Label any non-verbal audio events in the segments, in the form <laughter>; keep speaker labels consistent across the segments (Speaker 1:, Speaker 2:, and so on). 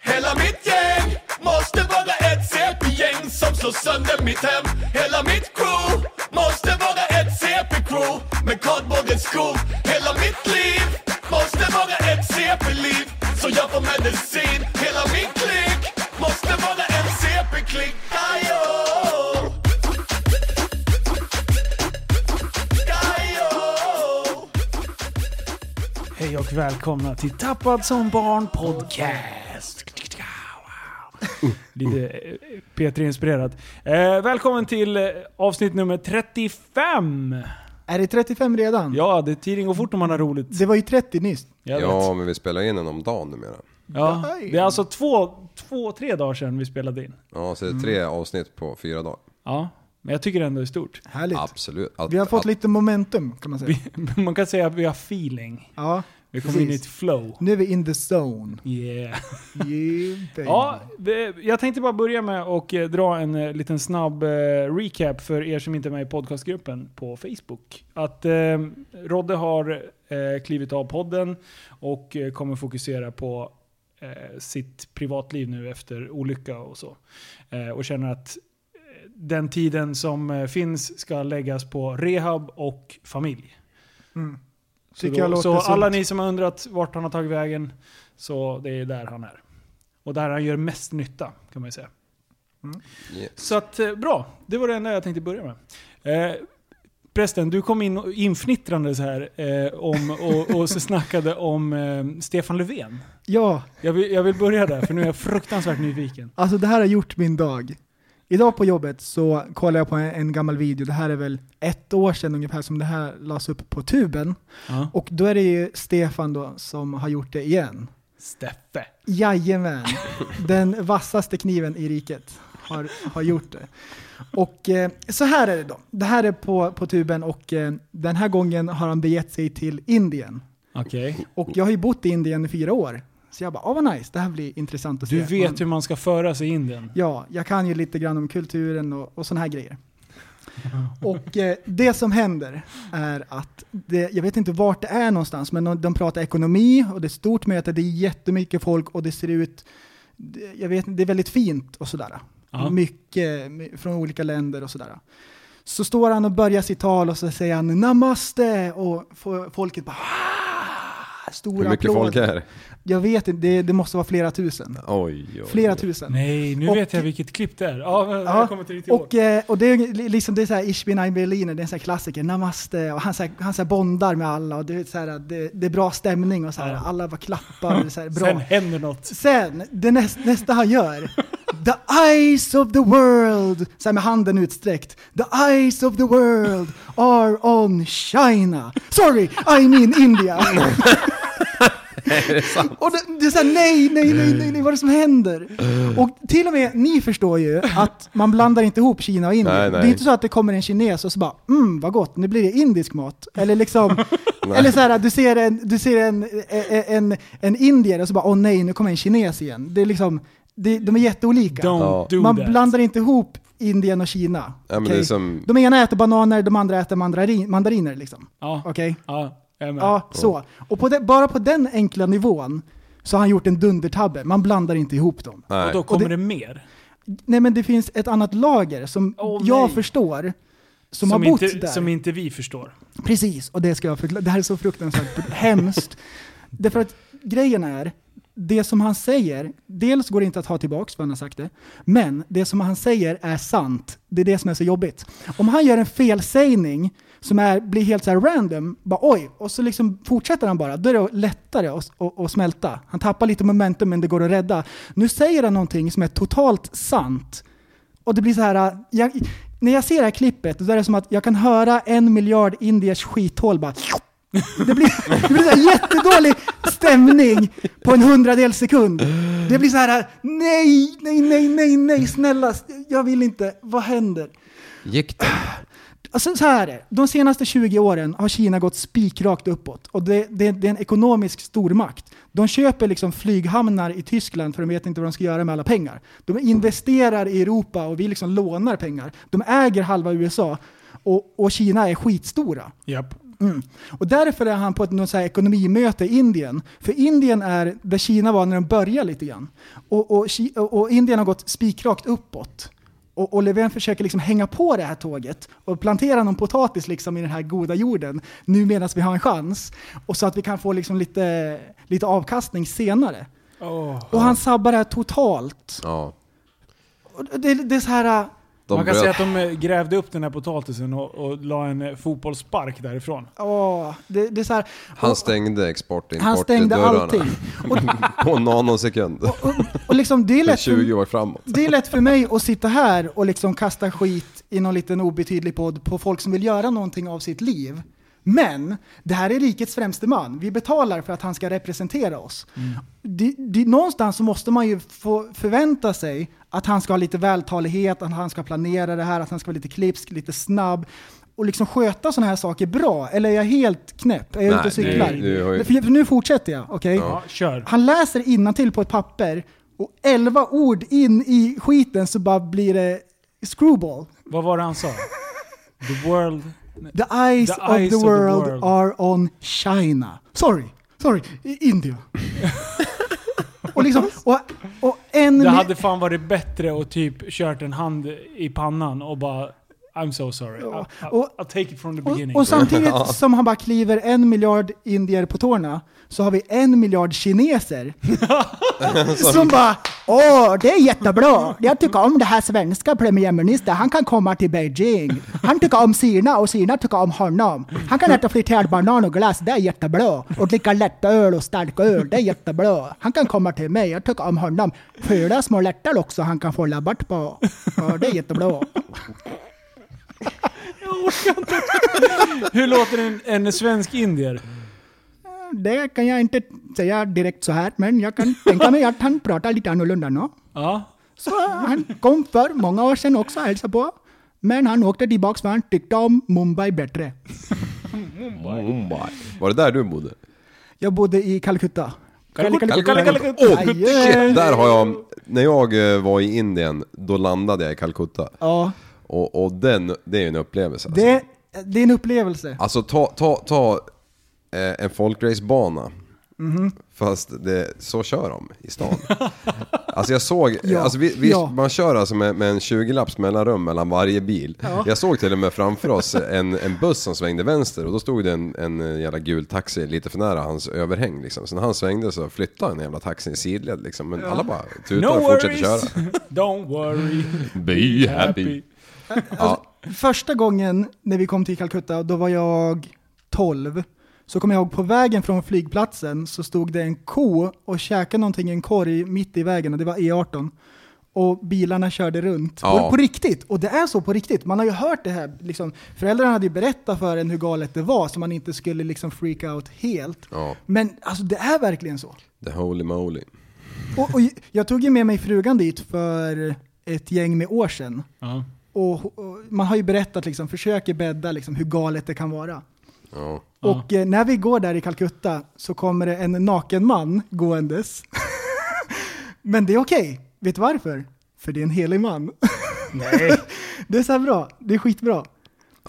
Speaker 1: Hela mitt gäng måste vara ett CP-gäng som slår sönder mitt hem Hela mitt crew måste vara ett CP-crew med kardborrens skor Hela mitt liv måste vara ett CP-liv så jag får medicin Hela min klick måste vara en CP-klick Ajo! Ajo!
Speaker 2: Hej och välkomna till Tappad som barn podcast. Lite eh, P3-inspirerat. Eh, välkommen till eh, avsnitt nummer 35!
Speaker 3: Är det 35 redan?
Speaker 2: Ja, det tiden går fort när man har roligt.
Speaker 3: Det var ju 30 nyss.
Speaker 2: Jag
Speaker 4: Ja,
Speaker 2: vet.
Speaker 4: men vi spelar in en om dagen numera.
Speaker 2: Ja. Det är alltså två, två, tre dagar sedan vi spelade in.
Speaker 4: Ja, så det är tre
Speaker 3: Mm.
Speaker 4: avsnitt på fyra dagar.
Speaker 2: Ja, men jag tycker ändå det är stort. <laughs>
Speaker 3: Härligt.
Speaker 4: Absolut. Att,
Speaker 3: Vi har fått
Speaker 4: att,
Speaker 3: lite momentum kan man säga.
Speaker 2: Man kan säga att vi har feeling.
Speaker 3: Ja,
Speaker 2: <laughs> Vi kommer in i ett
Speaker 3: Precis.
Speaker 2: flow.
Speaker 3: nu är vi in the zone.
Speaker 2: Yeah.
Speaker 3: Yeah, baby.
Speaker 2: Ja, det, jag tänkte bara börja med och eh, dra en eh, liten snabb eh, recap för er som inte är med i podcastgruppen på Facebook. Att eh, Rodde har eh, klivit av podden och eh, kommer fokusera på eh, sitt privatliv nu efter olycka och så. Eh, och känner att eh, den tiden som eh, finns ska läggas på rehab och familj.
Speaker 3: Mm.
Speaker 2: Så,
Speaker 3: Tycker jag
Speaker 2: då,
Speaker 3: låter
Speaker 2: så alla
Speaker 3: sunt.
Speaker 2: ni som har undrat vart han har tagit vägen, så det är där han är. Och där han gör mest nytta, kan man ju säga.
Speaker 4: Yeah.
Speaker 2: Så att, eh, bra. Det var det enda jag tänkte börja med. Eh, prästen, du kom in och- infnittrande så här eh, om, och, och så snackade om eh, Stefan Löfven.
Speaker 3: Ja,
Speaker 2: Jag vill, jag vill börja där, för nu är jag fruktansvärt nyfiken.
Speaker 3: alltså det här har gjort min dag. Idag på jobbet så kollade jag på en, en gammal video, det här är väl ett år sedan ungefär som det här lades upp på tuben.
Speaker 2: Ja.
Speaker 3: Och då är det ju Stefan då som har gjort det igen.
Speaker 2: Steffe.
Speaker 3: Jajamän. Den vassaste kniven i riket har, har gjort det. Och eh, så här är det då. Det här är på, på tuben och eh, den här gången har han begett sig till Indien.
Speaker 2: Okej.
Speaker 3: Och jag har ju bott i Indien i fyra år. Så jag bara, åh vad nice, det här blir intressant att
Speaker 2: Du
Speaker 3: se. Mm. Man-
Speaker 2: vet hur man ska föra sig i Indien.
Speaker 3: Ja, jag kan ju lite grann om kulturen och, och sådana
Speaker 2: <laughs>
Speaker 3: här grejer. Och eh, det som händer är att, det, jag vet inte vart det är någonstans, men de, de pratar ekonomi och det är ett stort möte, det är jättemycket folk och det ser ut, det- jag vet inte, det är väldigt fint och sådär.
Speaker 2: Ja.
Speaker 3: Mycket my- från olika länder och sådär. Så står han och börjar sitt tal och så säger han namaste och fo- folket bara "Ah!" Stora
Speaker 4: Hur mycket
Speaker 3: applåder.
Speaker 4: folk är det?
Speaker 3: Jag vet inte, det, det måste vara flera tusen.
Speaker 4: Oj, oj, oj.
Speaker 3: Flera tusen.
Speaker 2: Nej, nu
Speaker 3: Och-
Speaker 2: vet jag vilket klipp det är. Ja, men
Speaker 3: Ja,
Speaker 2: jag kommer till ditt år.
Speaker 3: och, eh, och det är li- liksom, det är så här Ich bin ein Berliner, det är en sån här klassiker, namaste, och han så här, han så här bondar med alla och det är så här, det, det är bra stämning och så här,
Speaker 2: Ja.
Speaker 3: alla bara klappar och det är så här, bra.
Speaker 2: Sen
Speaker 3: Sen,
Speaker 2: händer något.
Speaker 3: det näst, nästa han
Speaker 4: <laughs>
Speaker 3: gör, the eyes of the world, så här med handen utsträckt, the eyes of the world are on China. Sorry, I mean
Speaker 4: <laughs>
Speaker 3: India. Och det, det är såhär, nej, nej, nej, nej, nej, vad är det som händer?
Speaker 4: Eh.
Speaker 3: Och till och med ni förstår ju att man blandar inte ihop Kina och Indien.
Speaker 4: Nej, nej.
Speaker 3: Det är inte så att det kommer en kines och så bara, mm, vad gott, nu blir det indisk mat. Eller
Speaker 4: <laughs>
Speaker 3: liksom,
Speaker 4: Nej.
Speaker 3: eller såhär, du ser en, du ser en, en, en, en indier och så bara, åh nej, nu kommer en kines igen. Det är liksom, det, de är jätteolika.
Speaker 2: Don't
Speaker 4: Ja.
Speaker 2: do
Speaker 3: man
Speaker 2: that.
Speaker 3: blandar inte ihop Indien och Kina.
Speaker 4: Ja, men
Speaker 3: Okej?
Speaker 4: det är som-
Speaker 3: De ena äter bananer, de andra äter mandarin, mandariner liksom.
Speaker 2: Ja,
Speaker 3: Okej?
Speaker 2: ja, jag är med.
Speaker 3: Ja, så. Och på den- bara på den enkla nivån så har han gjort en dundertabbe. Man blandar inte ihop dem.
Speaker 2: Och
Speaker 4: Nej.
Speaker 2: då kommer
Speaker 3: Och
Speaker 2: det mer.
Speaker 3: Nej men det finns ett annat lager som
Speaker 2: Åh,
Speaker 3: jag
Speaker 2: nej.
Speaker 3: förstår, som, har bott
Speaker 2: inte,
Speaker 3: där.
Speaker 2: Som inte vi förstår.
Speaker 3: Precis, och det ska jag förklara. Det här är så fruktansvärt <laughs> hemskt. Därför att grejen är, det som han säger, dels går det inte att ha tillbaks för han har sagt det, men det som han säger är sant. Det är det som är så jobbigt. Om han gör en felsägning som är, blir helt så här random, bara oj, och så liksom fortsätter han bara, då är det lättare att, att, att smälta. Han tappar lite momentum men det går att rädda. Nu säger han någonting som är totalt sant, och det blir så här, äh, jag, när jag ser det här klippet, då är det som att jag kan höra en miljard indiers skithål bara... Det blir, det blir så här jättedålig stämning på en hundradels sekund. Det blir så här, äh, nej, nej, nej, nej, nej, snälla, jag vill inte, vad händer?
Speaker 4: Gick det?
Speaker 3: Alltså så här är det. De senaste 20 åren har Kina gått spikrakt uppåt. Och det, det, det är en ekonomisk stormakt. De köper liksom flyghamnar i Tyskland för de vet inte vad de ska göra med alla pengar. De investerar i Europa och vi liksom lånar pengar. De äger halva USA och, och Kina är skitstora.
Speaker 2: Japp.
Speaker 3: Mm. Och därför är han på ett något så här ekonomimöte i Indien. För Indien är där Kina var när de började lite grann. Och, och, Ki- och och Indien har gått spikrakt uppåt. Och, och Löfven försöker liksom hänga på det här tåget och plantera någon potatis liksom i den här goda jorden nu medan vi har en chans. Och så att vi kan få liksom lite, lite avkastning senare. Och han sabbar det här totalt.
Speaker 4: Ja.
Speaker 3: Och det, det är så här... äh,
Speaker 4: De
Speaker 2: Man kan
Speaker 4: bröt-
Speaker 2: säga att de eh, grävde upp den här potatisen och, och la en eh, fotbollsspark därifrån.
Speaker 3: Åh, det, det är så här
Speaker 4: Han stängde export och import
Speaker 3: han stängde
Speaker 4: i dörrarna.
Speaker 3: allting. Och,
Speaker 4: <laughs> På en nanosekund.
Speaker 3: och, och liksom, det är lätt för
Speaker 4: 20 år framåt.
Speaker 3: Det är lätt för mig att sitta här och liksom kasta skit i någon liten obetydlig podd på folk som vill göra någonting av sitt liv. Men det här är rikets främste man. Vi betalar för att han ska representera oss.
Speaker 4: Mm.
Speaker 3: Det, det, någonstans så måste man ju få förvänta sig att han ska ha lite vältalighet, att han ska planera det här, att han ska vara lite klipsk, lite snabb och liksom sköta sådana här saker bra. Eller är jag helt knäpp? Är jag ute och
Speaker 4: Nej,
Speaker 3: cyklar?
Speaker 4: du- du har ju-
Speaker 3: För- för nu fortsätter jag, okej?
Speaker 2: Ja, kör.
Speaker 3: Han läser innantill på ett papper och elva ord in i skiten så bara blir det screwball.
Speaker 2: Vad var det han sa?
Speaker 3: <laughs>
Speaker 2: The world... Nej.
Speaker 3: The eyes,
Speaker 2: The
Speaker 3: of,
Speaker 2: eyes
Speaker 3: the
Speaker 2: of the
Speaker 3: world
Speaker 2: world.
Speaker 3: are on China. Sorry, sorry, i-
Speaker 2: <laughs>
Speaker 3: India. och liksom, och, och en...
Speaker 2: Det
Speaker 3: mi-
Speaker 2: hade fan varit bättre att typ kört en hand i pannan och bara I'm so sorry. I,
Speaker 3: Ja,
Speaker 2: I,
Speaker 3: och-
Speaker 2: I'll take it from the beginning.
Speaker 3: och, och samtidigt som han bara kliver en miljard indier på tårna så har vi en miljard kineser som bara Åh, det är jättebra! Jag tycker om det här svenska premiärministern. Han kan komma till Beijing. Han tycker om Sina och Sina tycker om honom. Han kan äta friterad banan och glass. Det är jättebra. Och dricka lättöl och starköl. Det är jättebra. Han kan komma till mig. Jag tycker om honom. Fyra små lättöl också han kan få rabatt på. Ja, det är jättebra.
Speaker 2: Hur låter en, en svensk indier?
Speaker 3: Det kan jag inte säga direkt så här, men jag kan tänka mig att han pratar lite annorlunda nu.
Speaker 2: Ja.
Speaker 3: Så han kom för många år sedan också och hälsade på. Men han åkte tillbaka för han tyckte om Mumbai bättre.
Speaker 4: Mumbai. Oh Var det där du bodde?
Speaker 3: Jag bodde i Calcutta.
Speaker 2: Calcutta, Calcutta.
Speaker 4: Åh,
Speaker 3: Jajamän.
Speaker 4: shit, där har jag... När jag eh, var i Indien, då landade jag i Calcutta.
Speaker 3: Ja,
Speaker 4: Och, och den, det är ju en upplevelse. Alltså,
Speaker 3: det, det är en upplevelse.
Speaker 4: alltså ta, ta, ta eh, en folkracebana. Fast det, så kör de i stan. alltså jag såg,
Speaker 3: Ja,
Speaker 4: alltså vi, vi,
Speaker 3: ja.
Speaker 4: man kör alltså med, med en 20-lapps mellanrum mellan varje bil. Jag såg till och med framför oss en, en buss som svängde vänster och då stod det en, en jävla gul taxi lite för nära hans överhäng liksom. Så när han svängde så flyttade en jävla taxi i sidled liksom. Men alla bara tutar
Speaker 2: No
Speaker 4: och fortsätter köra.
Speaker 2: worries. <laughs> Don't worry.
Speaker 4: Be happy. Ja,
Speaker 3: Första gången när vi kom till Calcutta, då var jag 12. Så kommer jag ihåg, på vägen från flygplatsen så stod det en ko och käkade någonting i en korg mitt i vägen, och det var E18. Och bilarna körde runt.
Speaker 4: Ja.
Speaker 3: På, på riktigt! Och det är så på riktigt. Man har ju hört det här, liksom, föräldrarna hade ju berättat för en hur galet det var, så man inte skulle liksom freaka out helt.
Speaker 4: ja,
Speaker 3: Men alltså det är verkligen så.
Speaker 4: the holy moly.
Speaker 3: Och, och jag tog ju med mig frugan dit för ett gäng med år sedan.
Speaker 2: Ja.
Speaker 3: Och, och man har ju berättat, liksom, försöker bädda liksom, hur galet det kan vara.
Speaker 4: Ja.
Speaker 3: Och eh, när vi går där i Calcutta så kommer det en naken man gåendes. <laughs> Men det är okej. Vet du varför? För det är en helig man. <laughs>
Speaker 2: Nej.
Speaker 3: Det är så här bra. Det är skitbra.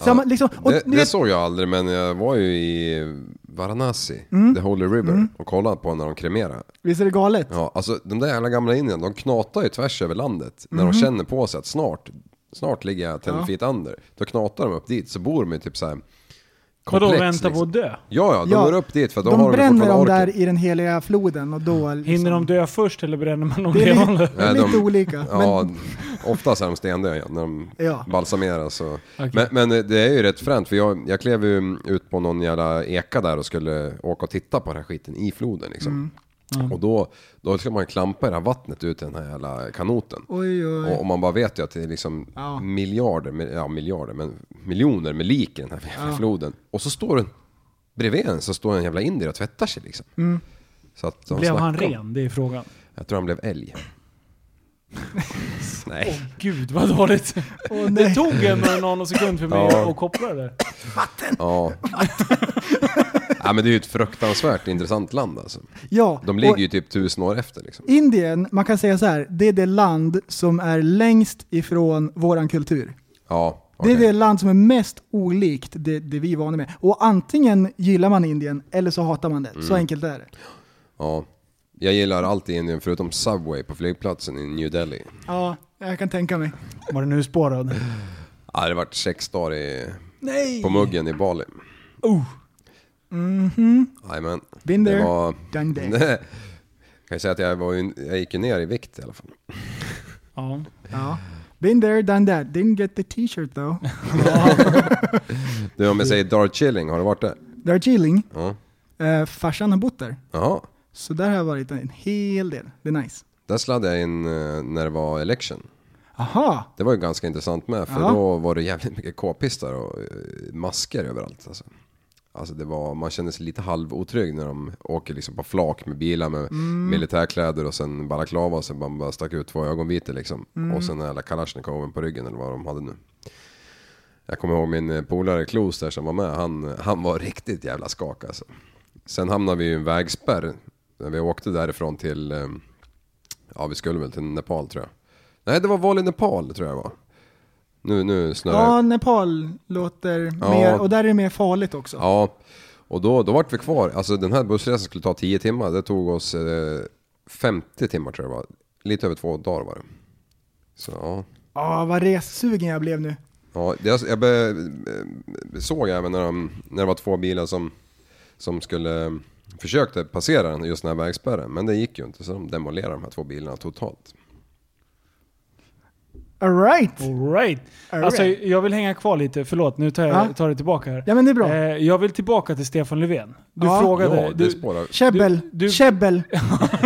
Speaker 3: Samma, liksom, och,
Speaker 4: det,
Speaker 3: ni
Speaker 4: det
Speaker 3: vet-
Speaker 4: såg jag aldrig men jag var ju i Varanasi,
Speaker 3: Mm.
Speaker 4: the Holy River och kollade på när de kremerade.
Speaker 3: visst är det galet?
Speaker 4: Ja, alltså de där jävla gamla indierna, de knatar ju tvärs över landet när de känner på sig att snart, snart ligger jag 10
Speaker 3: Mm. Ja.
Speaker 4: feet under. Då knatar de upp dit så bor de ju typ såhär
Speaker 2: Vadå,
Speaker 4: komplex.
Speaker 2: vänta på
Speaker 4: liksom.
Speaker 2: att dö?
Speaker 4: Ja, ja, de
Speaker 3: Ja,
Speaker 4: går upp dit för då
Speaker 3: de
Speaker 4: har de ju
Speaker 3: bränner dem
Speaker 4: fortfarande
Speaker 3: där
Speaker 4: orken.
Speaker 3: i den heliga floden och då... Liksom,
Speaker 2: Hinner de dö först eller bränner man dem
Speaker 3: det är
Speaker 2: levande?
Speaker 3: lite, det är
Speaker 4: Nej, de-
Speaker 3: lite olika.
Speaker 4: <laughs> Ja,
Speaker 3: Men,
Speaker 4: oftast är de stendöda ja, när de
Speaker 3: Ja.
Speaker 4: balsameras. Och...
Speaker 2: Okej.
Speaker 4: Men, men det är ju rätt fränt för jag, jag klev ju ut på någon jävla eka där och skulle åka och titta på den här skiten i floden liksom.
Speaker 3: Mm.
Speaker 4: Och då, då ska man klampa i det här vattnet ut i den här jävla kanoten.
Speaker 3: oj, oj.
Speaker 4: Och, och man bara vet ju att det är liksom
Speaker 3: Ja.
Speaker 4: miljarder, med- ja miljarder, men miljoner med lik i den här jävla floden. Och så står den, bredvid en så står en jävla indier och tvättar sig liksom.
Speaker 3: Mm.
Speaker 4: Så att
Speaker 2: <laughs>
Speaker 4: de
Speaker 2: Blev han
Speaker 4: snackar om-
Speaker 2: ren? Det är frågan.
Speaker 4: Jag tror han blev älg. Nej.
Speaker 2: Åh gud vad dåligt.
Speaker 3: Åh,
Speaker 2: det
Speaker 3: nej.
Speaker 2: tog en någon sekund för mig
Speaker 4: Ja.
Speaker 2: att koppla det.
Speaker 4: Ja. ja men det är ju ett fruktansvärt intressant land alltså.
Speaker 3: ja,
Speaker 4: De
Speaker 3: och-
Speaker 4: ligger ju typ tusen år efter liksom.
Speaker 3: Indien, man kan säga så här, det är det land som är längst ifrån våran kultur.
Speaker 4: Ja,
Speaker 3: Det är
Speaker 4: Okej.
Speaker 3: det land som är mest olikt det, det vi är vana med. Och antingen gillar man Indien eller så hatar man det.
Speaker 4: Mm.
Speaker 3: Så enkelt är det.
Speaker 4: Ja. Jag gillar allt i Indien förutom Subway på flygplatsen i New Delhi.
Speaker 3: Ja, jag kan tänka mig.
Speaker 2: Var den urspårad?
Speaker 4: Ja, det har varit sex dagar i,
Speaker 3: Nej!
Speaker 4: på muggen i Bali.
Speaker 2: Oh.
Speaker 4: Jajamän.
Speaker 3: Been
Speaker 4: Det
Speaker 3: Mm-hmm. there.
Speaker 4: var...
Speaker 3: Done
Speaker 4: Jag
Speaker 3: there.
Speaker 4: <laughs> kan ju säga att jag, var ju, jag gick ju ner i vikt i alla fall.
Speaker 2: Ja.
Speaker 3: Ja. Been there, done that. Didn't get the t-shirt though.
Speaker 4: Du, om jag säger Darjeeling, har du varit där?
Speaker 3: Där chilling.
Speaker 4: Ja.
Speaker 3: Eh, farsan har bott där.
Speaker 4: Jaha.
Speaker 3: Så där har jag varit en hel del. Det är nice.
Speaker 4: Där sladdade jag in eh, när det var election.
Speaker 3: Aha!
Speaker 4: Det var ju ganska intressant med, för
Speaker 3: Ja.
Speaker 4: då var det jävligt mycket k-pistar och eh, masker överallt. Alltså. Alltså det var, man kände sig lite halvotrygg när de åker liksom på flak med bilar med militärkläder och sen balaklava och sen man bara stack ut två ögonvitor liksom. Och sen den jävla kalasjnikoven på ryggen eller vad de hade nu. Jag kommer ihåg min eh, polare Klos där som var med, han, han var riktigt jävla skak alltså. Sen hamnade vi i en vägspärr när vi åkte därifrån till, eh, ja vi skulle väl till Nepal tror jag. Nej det var val i Nepal tror jag det var. Nu, nu snurrar jag
Speaker 3: Ja, Nepal låter
Speaker 4: Ja.
Speaker 3: mer, och där är det mer farligt också.
Speaker 4: Ja, och då, då vart vi kvar. Alltså den här bussresan skulle ta 10 timmar. Det tog oss eh, 50 timmar tror jag det var. Lite över två dagar var det. Så ja.
Speaker 3: Ja, Ah, vad ressugen jag blev nu.
Speaker 4: ja det, jag be, eh, såg även när, de, när det var två bilar som, som skulle eh, försökte passera den, just den här vägspärren. Men det gick ju inte så de demolerade de här två bilarna totalt.
Speaker 3: Alright!
Speaker 2: Alright.
Speaker 3: All
Speaker 2: Alltså,
Speaker 3: right.
Speaker 2: jag vill hänga kvar lite. Förlåt, nu tar
Speaker 3: Ja.
Speaker 2: jag tar det tillbaka här.
Speaker 3: Ja men det är bra.
Speaker 2: Eh, jag vill tillbaka till Stefan Löfven. Du
Speaker 3: Ja.
Speaker 2: frågade...
Speaker 4: Ja, det
Speaker 2: du,
Speaker 4: spårar.
Speaker 3: Käbbel,
Speaker 2: du- du-
Speaker 3: käbbel.
Speaker 2: <laughs>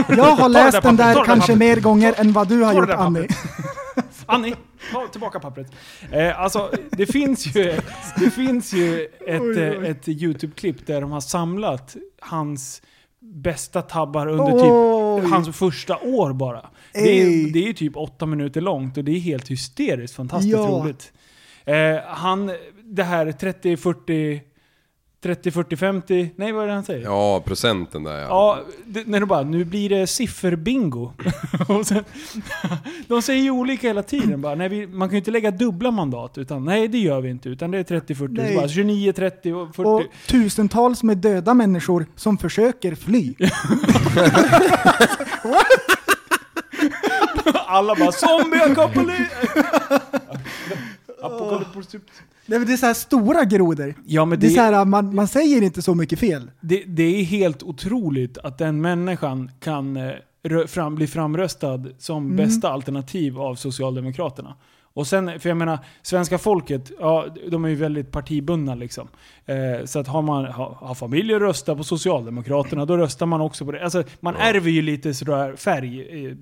Speaker 3: Jag har läst den
Speaker 2: pappret, ta
Speaker 3: där
Speaker 2: det
Speaker 3: kanske
Speaker 2: pappret.
Speaker 3: mer gånger än vad du
Speaker 2: Ta
Speaker 3: har
Speaker 2: det
Speaker 3: gjort
Speaker 2: där
Speaker 3: Annie.
Speaker 2: <laughs> Annie, ta tillbaka pappret. Eh, alltså, det finns ju, det finns ju ett,
Speaker 3: Oj, oj.
Speaker 2: eh, ett YouTube-klipp där de har samlat hans bästa tabbar under
Speaker 3: Oj.
Speaker 2: typ hans första år bara. Det
Speaker 3: Ey.
Speaker 2: är, det är ju typ åtta minuter långt och det är helt hysteriskt fantastiskt
Speaker 3: Ja.
Speaker 2: roligt. Eh, han, det här 30, 40, 30, 40, 50, nej vad är det han säger?
Speaker 4: Ja, procenten där ja.
Speaker 2: Ja, det, när de bara nu blir det sifferbingo. <laughs> och sen, de säger ju olika hela tiden. Bara, nej, vi, man kan ju inte lägga dubbla mandat. Utan, nej, det gör vi inte. Utan det är 30-40.
Speaker 3: Nej.
Speaker 2: Så bara, 29, 30 och 40.
Speaker 3: Och tusentals med döda människor som
Speaker 2: <laughs>
Speaker 3: försöker fly.
Speaker 2: <laughs> Alla bara zombie-apokalyps! Apokalyps.
Speaker 3: Nej, men Det är så här stora grodor.
Speaker 2: Ja, men
Speaker 3: Det är så
Speaker 2: det,
Speaker 3: här, man, man säger inte så mycket fel.
Speaker 2: det, det är helt otroligt att den människan kan eh, rö- fram, bli framröstad som bästa alternativ av Socialdemokraterna. Och sen, för jag menar, svenska folket, ja, de är ju väldigt partibundna liksom. Eh, så att har man har, har familjer röstar på Socialdemokraterna, då röstar man också på det. Alltså, man ärver ju lite sådär färg eh,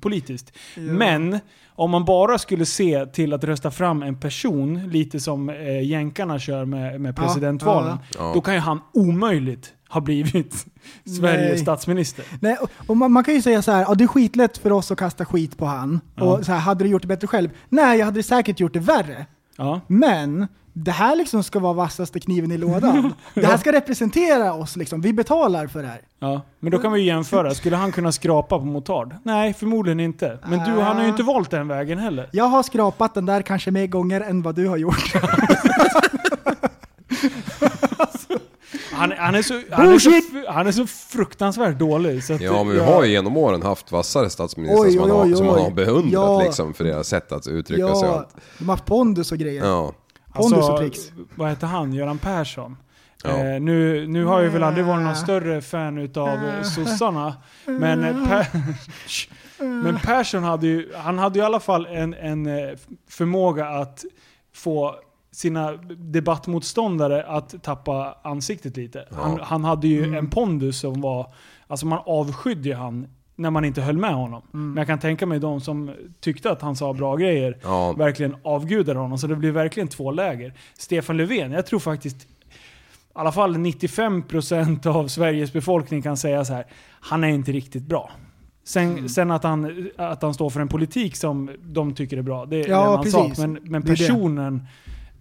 Speaker 2: politiskt. Men om man bara skulle se till att rösta fram en person, lite som eh, jänkarna kör med, med
Speaker 3: Ja,
Speaker 2: presidentvalen,
Speaker 4: ja. Ja.
Speaker 2: då kan ju han omöjligt ha blivit <laughs> Sveriges
Speaker 3: Nej.
Speaker 2: statsminister.
Speaker 3: Nej, och, och man, man kan ju säga så här, ja, det är skitlätt för oss att kasta skit på han. Och så här, hade du gjort det bättre själv? Nej, jag hade säkert gjort det värre.
Speaker 2: Ja.
Speaker 3: Men det här liksom ska vara vassaste kniven
Speaker 2: <laughs>
Speaker 3: i lådan. Det här ska representera oss liksom. Vi betalar för det här.
Speaker 2: Ja. Men då kan vi ju jämföra. Skulle han kunna skrapa på motard? Nej, förmodligen inte. Men du, han har ju inte valt den vägen heller.
Speaker 3: Jag har skrapat den där kanske mer gånger än vad du har gjort.
Speaker 2: Han, han, är, så, han, är, så, fr- han är så fruktansvärt dålig. Så att,
Speaker 4: Ja, men vi
Speaker 2: jag-
Speaker 4: har ju genom åren haft vassare statsministrar
Speaker 3: Oj,
Speaker 4: som, man
Speaker 3: oj,
Speaker 4: har,
Speaker 3: oj,
Speaker 4: som man
Speaker 3: oj.
Speaker 4: har beundrat
Speaker 3: Ja.
Speaker 4: liksom, för deras sätt att uttrycka sig och
Speaker 3: Ja,
Speaker 4: allt.
Speaker 3: de har haft pondus och grejer.
Speaker 4: Ja.
Speaker 3: Pondus och tricks.
Speaker 2: Alltså, Vad heter han? Göran Persson.
Speaker 4: Ja.
Speaker 2: Eh, nu, nu har jag väl aldrig varit någon
Speaker 3: Nä.
Speaker 2: större fan utav eh, sossarna. Men, eh, per, men Persson hade ju, han hade ju i alla fall en, en eh, förmåga att få sina debattmotståndare att tappa ansiktet lite. Han,
Speaker 4: Ja.
Speaker 2: han hade ju en pondus som var, alltså man avskydde ju han när man inte höll med honom. Men jag kan tänka mig de som tyckte att han sa bra grejer
Speaker 4: Ja.
Speaker 2: verkligen avgudar honom. Så det blir verkligen två läger. Stefan Löfven, jag tror faktiskt i alla fall 95% av Sveriges befolkning kan säga så här. Han är inte riktigt bra. Sen,
Speaker 4: Mm.
Speaker 2: sen att, han, att han står för en politik som de tycker är bra, det är
Speaker 3: Ja,
Speaker 2: en annan
Speaker 3: precis.
Speaker 2: sak. Men, men
Speaker 3: Det är det.
Speaker 2: personen,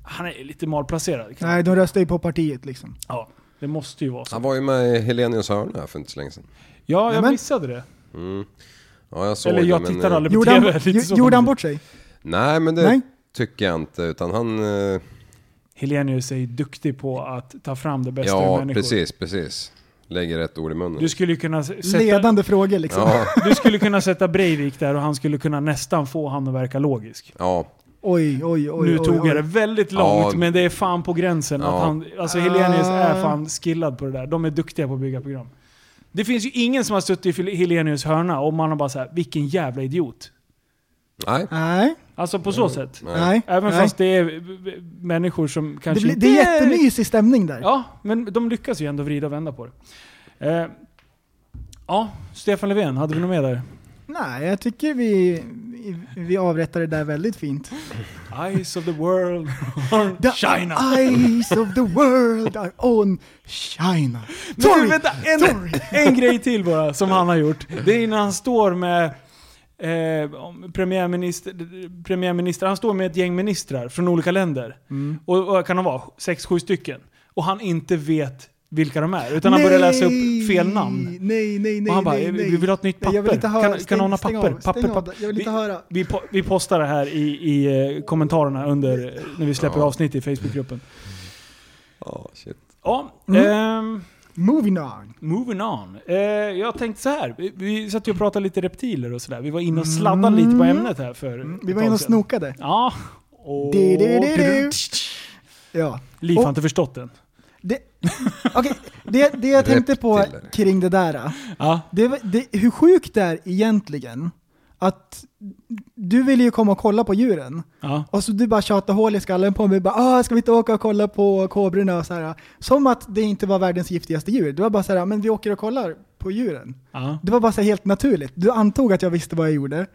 Speaker 2: han är lite malplacerad. kan-
Speaker 3: Nej, de röstar ju på partiet liksom.
Speaker 2: Ja, det måste ju vara så.
Speaker 4: Han var ju med i Helenius hörna här för inte så länge sedan.
Speaker 2: Ja, jag
Speaker 3: Nämen.
Speaker 2: missade det.
Speaker 4: Ja, jag såg
Speaker 2: Eller jag
Speaker 4: det,
Speaker 2: tittar
Speaker 4: eh,
Speaker 2: aldrig på
Speaker 3: Gjorde han,
Speaker 2: TV. lite
Speaker 3: ju-
Speaker 2: så
Speaker 3: gjorde han
Speaker 2: konstigt.
Speaker 3: bort sig?
Speaker 4: Nej men det,
Speaker 3: Nej?
Speaker 4: tycker jag inte. Utan han... eh,
Speaker 2: Helenius är ju duktig på att ta fram det bästa ur
Speaker 4: Ja,
Speaker 2: människor.
Speaker 4: precis, precis. Lägger rätt ord i munnen.
Speaker 2: Du skulle ju kunna s- sätta,
Speaker 3: Ledande frågor liksom.
Speaker 4: Ja,
Speaker 2: du skulle kunna sätta Breivik där och han skulle kunna nästan få han att verka logisk.
Speaker 4: ja.
Speaker 3: Oj, oj, oj.
Speaker 2: nu
Speaker 3: oj,
Speaker 2: tog
Speaker 3: oj.
Speaker 2: jag det väldigt långt,
Speaker 4: Ja.
Speaker 2: men det är fan på gränsen.
Speaker 4: Ja.
Speaker 2: Att han, alltså Helenius
Speaker 3: Ah.
Speaker 2: är fan skillad på det där. De är duktiga på att bygga program. Det finns ju ingen som har suttit i Helenius hörna och man har bara så här, vilken jävla idiot.
Speaker 4: Nej.
Speaker 3: Nej,
Speaker 2: Alltså på så sätt.
Speaker 3: nej.
Speaker 2: Även
Speaker 3: Mm. nej.
Speaker 2: fast det är b- b- människor som
Speaker 3: det,
Speaker 2: kanske
Speaker 3: blir,
Speaker 2: inte
Speaker 3: det är jättemysig stämning där.
Speaker 2: Ja, men de lyckas ju ändå vrida och vända på det. Eh, ja, Stefan Löfven, hade vi något mer där?
Speaker 3: Nej, jag tycker vi, vi avrättar det där väldigt fint.
Speaker 2: Eyes of the world on
Speaker 3: The
Speaker 2: China.
Speaker 3: eyes of the world are on China.
Speaker 2: Men du,
Speaker 3: Sorry.
Speaker 2: vänta, en, en grej till bara som han har gjort. Det är när han står med eh, om premiärminister, premiärminister, han står med ett gäng ministrar från olika länder.
Speaker 3: Mm.
Speaker 2: Och, och kan de vara sex, sju stycken. Och han inte vet vilka de är. Utan han börjar läsa upp fel namn.
Speaker 3: Nej, nej, nej.
Speaker 2: och han bara,
Speaker 3: nej, nej.
Speaker 2: vi vill ha ett nytt papper.
Speaker 3: Nej, jag vill inte höra.
Speaker 2: Kan, kan
Speaker 3: Stäng-
Speaker 2: någon ha
Speaker 3: stäng
Speaker 2: papper?
Speaker 3: av,
Speaker 2: papper,
Speaker 3: stäng av.
Speaker 2: papper.
Speaker 3: Jag vill inte
Speaker 2: vi,
Speaker 3: höra.
Speaker 2: Vi, po- vi postar det här i, i eh, kommentarerna under, eh, när vi släpper avsnitt i Facebookgruppen.
Speaker 4: Ja, shit.
Speaker 2: Ja,
Speaker 3: Mm.
Speaker 2: ehm,
Speaker 3: Moving on.
Speaker 2: moving on. Eh, jag tänkte så här. Vi, vi satt ju och pratade lite reptiler och sådär. Vi var inne och sladdade lite på ämnet här för ett
Speaker 3: Mm. Vi var
Speaker 2: tag
Speaker 3: inne och
Speaker 2: sedan.
Speaker 3: snokade.
Speaker 2: Ja. Och,
Speaker 3: Du, du, du, du. Ja.
Speaker 2: Liv har
Speaker 3: Och-
Speaker 2: inte förstått den.
Speaker 3: Det, okej, det, det jag tänkte på
Speaker 4: Reptiler.
Speaker 3: kring det där, äh,
Speaker 2: Ja.
Speaker 3: det, var- det, hur sjukt det är egentligen att du ville ju komma och kolla på djuren.
Speaker 2: ja.
Speaker 3: Och så du bara tjatade hål i skallen på mig. Bara, ah, ska vi inte åka och kolla på kobrorna? Och så här, äh. som att det inte var världens giftigaste djur. Du var bara så här, men vi åker och kollar på djuren.
Speaker 2: ja.
Speaker 3: Det var bara så här helt naturligt. Du antog att jag visste vad jag gjorde.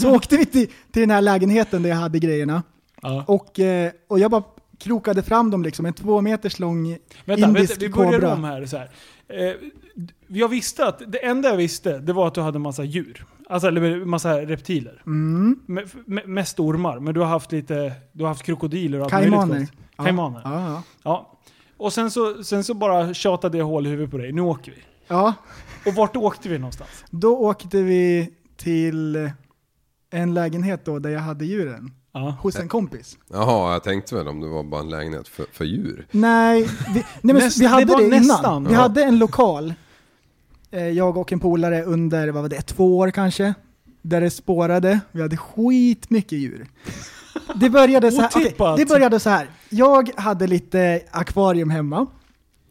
Speaker 3: Så åkte vi till, till den här lägenheten där jag hade grejerna.
Speaker 2: ja.
Speaker 3: Och, eh, och jag bara krokade fram dem liksom. En två meters lång
Speaker 2: Vänta, vänta,
Speaker 3: indisk
Speaker 2: vi börjar
Speaker 3: kobra.
Speaker 2: om här. Så här. Eh, d- jag visste att, det enda jag visste, det var att du hade massa djur. Alltså, eller massa reptiler.
Speaker 3: mm,
Speaker 2: Me- me- mest ormar, men du har haft lite, du har haft krokodiler och allt möjligt
Speaker 3: Kaimaner.
Speaker 2: konstigt. Kaimaner. Ja.
Speaker 3: Ja, ja.
Speaker 2: Och sen så, sen så bara tjatade jag hål i huvudet på dig, nu åker vi.
Speaker 3: ja,
Speaker 2: Och vart åkte vi någonstans?
Speaker 3: då åkte vi till en lägenhet då där jag hade djuren.
Speaker 2: Ja.
Speaker 3: Hos en kompis.
Speaker 4: Jaha, jag tänkte väl om det var bara en lägenhet för, för djur.
Speaker 3: Nej, vi, nej men
Speaker 2: Näst-
Speaker 3: vi hade
Speaker 2: det var
Speaker 3: det,
Speaker 2: nästan.
Speaker 3: innan. Vi
Speaker 4: Ja.
Speaker 3: hade en lokal, eh, jag och en polare under, vad var det, två år kanske? Där det spårade. Vi hade skitmycket djur. Det började så här, okej,
Speaker 2: Otippat.
Speaker 3: det började så här. jag hade lite akvarium hemma.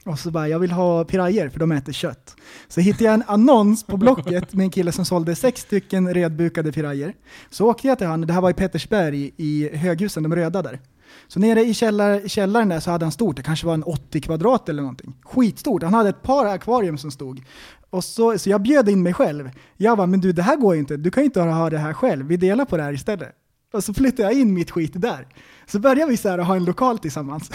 Speaker 3: Och så bara, jag vill ha pirajer för de äter kött. Så hittade jag en annons på Blocket med en kille som sålde sex stycken redbukade pirajer. Så åkte jag till han, det här var i Pettersberg i höghusen, de röda där. Så nere i källar, källaren där så hade han stort, det kanske var en 80 kvadrat eller någonting. Skitstort, han hade ett par akvarium som stod. Och så, så jag bjöd in mig själv. Jag bara, men du det här går ju inte, du kan ju inte ha det här själv, vi delar på det här istället. Och så flyttade jag in mitt skit där. Så började vi så här att ha en lokal tillsammans.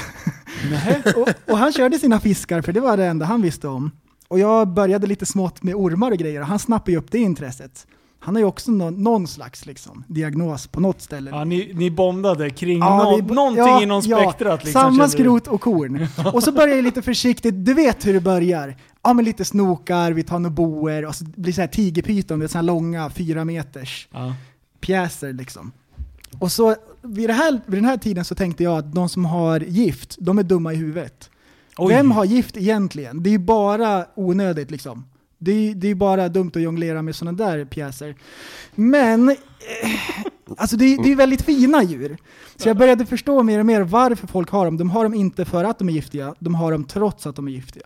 Speaker 3: <laughs> och, och han körde sina fiskar, för det var det enda han visste om. Och jag började lite smått med ormar och grejer, och han snappade ju upp det intresset. Han har ju också någon, någon slags liksom, diagnos på något ställe.
Speaker 2: Ja, ni, ni bondade kring
Speaker 3: Ja,
Speaker 2: nå-
Speaker 3: vi-
Speaker 2: någonting
Speaker 3: ja,
Speaker 2: inom
Speaker 3: ja,
Speaker 2: spektrat. liksom,
Speaker 3: samma
Speaker 2: kände du.
Speaker 3: skrot
Speaker 2: <laughs>
Speaker 3: och korn. Och så börjar jag lite försiktigt, du vet hur det börjar. Ja men lite snokar, vi tar några boer och så blir det så här tigerpyton, det är så här långa, fyra meters
Speaker 2: Ja.
Speaker 3: pjäser liksom. Och så vid, det här, vid den här tiden så tänkte jag att de som har gift, de är dumma i huvudet.
Speaker 2: Oj.
Speaker 3: Vem har gift egentligen? Det är ju bara onödigt liksom. Det är ju det är ju bara dumt att jonglera med sådana där pjäser. Men, eh, alltså det är, det är ju väldigt fina djur. Så jag började förstå mer och mer varför folk har dem. De har dem inte för att de är giftiga, de har dem trots att de är giftiga.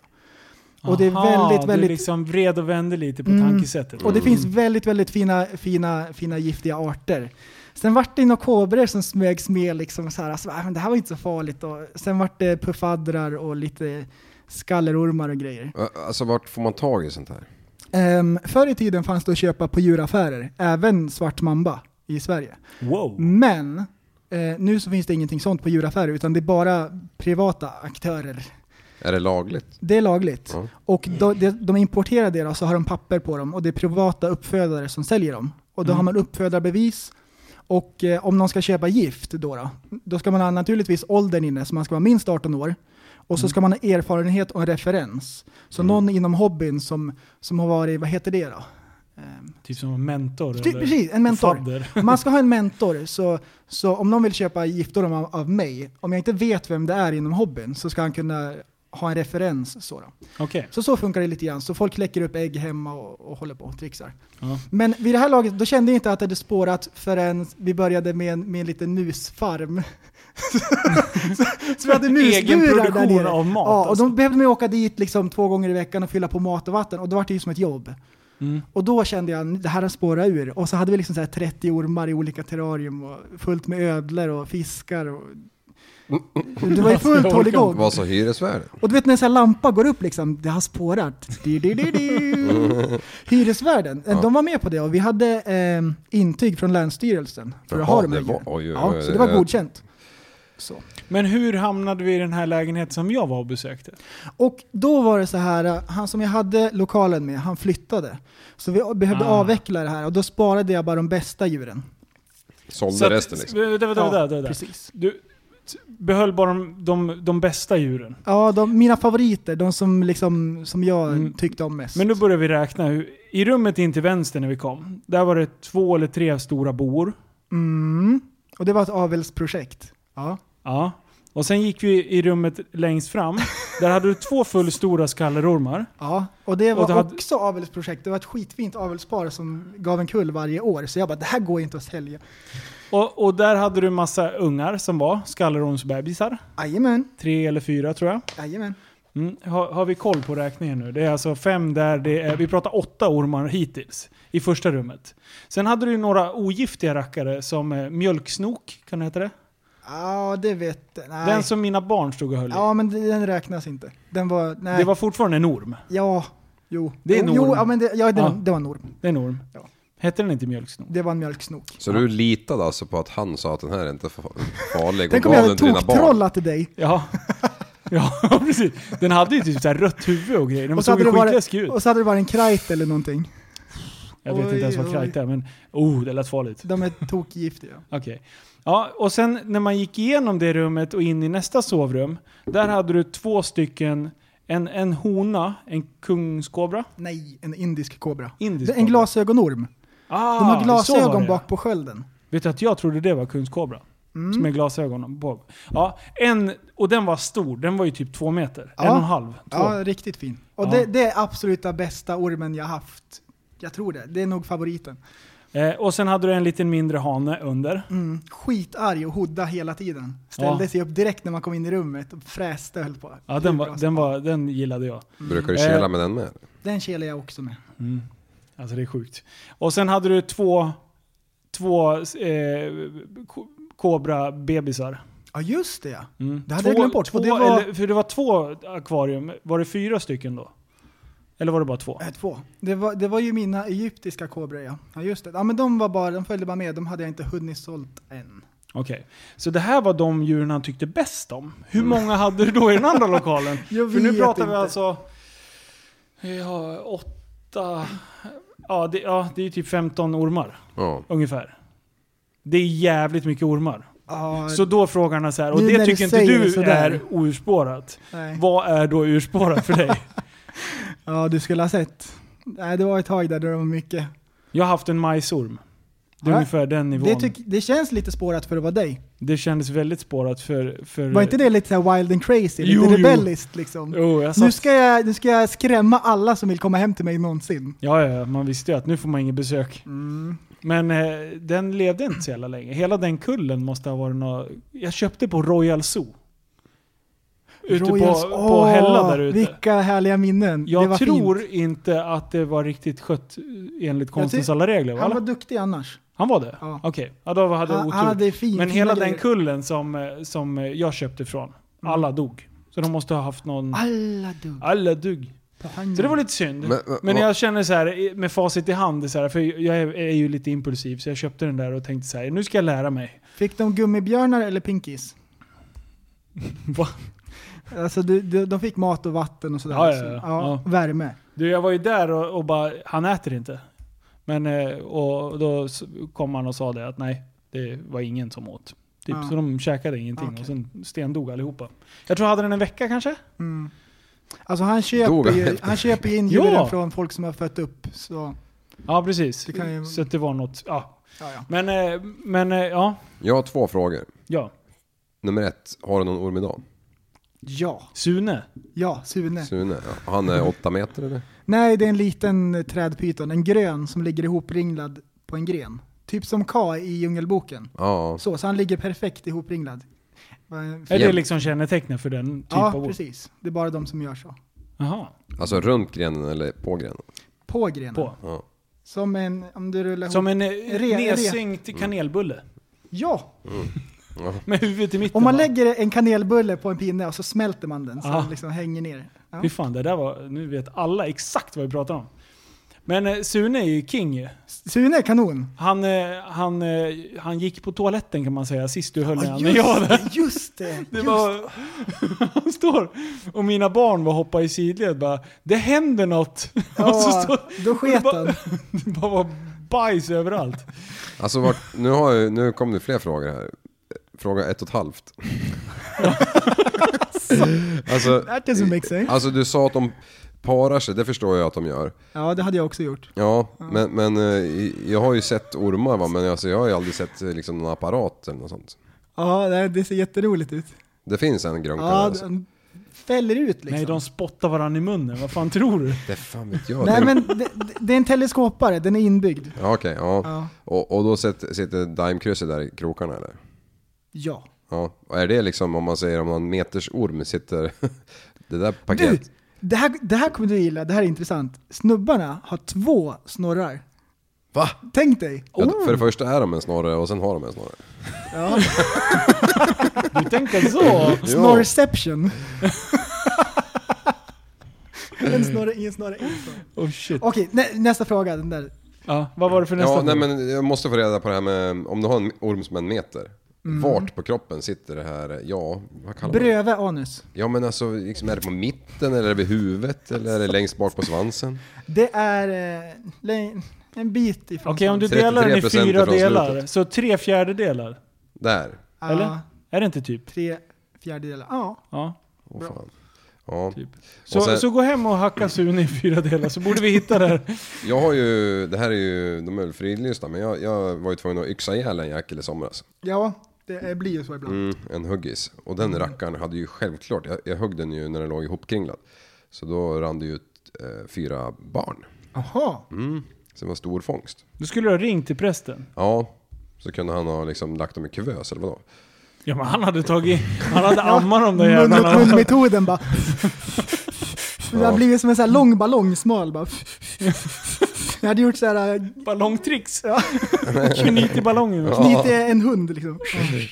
Speaker 3: Och det är
Speaker 2: Aha,
Speaker 3: väldigt,
Speaker 2: Du
Speaker 3: väldigt
Speaker 2: liksom vred och vände lite på
Speaker 3: Mm.
Speaker 2: tankesättet.
Speaker 3: och det finns väldigt, väldigt fina, fina, fina giftiga arter. Sen vart det några kobror som smögs med liksom så här, alltså, "Ah, men det här var inte så farligt. Och sen vart det puffadrar och lite skallerormar och grejer.
Speaker 4: Ä- Alltså vart får man tag i sånt här?
Speaker 3: Um, förr i tiden fanns det att köpa på djuraffärer, även svart mamba i Sverige.
Speaker 2: Wow.
Speaker 3: Men eh, nu så finns det ingenting sånt på djuraffärer utan det är bara privata aktörer.
Speaker 4: Är det lagligt?
Speaker 3: Det är lagligt.
Speaker 4: Ja.
Speaker 3: Och då, de, de importerar det och så har de papper på dem och det är privata uppfödare som säljer dem. Och då har man uppfödarbevis. Och eh, om någon ska köpa gift då, då, då ska man ha naturligtvis åldern inne, så man ska vara minst 18 år. Och så ska man ha erfarenhet och en referens. Så någon inom hobbyn som, som har varit, vad heter det då? Ehm,
Speaker 2: Typ som en mentor.
Speaker 3: Ty-
Speaker 2: eller
Speaker 3: Precis, en mentor.
Speaker 2: fadder.
Speaker 3: Om man ska ha en mentor, så, så om någon vill köpa giftorna av, av mig, om jag inte vet vem det är inom hobbyn så ska han kunna ha en referens. Så, då.
Speaker 2: Okej.
Speaker 3: så så funkar det lite grann. Så folk kläcker upp ägg hemma och, och håller på och trixar.
Speaker 2: Ja.
Speaker 3: Men vid det här laget, då kände jag inte att det hade spårat förrän vi började med en, med en liten musfarm. <laughs> så, så vi hade
Speaker 2: Egen
Speaker 3: musburar där
Speaker 2: produktion
Speaker 3: nere.
Speaker 2: av mat,
Speaker 3: ja, och
Speaker 2: alltså.
Speaker 3: då behövde man ju åka dit liksom två gånger i veckan och fylla på mat och vatten. Och då var det ju som ett jobb.
Speaker 2: Mm.
Speaker 3: Och då kände jag det här har spårat ur. Och så hade vi liksom så här 30 ormar i olika terrarium och fullt med ödlor och fiskar. Och... Det var ju fullt håll igång.
Speaker 4: Vad sa hyresvärden?
Speaker 3: Och du vet när en sån här lampa går upp liksom, det har spårat. Du, du, du,
Speaker 4: <laughs>
Speaker 3: du. Hyresvärden, eh,
Speaker 4: Ja.
Speaker 3: de var med på det och vi hade eh, intyg från Länsstyrelsen för att ha
Speaker 4: Jaha,
Speaker 3: de här
Speaker 4: det var-
Speaker 3: djuren.
Speaker 4: oj, oj,
Speaker 3: Ja,
Speaker 4: oj, eh,
Speaker 3: Så det var
Speaker 4: det-
Speaker 3: godkänt. Så.
Speaker 2: Men hur hamnade vi i den här lägenheten som jag var och besökte?
Speaker 3: Och då var det så här, eh, han som jag hade lokalen med, han flyttade. Så vi behövde
Speaker 2: Ah.
Speaker 3: avveckla det här och då sparade jag bara de bästa djuren.
Speaker 4: Sålde
Speaker 2: Så att-
Speaker 4: resten liksom.
Speaker 2: Vänta, vänta,
Speaker 3: Ja,
Speaker 2: vänta, vänta.
Speaker 3: precis.
Speaker 2: Du t- behöll bara de, de, de bästa djuren.
Speaker 3: Ja, de, mina favoriter, de som, liksom, som jag
Speaker 2: Mm.
Speaker 3: tyckte om mest.
Speaker 2: Men nu börjar vi räkna. Hur- I rummet in till vänster när vi kom, där var det två eller tre stora bor.
Speaker 3: mm. Och det var ett avelsprojekt. Ja.
Speaker 2: Ja. Och sen gick vi i rummet längst fram. Där hade du två fullstora skallerormar.
Speaker 3: Ja, och det var
Speaker 2: Och det hade-
Speaker 3: också avelsprojekt. Det var ett skitfint avelspar som gav en kull varje år. Så jag bara, det här går inte att sälja.
Speaker 2: Och, och där hade du massa ungar som var skallerormsbebisar.
Speaker 3: Jajamän,
Speaker 2: Tre eller fyra tror jag.
Speaker 3: jajamän.
Speaker 2: Mm. Har, har vi koll på räkningen nu? Det är alltså fem där det är, vi pratar åtta ormar hittills i första rummet. Sen hade du ju några ogiftiga rackare som eh, mjölksnok, kan det heta det?
Speaker 3: Ja, det vet nej.
Speaker 2: Den som mina barn stod och höll i.
Speaker 3: Ja, men det- den räknas inte. Den var, nej.
Speaker 2: Det var fortfarande en orm.
Speaker 3: Ja, jo.
Speaker 2: Det är en
Speaker 3: jo, jo,
Speaker 2: orm.
Speaker 3: ja, men det, ja, det,
Speaker 2: Ja.
Speaker 3: Var, det var en orm.
Speaker 2: Det är en orm.
Speaker 3: Ja.
Speaker 2: Hette den inte mjölksnok?
Speaker 3: Det var en mjölksnok.
Speaker 4: Så du litade alltså på att han sa att den här är inte fa- farlig och
Speaker 3: Tänk om
Speaker 4: gav
Speaker 3: jag
Speaker 4: den
Speaker 3: hade
Speaker 4: till dina barn?
Speaker 3: toktrollat till dig.
Speaker 2: Ja. ja, <laughs> precis. Den hade ju typ så här rött huvud och grejer. Den
Speaker 3: Och
Speaker 2: såg
Speaker 3: så, hade
Speaker 2: ju
Speaker 3: det varit,
Speaker 2: skitläskig ut.
Speaker 3: och så hade det varit en krajt eller någonting.
Speaker 2: Jag vet
Speaker 3: Oj,
Speaker 2: inte ens vad
Speaker 3: oj.
Speaker 2: krajt är, men oh, det lät farligt.
Speaker 3: De är tokgiftiga.
Speaker 2: Okej. Ja, och sen när man gick igenom det rummet och in i nästa sovrum, där hade du två stycken, en, en hona, en kungskobra,
Speaker 3: Nej, en indisk kobra.
Speaker 2: indisk
Speaker 3: en
Speaker 2: kobra.
Speaker 3: glasögonorm.
Speaker 2: Ah,
Speaker 3: De har
Speaker 2: så var det,
Speaker 3: glasögon
Speaker 2: ja.
Speaker 3: bak Mm. på skölden.
Speaker 2: Vet du att jag trodde det var kungskobra? Som är glasögon på. Ja, en, och den var stor. Den var ju typ två meter.
Speaker 3: Ja.
Speaker 2: En och en halv. Två.
Speaker 3: Ja, riktigt fin. Och
Speaker 2: Ja.
Speaker 3: det, det är absoluta bästa ormen jag haft. Jag tror det. Det är nog favoriten.
Speaker 2: Eh, och sen hade du en liten mindre hane under.
Speaker 3: Mm. Skitarg och hodda hela tiden. Ställde
Speaker 2: Ja.
Speaker 3: sig upp direkt när man kom in i rummet och fräste och höll på.
Speaker 2: Ja,
Speaker 3: Hur
Speaker 2: den,
Speaker 3: bra
Speaker 2: var,
Speaker 3: som-
Speaker 2: den, var, den gillade jag.
Speaker 4: Brukar du
Speaker 2: Eh.
Speaker 4: kela med den med?
Speaker 3: den kelar jag också med.
Speaker 2: Alltså det är sjukt. Och sen hade du två, två eh, ko- kobra-bebisar.
Speaker 3: Ja, just det ja.
Speaker 2: Mm.
Speaker 3: Det hade jag glömt bort,
Speaker 2: Två,
Speaker 3: och det var-
Speaker 2: eller, för det var två akvarium. Var det fyra stycken då? Eller var det bara två?
Speaker 3: Äh, två. Det var, det var ju mina egyptiska kobror ja. Ja, just det. Ja, men de var bara, de följde bara med. De hade jag inte hunnit sålt än.
Speaker 2: Okej. Så det här var de djuren han tyckte bäst om. Hur många hade du då i den andra lokalen?
Speaker 3: Mm. <laughs> Jag
Speaker 2: För nu
Speaker 3: vet
Speaker 2: pratar vi
Speaker 3: inte.
Speaker 2: alltså... Ja, åtta... Ja det, ja, det är typ 15 ormar
Speaker 4: Ja.
Speaker 2: ungefär. Det är jävligt mycket ormar.
Speaker 3: Ja,
Speaker 2: Så då frågar han så här, och
Speaker 3: Nu
Speaker 2: det
Speaker 3: när du
Speaker 2: tycker inte
Speaker 3: säger
Speaker 2: du
Speaker 3: sådär.
Speaker 2: är ourspårat.
Speaker 3: nej.
Speaker 2: Vad är då urspårat för dig?
Speaker 3: ja, du skulle ha sett. Nej, det var ett tag där det var mycket.
Speaker 2: Jag har haft en majsorm. Det är
Speaker 3: Ja,
Speaker 2: ungefär den nivån.
Speaker 3: Det,
Speaker 2: Det,
Speaker 3: tyck, det känns lite spårat för att vara dig.
Speaker 2: kändes väldigt spårat för... för
Speaker 3: Var inte det lite så här wild and crazy? Lite
Speaker 2: Jo, jo.
Speaker 3: rebelliskt liksom?
Speaker 2: Jo, jag
Speaker 3: Nu
Speaker 2: satt,
Speaker 3: ska, jag, nu ska jag skrämma alla som vill komma hem till mig någonsin.
Speaker 2: ja, ja, man visste ju att nu får man inget besök. Men eh, den levde inte så jävla länge. Hela den kullen måste ha varit nå. Jag köpte på Royal Zoo. Ute
Speaker 3: Royals-
Speaker 2: på, på
Speaker 3: Åh,
Speaker 2: Hälla där ute.
Speaker 3: Vilka härliga minnen. det var
Speaker 2: Jag tror
Speaker 3: fint.
Speaker 2: inte att det var riktigt skött eh, enligt konstens
Speaker 3: ty-
Speaker 2: alla regler. Va?
Speaker 3: Han var duktig annars.
Speaker 2: han var det?
Speaker 3: Ja. Ah,
Speaker 2: Okej, ja, då hade jag
Speaker 3: Han,
Speaker 2: otur.
Speaker 3: han hade fin,
Speaker 2: Men
Speaker 3: fina
Speaker 2: hela
Speaker 3: grejer.
Speaker 2: den kullen som, eh, som eh, jag köpte ifrån, alla dog. Så de måste ha haft någon...
Speaker 3: Mm. Alla dog.
Speaker 2: Alla dog. Så det var lite synd. Men,
Speaker 4: Men- men-
Speaker 2: jag känner så här i- med facit i hand, så här, för jag är, är ju lite impulsiv, så jag köpte den där och tänkte så här, nu ska jag lära mig.
Speaker 3: Fick de gummibjörnar eller pinkis?
Speaker 2: <laughs> Va?
Speaker 3: Alltså du, du, de fick mat och vatten och sådär.
Speaker 2: Ja, ja,
Speaker 3: Så-
Speaker 2: ja.
Speaker 3: Värme.
Speaker 2: Du, jag var ju där och, och bara, han äter inte. Men eh, och då s- kom han och sa det att nej, det var ingen som åt. Typ,
Speaker 3: Ja. Ah,
Speaker 2: Så de käkade ingenting
Speaker 3: Okej.
Speaker 2: och sen stendog allihopa. Jag tror jag hade den en vecka kanske?
Speaker 3: Mm. Alltså han köper,
Speaker 4: Dog.
Speaker 3: ju, han köper ju in
Speaker 2: Ja.
Speaker 3: djuren från folk som har fött upp. Så.
Speaker 2: Ja, precis.
Speaker 3: Det kan ju-
Speaker 2: Så att det var något... Ja.
Speaker 3: Ja, ja.
Speaker 2: Men, eh, men eh, ja.
Speaker 4: Jag har två frågor.
Speaker 2: ja.
Speaker 4: Nummer ett, har du någon orm idag?
Speaker 3: Ja,
Speaker 2: Sune.
Speaker 3: ja, Sune.
Speaker 4: Sune? Ja, han är åtta meter eller?
Speaker 3: Nej, det är en liten eh, trädpyton, en grön som ligger ihopringlad på en gren. Typ som K i Djungelboken.
Speaker 4: Ja.
Speaker 3: Så, så han ligger perfekt ihopringlad. Eh,
Speaker 2: Är det
Speaker 4: Jäm-
Speaker 2: liksom kännetecknet för den typen
Speaker 3: Ja,
Speaker 2: av ord?
Speaker 3: precis. Det är bara de som gör så.
Speaker 2: Jaha.
Speaker 4: Alltså runt grenen eller på grenen?
Speaker 3: På grenen.
Speaker 2: På.
Speaker 4: Ja.
Speaker 3: Som en, om du rullar
Speaker 2: Som en
Speaker 3: ihop.
Speaker 2: eh,
Speaker 3: re-
Speaker 2: nedsänkt kanelbulle.
Speaker 3: Ja!
Speaker 2: Med huvudet i mitten.
Speaker 3: Om man
Speaker 2: va?
Speaker 3: lägger en kanelbulle på en pinne och så smälter man den så
Speaker 2: Ah.
Speaker 3: den liksom hänger ner. Ja.
Speaker 2: Fy fan, det där var... Nu vet alla exakt vad vi pratar om. Men eh, Sune är ju king ju.
Speaker 3: Sune är kanon!
Speaker 2: Han, eh, han, eh, han gick på toaletten kan man säga, sist du höll i
Speaker 3: Ja,
Speaker 2: honom. Jag var där.
Speaker 3: det, just det!
Speaker 2: <laughs> Det
Speaker 3: just.
Speaker 2: var, han står och mina barn var hoppa i sidled bara Det händer något! <laughs> och så
Speaker 3: Ja,
Speaker 2: står,
Speaker 3: då sket
Speaker 2: bara-
Speaker 3: han.
Speaker 2: det <laughs> bara var bajs överallt.
Speaker 4: Alltså vart, nu, har jag, nu kom det fler frågor här. Fråga ett och
Speaker 3: <laughs>
Speaker 4: ett halvt. alltså,
Speaker 3: That doesn't make sense.
Speaker 4: alltså du sa att de parar sig, det förstår jag att de gör.
Speaker 3: Ja, det hade jag också gjort.
Speaker 4: Ja, men, men eh, jag har ju sett ormar va, men alltså, jag har ju aldrig sett eh, liksom, någon apparat eller något sånt.
Speaker 3: Ja, det, det ser jätteroligt ut.
Speaker 4: Det finns en grönkan
Speaker 3: Ja,
Speaker 4: alltså.
Speaker 3: den fäller ut liksom.
Speaker 2: Nej, de spottar varandra i munnen. Vad fan tror du?
Speaker 4: Det fan vet jag.
Speaker 3: Nej
Speaker 4: Det-
Speaker 3: men det, det- det är en teleskopare, den är inbyggd.
Speaker 4: Ja, okej, ja.
Speaker 3: Ja.
Speaker 4: Och, och då sitter, sitter daimkrysset där i krokarna eller?
Speaker 3: Ja.
Speaker 4: Ja, och är det liksom om man säger om någon meters orm sitter <laughs> det där
Speaker 3: Du!
Speaker 4: paketet?
Speaker 3: Det här, det här kommer du gilla, det här är intressant. Snubbarna har två snorrar.
Speaker 4: Va?
Speaker 3: Tänk dig!
Speaker 4: Ja,
Speaker 2: Oh.
Speaker 4: för det första är de en snorre och sen har de en snorre.
Speaker 3: Ja.
Speaker 2: Du tänker så?
Speaker 4: Ja.
Speaker 3: Snorreception.
Speaker 4: <laughs>
Speaker 3: en snorre i en snorre i en snorre.
Speaker 2: <laughs> Oh shit.
Speaker 3: Okej, nä, nästa fråga. Den där.
Speaker 2: Ja, vad var det för nästa
Speaker 4: Ja,
Speaker 2: fråga?
Speaker 4: nej men jag måste få reda på det här med om du har en orm som är en meter.
Speaker 2: Mm.
Speaker 4: Vart på kroppen sitter det här, ja, vad kallar man det?
Speaker 3: Bröve anus.
Speaker 4: Ja men alltså, liksom, är det på mitten eller är det vid huvudet eller är det längst bak på svansen?
Speaker 3: Det är eh, lä- en bit ifrån.
Speaker 2: Okej, om du delar den i
Speaker 4: 33%
Speaker 2: fyra
Speaker 4: från
Speaker 2: delar,
Speaker 4: slutet.
Speaker 2: så tre fjärdedelar?
Speaker 4: Där.
Speaker 3: Ja,
Speaker 2: Eller? Är det inte typ?
Speaker 3: Tre fjärdedelar. Ja.
Speaker 2: Ja.
Speaker 4: Åh fan. Ja.
Speaker 2: Typ.
Speaker 4: Och
Speaker 2: Så,
Speaker 4: sen-
Speaker 2: så gå hem och hacka Sune i fyra delar, så borde vi hitta det här.
Speaker 4: Jag har ju, det här är ju, de är väl fridlysta, men jag, jag var ju tvungen att yxa ihjäl en jäkel i somras.
Speaker 3: Ja, det eh, blir ju så ibland.
Speaker 4: Mm, en huggis. Och
Speaker 2: Mm.
Speaker 4: den rackaren hade ju självklart, jag, jag högg den ju när den låg ihopkringlad. Så då rann det ju ut eh, fyra barn.
Speaker 3: Jaha.
Speaker 4: Mm. Så det var stor fångst.
Speaker 2: Då skulle du ha ringt till prästen.
Speaker 4: Ja, så kunde han ha liksom lagt dem i kuvös eller vadå?
Speaker 2: Ja men han hade tagit, han hade ammat de där
Speaker 3: Mun
Speaker 2: jävlarna.
Speaker 3: och mun-metoden
Speaker 4: <laughs>
Speaker 3: bara. Det har
Speaker 4: Ja.
Speaker 3: blivit som en sån här lång ballong, smal bara. Jag hade gjort så här, äh,
Speaker 2: <laughs> Ballongtricks.
Speaker 3: Ja.
Speaker 2: Knyt i ballongen.
Speaker 4: Ja.
Speaker 3: knutit en hund liksom.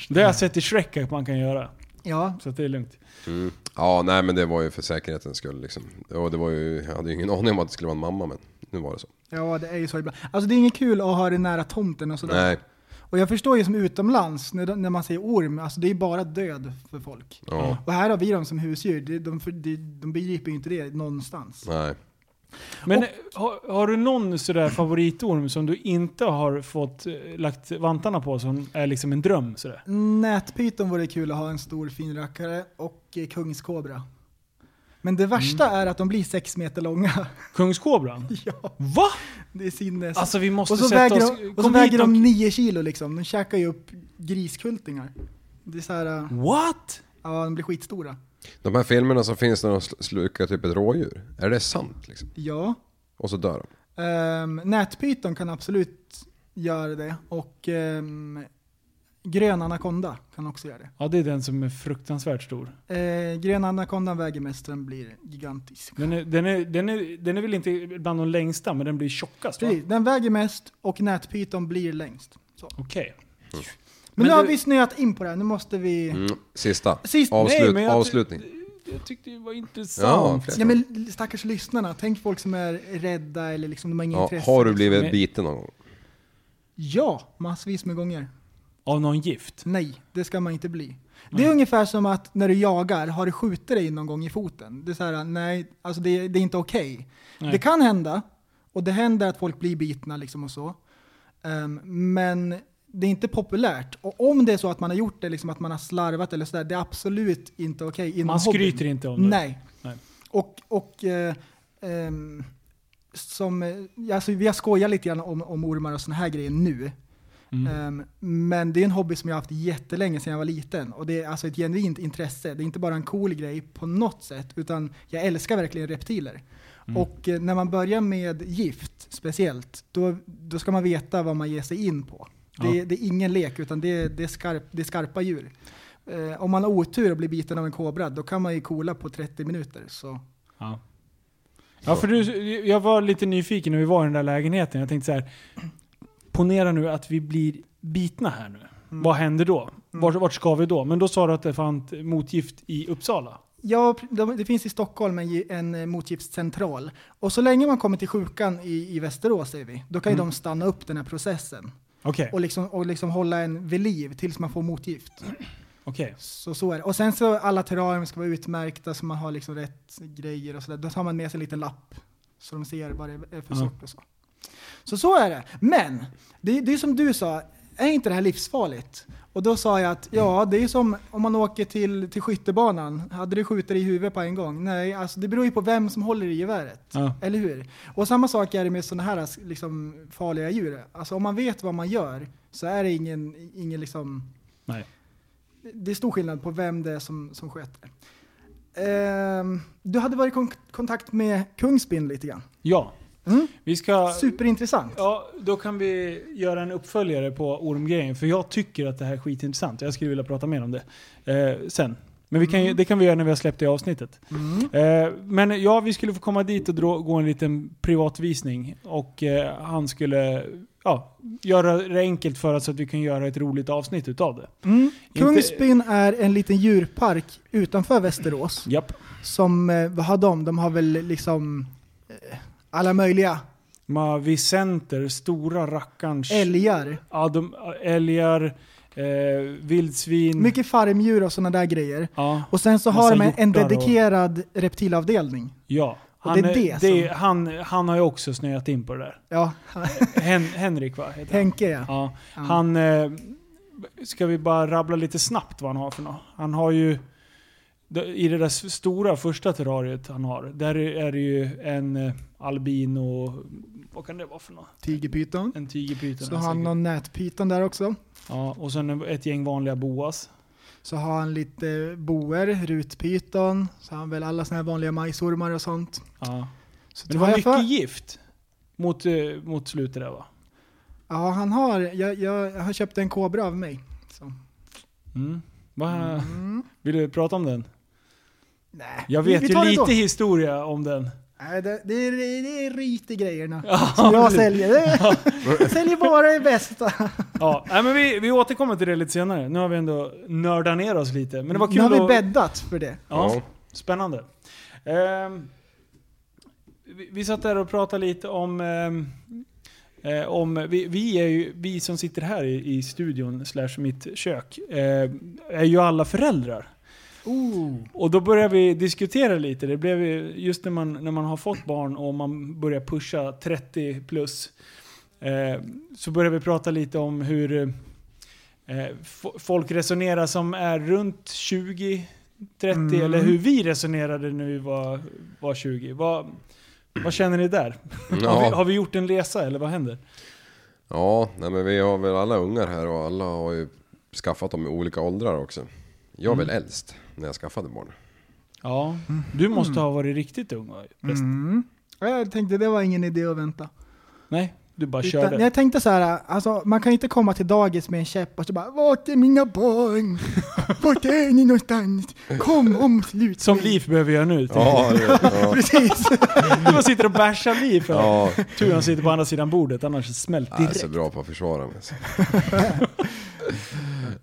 Speaker 2: Det har jag sett i Shrek att man kan göra.
Speaker 3: Ja,
Speaker 2: Så att det är lugnt.
Speaker 4: Ja, nej men det var ju för säkerhetens skull liksom. Och det var ju, jag hade ju ingen <laughs> aning om att det skulle vara en mamma men nu var det så.
Speaker 3: ja det är ju så ibland. Alltså det är inget kul att ha det nära tomten och sådär.
Speaker 4: Nej,
Speaker 3: Och jag förstår ju som utomlands, när, de- när man säger orm, alltså det är bara död för folk.
Speaker 4: ja,
Speaker 3: Och här har vi dem som husdjur, de, de, för- de, de begriper ju inte det någonstans.
Speaker 4: nej.
Speaker 2: Men eh, har, har du någon sådär favoritorm som du inte har fått eh, lagt vantarna på som är liksom en dröm sådär?
Speaker 3: Nätpyton vore kul att ha en stor fin rackare och eh, kungskobra. Men det värsta
Speaker 4: Mm.
Speaker 3: är att de blir sex meter långa.
Speaker 2: Kungskobran?
Speaker 3: <laughs> ja,
Speaker 2: Va?
Speaker 3: det är sinnes.
Speaker 2: Alltså vi måste
Speaker 3: och så
Speaker 2: sätta
Speaker 3: väger
Speaker 2: oss...
Speaker 3: de, och så
Speaker 2: Kom
Speaker 3: väger
Speaker 2: hit och...
Speaker 3: de 9 kilo liksom. De käkar ju upp griskultingar. Det är så här, eh,
Speaker 2: What?
Speaker 3: ja de blir skitstora.
Speaker 4: De här filmerna som finns när de sl- slukar typ ett rådjur, är det sant liksom?
Speaker 3: Ja.
Speaker 4: Och så dör de.
Speaker 3: Um, nätpyton kan absolut göra det och ehm, grön anakonda kan också göra det.
Speaker 2: Ja det är den som är fruktansvärt stor.
Speaker 3: Eh, grön anakondan väger mest, den blir gigantisk.
Speaker 2: Den är, eh, den, är, den, är, den är väl inte bland de längsta men den blir tjockast va? Okej.
Speaker 3: Precis, den väger mest och nätpyton blir längst. Så. Men,
Speaker 2: Men
Speaker 3: nu har
Speaker 2: du-
Speaker 3: vi snöat in på det här, nu måste vi...
Speaker 4: Mm. Sista.
Speaker 3: Sist- nej,
Speaker 4: Avslut,
Speaker 2: men jag-
Speaker 4: avslutning.
Speaker 2: Jag tyckte det var
Speaker 4: Ja,
Speaker 2: intressant.
Speaker 4: okej.
Speaker 3: Ja men stackars lyssnarna, tänk folk som är rädda eller liksom de har inget
Speaker 4: Ja,
Speaker 3: intresse.
Speaker 4: har du blivit
Speaker 2: Men-
Speaker 4: biten någon gång?
Speaker 3: Ja, massvis med gånger.
Speaker 2: Av någon gift?
Speaker 3: Nej, det ska man inte bli. Det är ungefär som att när du jagar, har du skjutit dig någon gång i foten? Det är så här, nej, alltså det, det är inte okej.
Speaker 2: Nej.
Speaker 3: Det kan hända, och det händer att folk blir bitna liksom och så. Ehm, men det är inte populärt. Och om det är så att man har gjort det, liksom att man har slarvat eller sådär, det är absolut inte okej. inom
Speaker 2: Man
Speaker 3: hobbyn.
Speaker 2: skryter inte om det.
Speaker 3: Nej.
Speaker 2: Nej.
Speaker 3: Och, och eh, ehm, som, eh, alltså vi har skojat lite grann om, om ormar och såna här grejer nu. Ehm, men det är en hobby som jag har haft jättelänge sedan jag var liten. Och det är alltså ett genuint intresse. Det är inte bara en cool grej på något sätt, utan jag älskar verkligen reptiler. Och eh, när man börjar med gift speciellt, då, då ska man veta vad man ger sig in på. Det,
Speaker 2: Ja.
Speaker 3: det är ingen lek, utan det, det, är, skarp, det är skarpa djur. Eh, om man har otur och blir biten av en kobra, då kan man ju kola på 30 minuter. Så
Speaker 2: Ja. Ja, för du, jag var lite nyfiken när vi var i den där lägenheten. Jag tänkte så här. Ponera nu att vi blir bitna här nu. Vad händer då? Vart, vart ska vi då? Men då sa du att det fanns motgift i Uppsala.
Speaker 3: Ja, de- det finns i Stockholm en, gi- en eh, motgiftscentral. Och så länge man kommer till sjukan i, i Västerås, säger vi, då kan ju de stanna upp den här processen.
Speaker 2: Okej.
Speaker 3: Och liksom, och liksom hålla en vid liv tills man får motgift.
Speaker 2: Okej.
Speaker 3: Så så är det. Och sen så alla terrarium ska vara utmärkta så man har liksom rätt grejer och sådär. Då tar man med sig en liten lapp. Så de ser vad det är
Speaker 2: Ja.
Speaker 3: för sort och så. Så så är det. Men, det, det är som du sa, är inte det här livsfarligt? Och då sa jag att ja, det är som om man åker till, till skyttebanan. Hade du skjutit i huvudet på en gång? Nej, alltså det beror ju på vem som håller i geväret.
Speaker 2: Ja.
Speaker 3: Eller hur? Och samma sak är det med sådana här liksom, farliga djur. Alltså om man vet vad man gör så är det ingen, ingen liksom,
Speaker 2: Nej.
Speaker 3: det är stor skillnad på vem det är som, som sköter det. Ehm, du hade varit i kon- kontakt med Kungsbyn lite grann.
Speaker 2: Ja.
Speaker 3: Mm.
Speaker 2: Vi ska...
Speaker 3: Superintressant.
Speaker 2: Ja, då kan vi göra en uppföljare på ormgrejen. För jag tycker att det här är skitintressant. Jag skulle vilja prata mer om det eh, sen. Men vi kan, ju- det kan vi göra när vi har släppt det avsnittet. Eh, men ja, vi skulle få komma dit och dra, gå en liten privatvisning. Och eh, han skulle ja, göra det enkelt för oss så att vi kan göra ett roligt avsnitt utav det.
Speaker 3: Mm.
Speaker 2: Inte-
Speaker 3: Kungsbyn är en liten djurpark utanför Västerås.
Speaker 2: Japp.
Speaker 3: Som, eh, vad har de? De har väl liksom eh, alla möjliga
Speaker 2: Mavicenter, stora rackarns...
Speaker 3: älgar.
Speaker 2: Ja, de, älgar, eh, vildsvin.
Speaker 3: Mycket farmdjur och sådana där grejer.
Speaker 2: Ja.
Speaker 3: Och sen så
Speaker 2: Massa
Speaker 3: har de en, en
Speaker 2: hjortar och-
Speaker 3: dedikerad reptilavdelning.
Speaker 2: Ja.
Speaker 3: Och
Speaker 2: Han,
Speaker 3: det är
Speaker 2: är-
Speaker 3: det
Speaker 2: det är- han, han har ju också snöat in på det
Speaker 3: <laughs>
Speaker 2: där. <laughs>
Speaker 3: Ja,
Speaker 2: Hen, Henrik va? Heter han?
Speaker 3: Henke ja.
Speaker 2: Ja. Han... Eh, ska vi bara rabbla lite snabbt vad han har för något? Han har ju... I det där s- stora första terrariet han har, där är det ju en eh, albino... Vad kan det vara för något?
Speaker 3: Tigerpyton.
Speaker 2: En tigerpyton.
Speaker 3: Så
Speaker 2: här
Speaker 3: har han
Speaker 2: säkert.
Speaker 3: någon nätpyton där också.
Speaker 2: Ja, och sen ett gäng vanliga boas.
Speaker 3: Så har han lite boer, rutpyton, så har han väl alla såna här vanliga majsormar och sånt.
Speaker 2: Ja.
Speaker 3: Så
Speaker 2: Men det
Speaker 3: har
Speaker 2: var
Speaker 3: jag
Speaker 2: mycket
Speaker 3: för-
Speaker 2: gift mot, eh, mot slutet där va?
Speaker 3: Ja, han har. Jag, jag, jag har köpt en kobra av mig. Så.
Speaker 2: Mm. Va?
Speaker 3: Mm.
Speaker 2: Vill du prata om den?
Speaker 3: Nej,
Speaker 2: Jag
Speaker 3: vi-
Speaker 2: vet
Speaker 3: vi
Speaker 2: ju
Speaker 3: tar det
Speaker 2: lite
Speaker 3: då.
Speaker 2: historia om den.
Speaker 3: Nej, det, det, är, det är rit i grejerna som jag säljer.
Speaker 2: <laughs>
Speaker 3: Jag säljer bara det bästa.
Speaker 2: <laughs> Ja, nej, men vi, vi återkommer till det lite senare. Nu har vi ändå nördat ner oss lite. Men det var kul
Speaker 3: nu har vi
Speaker 2: att-
Speaker 3: bäddat för det.
Speaker 2: Ja,
Speaker 4: Ja.
Speaker 2: spännande. Ehm, vi, vi satt där och pratade lite om... ehm, eh, om vi, vi, är ju, vi som sitter här i, i studion, slash mitt kök, eh, är ju alla föräldrar.
Speaker 3: Oh.
Speaker 2: Och då började vi diskutera lite. Det blev ju- just när man, när man har fått barn och man börjar pusha 30 plus. Eh, så började vi prata lite om hur eh, fo- folk resonerar som är runt 20, 30
Speaker 3: Mm.
Speaker 2: eller hur vi resonerade när vi var, var 20. Vad, vad känner ni där? Har, vi, har
Speaker 4: Ja,
Speaker 2: vi gjort en resa eller vad händer?
Speaker 4: ja nej, men vi har väl alla ungar här och alla har ju skaffat dem i olika åldrar också. Jag är väl äldst när jag skaffade barn.
Speaker 2: Ja, du måste ha varit riktigt ung va? Präst?
Speaker 3: Mm. Jag tänkte det var ingen idé att vänta.
Speaker 2: Nej, du bara
Speaker 3: Utan,
Speaker 2: körde.
Speaker 3: jag tänkte så här, alltså, man kan ju inte komma till dagis med en käpp och så bara Vart är mina barn? Vart är ni någonstans? Kom
Speaker 2: <laughs>
Speaker 3: omslut
Speaker 2: Som
Speaker 3: mig."
Speaker 2: Liv behöver göra nu.
Speaker 4: Ja, det- ja.
Speaker 3: Precis.
Speaker 2: <laughs> Man sitter och bärsar Liv. här.
Speaker 4: ja.
Speaker 2: Tur han sitter på andra sidan bordet, annars smält
Speaker 4: Jag är
Speaker 2: direkt.
Speaker 4: så bra på att försvara mig. så.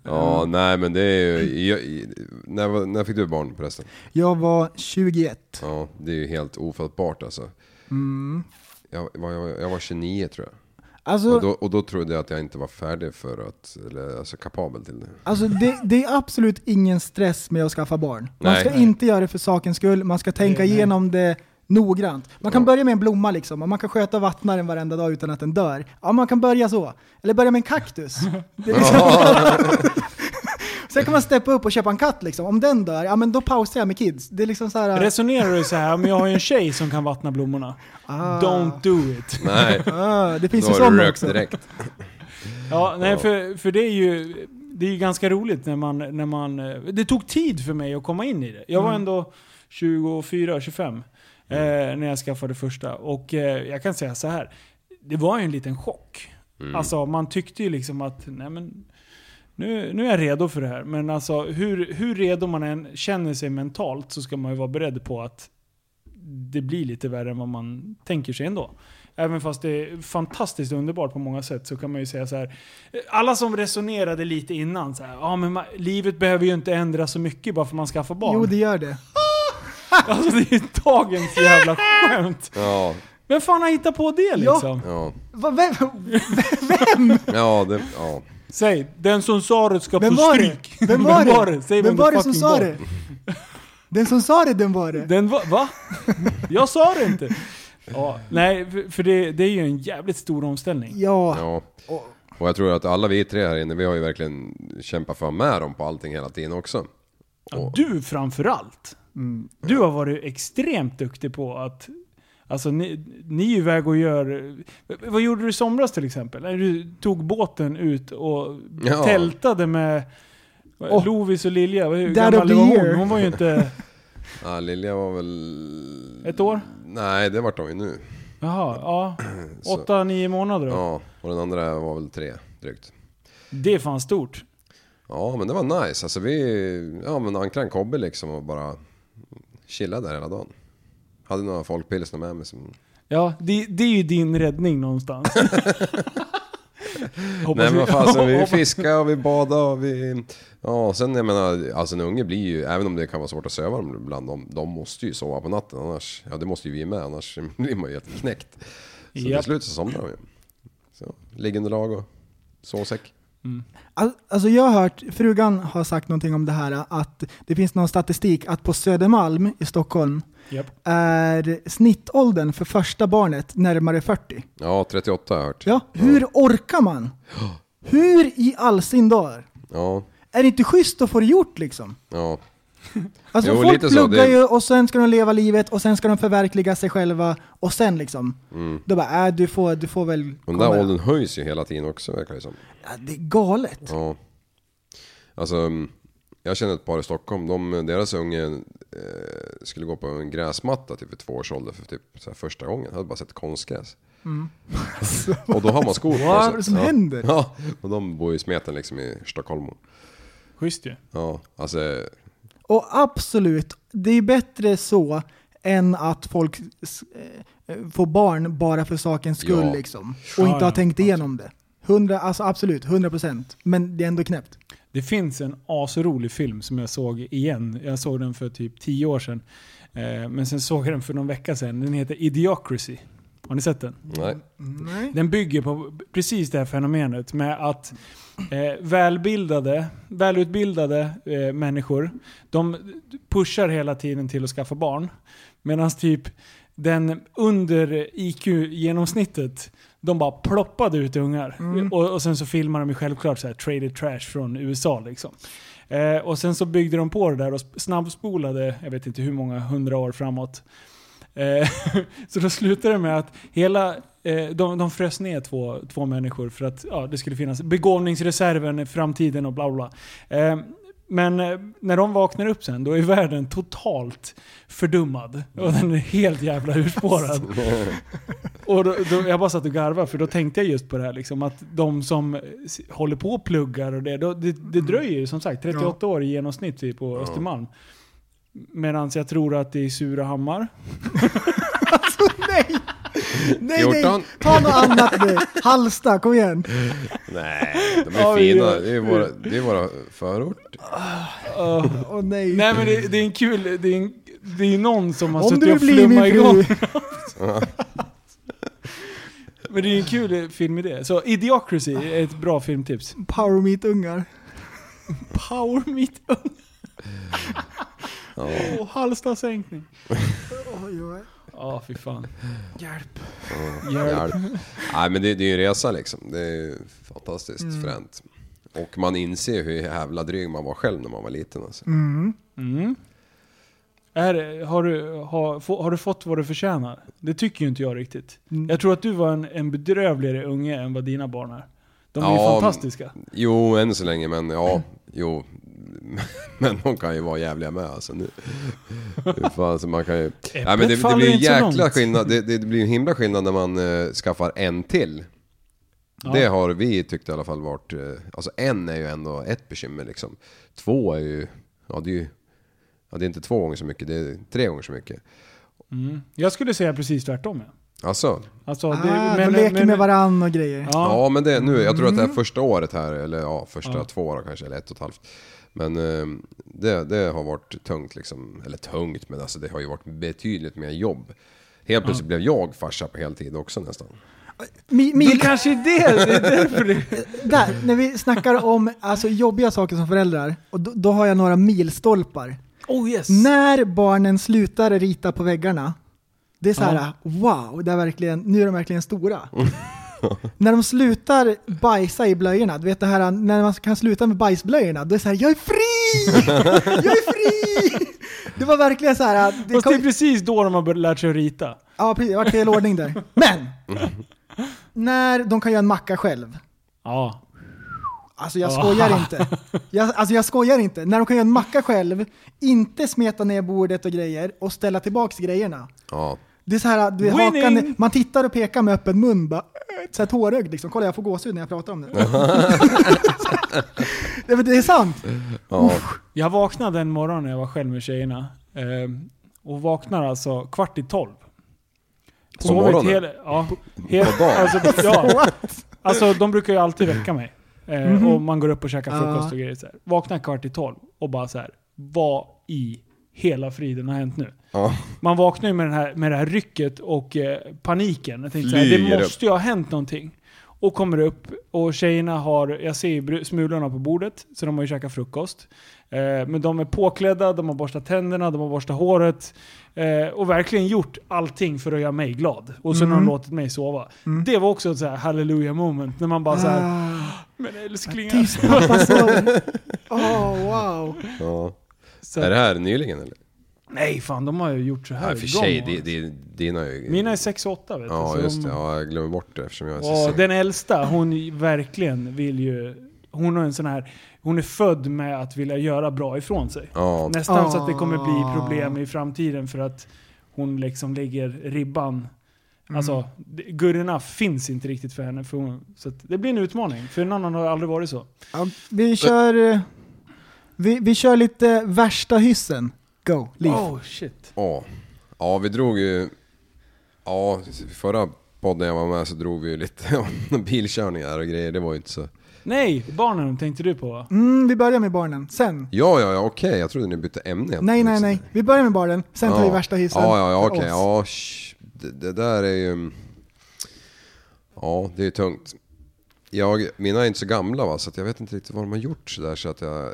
Speaker 4: ja, nej men det är ju... Jag, när, var- när fick du barn förresten?
Speaker 3: Jag var 21.
Speaker 4: Ja, det är ju helt ofattbart alltså.
Speaker 3: Mm.
Speaker 4: Jag, var- jag, var- jag var 29 tror jag.
Speaker 3: Alltså,
Speaker 4: Och, då, och då trodde jag att jag inte var färdig för att, eller alltså kapabel till det.
Speaker 3: alltså det, det är absolut ingen stress med att skaffa barn. Man
Speaker 4: Nej.
Speaker 3: ska
Speaker 4: Nej.
Speaker 3: inte göra det för sakens skull, man ska tänka
Speaker 2: Nej, nej.
Speaker 3: igenom det noggrant. Man kan
Speaker 4: Ja.
Speaker 3: börja med en blomma liksom, och man kan sköta och vattna den varenda dag utan att den dör.
Speaker 4: <laughs>
Speaker 3: Ja, man kan börja så. Eller börja med en kaktus. Det är liksom, Sen kan man steppa upp och köpa en katt liksom. Om den dör, ja men då pausar jag med kids. Det är liksom så här...
Speaker 2: Resonerar du så här, men jag har ju en tjej som kan vattna blommorna.
Speaker 3: Ah.
Speaker 2: Don't do it.
Speaker 4: Nej,
Speaker 3: Ah, det finns
Speaker 4: då
Speaker 3: ju
Speaker 4: har du
Speaker 3: sådana
Speaker 4: rökt
Speaker 3: också.
Speaker 4: direkt.
Speaker 2: Ja, nej, för, för det är ju... Det är ju ganska roligt när man, när man... eh, Det tog tid för mig att komma in i det. Jag var ändå 24, 25 eh, när jag skaffade första. Och eh, jag kan säga så här. Det var ju en liten chock. Alltså man tyckte ju liksom att, nej men... Nu, nu är jag redo för det här. Men alltså hur, hur redo man än känner sig mentalt så ska man ju vara beredd på att det blir lite värre än vad man tänker sig ändå. Även fast det är fantastiskt underbart på många sätt så kan man ju säga så här. Alla som resonerade lite innan så här, ja men ma- livet behöver ju inte ändras så mycket bara för man skaffar barn.
Speaker 3: Jo, det gör det.
Speaker 2: <laughs> Alltså det är ju dagens jävla skämt.
Speaker 4: Ja,
Speaker 2: Vem fan har hittat på det liksom?
Speaker 4: ja,
Speaker 3: Va, vem,
Speaker 4: ja, det, ja.
Speaker 2: Säg, den som sa det ska
Speaker 3: vem
Speaker 2: få
Speaker 3: var det?
Speaker 2: stryk. <laughs>
Speaker 3: Vem var det?
Speaker 2: Säg
Speaker 3: Vem var det som
Speaker 2: fucking
Speaker 3: sa det? Den som sa det, den var det.
Speaker 2: Den var, va? Jag sa det inte. Ja, nej, för- för det, det är ju en jävligt stor omställning.
Speaker 3: Ja,
Speaker 4: ja. Och jag tror att alla vi tre här inne, vi har ju verkligen kämpat för med dem på allting hela tiden också.
Speaker 2: Ja, du framförallt.
Speaker 3: Mm.
Speaker 2: Du har varit extremt duktig på att... Alltså ni, ni är ju iväg och gör... Vad gjorde du i somras till exempel? När du tog båten ut och
Speaker 4: Ja.
Speaker 2: tältade med
Speaker 3: Åh.
Speaker 2: Lovis och Lilja. Hur
Speaker 3: Dad of
Speaker 2: gammal
Speaker 3: the
Speaker 2: var
Speaker 3: year.
Speaker 2: hon? Hon var ju inte...
Speaker 4: Ja, Lilja var väl...
Speaker 2: Ett år?
Speaker 4: Nej, det vart de ju nu.
Speaker 2: Jaha,
Speaker 3: <clears throat>
Speaker 2: ja.
Speaker 4: Så-
Speaker 2: Åtta, nio månader då.
Speaker 4: Ja, och den andra var väl tre drygt.
Speaker 2: Det är fan stort.
Speaker 4: Ja, men det var nice. Alltså vi, ja men ankra en kobbe liksom och bara chillade där hela dagen. Hade några folkpilsner med mig som...
Speaker 2: Ja, det, det är ju din räddning
Speaker 4: <laughs>
Speaker 2: någonstans. Hoppas
Speaker 4: Nej men vad
Speaker 2: <laughs>
Speaker 4: fasen, vi
Speaker 2: hoppas-
Speaker 4: fiskade och vi badade och vi... Ja, sen jag menar, alltså en unge blir ju, även om det kan vara svårt att söva dem ibland, de, de måste ju sova på natten annars, ja det måste ju vi med, annars <laughs> blir man ju helt knäckt. Så till
Speaker 2: Japp.
Speaker 4: slut så somnar de ju. Så, liggunderlag och sovsäck.
Speaker 3: Al- alltså jag har hört, frugan har sagt någonting om det här, att det finns någon statistik att på Södermalm i Stockholm
Speaker 2: Japp.
Speaker 3: är snittåldern för första barnet närmare 40.
Speaker 4: Ja, 38 har jag hört.
Speaker 3: Ja, hur orkar man? Hur i all sin dar?
Speaker 4: Ja,
Speaker 3: Är det inte schysst att få det gjort liksom?
Speaker 4: ja.
Speaker 3: Alltså
Speaker 4: Jo,
Speaker 3: folk
Speaker 4: lite så,
Speaker 3: pluggar
Speaker 4: det-
Speaker 3: ju och sen ska de leva livet och sen ska de förverkliga sig själva och sen liksom. Då bara, äh, du, får, du får väl
Speaker 4: Mm. Den där
Speaker 3: komma."
Speaker 4: åldern höjs ju hela tiden också verkar det som.
Speaker 3: Ja, det är galet.
Speaker 4: Ja. Alltså, mm, jag känner ett par i Stockholm. De, deras unge eh, skulle gå på en gräsmatta typ vid två års ålder för typ så här, första gången. Hade bara sett konstgräs. <laughs> och då har man skor på sig.
Speaker 3: Mm. Vad är det som
Speaker 4: ja.
Speaker 3: händer?
Speaker 4: Ja, och de bor ju i smeten liksom i Stockholm.
Speaker 2: Schysst ju.
Speaker 4: Ja, alltså,
Speaker 3: Och absolut, det är bättre så än att folk s- eh, får barn bara för sakens skull
Speaker 4: Ja.
Speaker 3: liksom. Och
Speaker 2: Ja,
Speaker 3: inte har
Speaker 2: ja,
Speaker 3: tänkt igenom det. 100, alltså absolut, 100 procent. Men det är ändå knäppt.
Speaker 2: Det finns en asrolig film som jag såg igen. Jag såg den för typ 10 år sedan. Eh, men sen såg jag den för någon vecka sedan. Den heter Idiocracy. Har ni sett den?
Speaker 4: nej.
Speaker 3: <laughs> Nej.
Speaker 2: Den bygger på precis det här fenomenet med att eh, välbildade, välutbildade eh, människor, de pushar hela tiden till att skaffa barn. Medan typ den under IQ-genomsnittet, de bara ploppade ut ungar. Och, och sen så filmar de ju självklart så här traded trash från USA liksom. Eh, och sen så byggde de på det där och sp- snabbspolade, jag vet inte hur många hundra år framåt. Eh, <laughs> så då slutade det med att hela, eh, de, de frös ner två, två människor för att ja, det skulle finnas begåvningsreserven, i framtiden och bla bla. bla. Eh, men eh, när de vaknar upp sen, då är världen totalt fördummad. Och den är helt jävla urspårad. Och då, då, jag bara satt och garvade, för då tänkte jag just på det här liksom, att de som eh, s- håller på och pluggar och det, då, det, det dröjer ju som sagt 38 år i genomsnitt typ, på Östermalm. Medan jag tror att det är i Surahammar.
Speaker 3: Nej, nej!
Speaker 4: 14.
Speaker 3: Ta något annat nu. Halsta, kom igen.
Speaker 4: Nej, de
Speaker 2: Ja,
Speaker 4: är
Speaker 2: vi-
Speaker 4: fina. Det är våra, det är våra förort.
Speaker 3: Åh nej.
Speaker 2: Nej men det, det är en kul, det är, en, det är någon som har
Speaker 3: Om
Speaker 2: suttit
Speaker 3: du
Speaker 2: och
Speaker 3: blir min
Speaker 2: flummat igång.
Speaker 3: fru. <laughs>
Speaker 2: Men det är en kul eh, filmidé. Så Idiocracy är ett bra filmtips.
Speaker 3: Power meet ungar.
Speaker 2: Power meet
Speaker 4: Ja.
Speaker 2: och Halstasänkning.
Speaker 3: Oj, oj.
Speaker 2: Ja, fy fan. Hjälp.
Speaker 4: Hjälp. Nej men det, det är ju en resa liksom. Det är ju fantastiskt fränt. Och man inser hur jävla dryg man var själv när man var liten. Alltså.
Speaker 2: Mm. Är, har, du, har, få, har du fått vad du förtjänar? Det tycker ju inte jag riktigt.
Speaker 3: Mm.
Speaker 2: Jag tror att du var en, en bedrövligare unge än vad dina barn är. De är ju
Speaker 4: Ja,
Speaker 2: fantastiska.
Speaker 4: Jo, än så länge, men ja, jo. <laughs> Men de kan ju vara jävliga med alltså. Nu. Hur Fan, alltså man kan ju... Nej, men det, det
Speaker 2: faller
Speaker 4: blir ju
Speaker 2: inte så
Speaker 4: jäkla
Speaker 2: långt.
Speaker 4: skillnad. Det, det blir ju en himla skillnad när man eh, skaffar en till.
Speaker 2: Ja.
Speaker 4: Det har vi tyckt i alla fall varit... Eh, alltså en är ju ändå ett bekymmer liksom. Två är ju... Ja, det är ju... Ja, det är inte två gånger så mycket, det är tre gånger så mycket.
Speaker 2: Mm. Jag skulle säga precis tvärtom. ja.
Speaker 4: Alltså,
Speaker 2: Alltså, det-
Speaker 3: Ah, de leker med varann och grejer.
Speaker 2: Ja, Mm.
Speaker 4: Ja men det, nu, jag tror att det är första året här, eller ja första två åren kanske, eller ett och ett halvt. Men eh, det, det har varit tungt liksom, eller tungt men alltså det har ju varit betydligt mer jobb. Helt plötsligt blev jag farsa på heltid också nästan.
Speaker 3: Mi,
Speaker 2: det
Speaker 3: mi,
Speaker 2: kanske är det. det, är därför det.
Speaker 3: <laughs> där, när vi snackar om alltså, jobbiga saker som föräldrar, och då, då har jag några milstolpar.
Speaker 2: Oh yes.
Speaker 3: När barnen slutar rita på väggarna, det är så här,
Speaker 2: Ja.
Speaker 3: wow, det är verkligen, nu är de
Speaker 2: <laughs>
Speaker 3: verkligen stora. när de slutar bajsa i blöjorna, du vet det här när man kan sluta med bajsblöjorna, då är det så här, jag
Speaker 2: <laughs>
Speaker 3: är fri! jag är fri! Det var verkligen så här, det
Speaker 2: Fast det är
Speaker 3: kom,
Speaker 2: precis då de har börjat lärt sig att rita.
Speaker 3: ja precis, det var fel ordning där. Men!
Speaker 2: Mm.
Speaker 3: när de kan göra en macka själv,
Speaker 2: Ja.
Speaker 3: Alltså jag skojar inte. Jag, alltså jag skojar inte. När de kan göra en macka själv, inte smeta ner bordet och grejer och ställa tillbaks grejerna.
Speaker 4: Ja.
Speaker 3: Det är så här, du vet,
Speaker 2: Winning!
Speaker 3: hakan, man tittar och pekar med öppen mun bara, äh, så här tårögd liksom. Kolla jag får gåshud när jag pratar om det. <laughs> det, men det är sant.
Speaker 4: ja.
Speaker 2: Jag vaknade en morgon när jag var själv med tjejerna. ehm, Och vaknar alltså kvart i tolv.
Speaker 4: På
Speaker 2: Sovit
Speaker 4: morgonen?
Speaker 2: hela- ja, hela,
Speaker 4: på dagen? <laughs>
Speaker 2: Alltså, ja, alltså de brukar ju alltid väcka mig. Eh, Och man går upp och käkar
Speaker 3: Mhm. Ja.
Speaker 2: frukost och grejer. Så här. Vaknar kvart i tolv och bara så här. vad i hela friden har hänt nu?
Speaker 4: Ja.
Speaker 2: Man vaknar ju med, den här, med det här rycket och eh, paniken. Jag tänkte så här, det
Speaker 4: Flyger upp.
Speaker 2: måste ju ha hänt någonting. Och kommer upp och tjejerna har, jag ser ju bru- smulorna på bordet, så de har ju käkat frukost. Eh, men de är påklädda, de har borstat tänderna, de har borstat håret. Eh, och verkligen gjort allting för att göra mig glad. Och sen har
Speaker 4: Mm.
Speaker 2: de låtit mig sova. Det var också ett så här hallelujah moment, när man bara så här,
Speaker 3: Ah,
Speaker 2: men älsklingar.
Speaker 3: Tyst pappa sover. Åh wow.
Speaker 4: ja.
Speaker 2: Så,
Speaker 4: Är det här nyligen eller?
Speaker 2: nej fan, de har ju gjort så här.
Speaker 4: Nej för
Speaker 2: igång,
Speaker 4: sig, det,
Speaker 2: alltså.
Speaker 4: det, dina är ju...
Speaker 2: Mina är 6 och 8 vet du.
Speaker 4: Ja
Speaker 2: så
Speaker 4: just
Speaker 2: de-
Speaker 4: det, ja, jag glömmer bort det eftersom jag är så
Speaker 2: Ja,
Speaker 4: seg.
Speaker 2: den äldsta, hon verkligen vill ju... Hon har en sån här... Hon är född med att vilja göra bra ifrån sig.
Speaker 4: Ja.
Speaker 2: Nästan
Speaker 3: Ah.
Speaker 2: så att det kommer bli problem i framtiden för att hon liksom lägger ribban.
Speaker 3: Mm.
Speaker 2: Alltså, det- good enough finns inte riktigt för henne. För hon, så att det blir en utmaning, för en annan har aldrig varit så.
Speaker 3: Ja, vi kör, eh, vi, vi kör lite värsta hyssen. Go, Liv.
Speaker 2: Oh shit.
Speaker 4: Ja. ja, vi drog ju... Ja, förra podden jag var med så drog vi ju lite <laughs> om bilkörningar och grejer. Det var ju inte så...
Speaker 2: Nej, barnen tänkte du på va?
Speaker 3: Mm, vi börjar med barnen, sen.
Speaker 4: Ja, ja, ja, okej. Jag trodde ni bytte ämne. helt
Speaker 3: Nej, nej,
Speaker 4: plötsligt.
Speaker 3: nej. Vi börjar med barnen, sen tar vi
Speaker 4: liksom- Ja.
Speaker 3: värsta hyssen.
Speaker 4: Ja, ja, ja,
Speaker 3: för
Speaker 4: okej.
Speaker 3: oss.
Speaker 4: Ja, sh- det, det där är ju... Ja, det är ju tungt. Jag, mina är inte så gamla va, så att jag vet inte riktigt vad de har gjort sådär så att jag...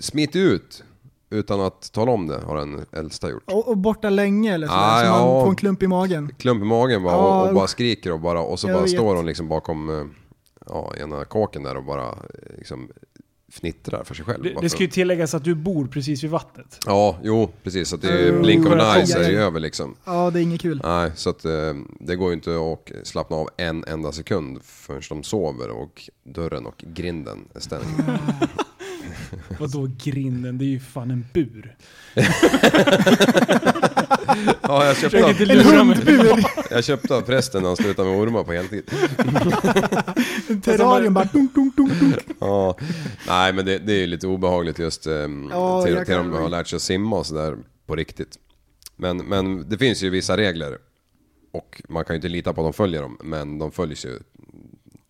Speaker 4: Smit ut! Utan att tala om det har den äldsta gjort.
Speaker 3: Och, och borta länge eller sådär,
Speaker 4: Ah,
Speaker 3: så man
Speaker 4: ja.
Speaker 3: får en klump i magen.
Speaker 4: klump i magen bara,
Speaker 3: Ja,
Speaker 4: och, och
Speaker 3: usch.
Speaker 4: bara skriker och bara och så
Speaker 3: Jag
Speaker 4: bara
Speaker 3: vet.
Speaker 4: står hon liksom bakom eh, ja, ena kåken där och bara eh, liksom fnittrar för sig själv.
Speaker 2: Det,
Speaker 4: Bara
Speaker 2: det
Speaker 4: för-
Speaker 2: ska ju tilläggas att du bor precis vid vattnet.
Speaker 4: Ja, jo precis. Så att det
Speaker 3: Eh,
Speaker 4: är blink of
Speaker 2: skönt.
Speaker 4: an eyes är ju
Speaker 3: Ja, ja.
Speaker 4: över liksom.
Speaker 3: Ja, det är inget kul.
Speaker 4: Nej, så att eh, det går ju inte att slappna av en enda sekund förrän de sover och dörren och grinden är stängd.
Speaker 2: Vadå grinden? Det är ju fan en bur.
Speaker 4: ja, jag köpte,
Speaker 2: Försök
Speaker 4: av,
Speaker 2: inte lura mig.
Speaker 3: <laughs>
Speaker 4: jag köpte av prästen när han slutade med ormar på heltid.
Speaker 3: Terrarium bara dunk, dunk, dunk, dunk.
Speaker 4: Ja, nej men det, det är ju lite obehagligt just ehm,
Speaker 3: Ja,
Speaker 4: till,
Speaker 3: jag
Speaker 4: till
Speaker 3: kan-
Speaker 4: de har lärt sig att simma och sådär på riktigt. Men, men det finns ju vissa regler och man kan ju inte lita på att de följer dem, men de följs ju.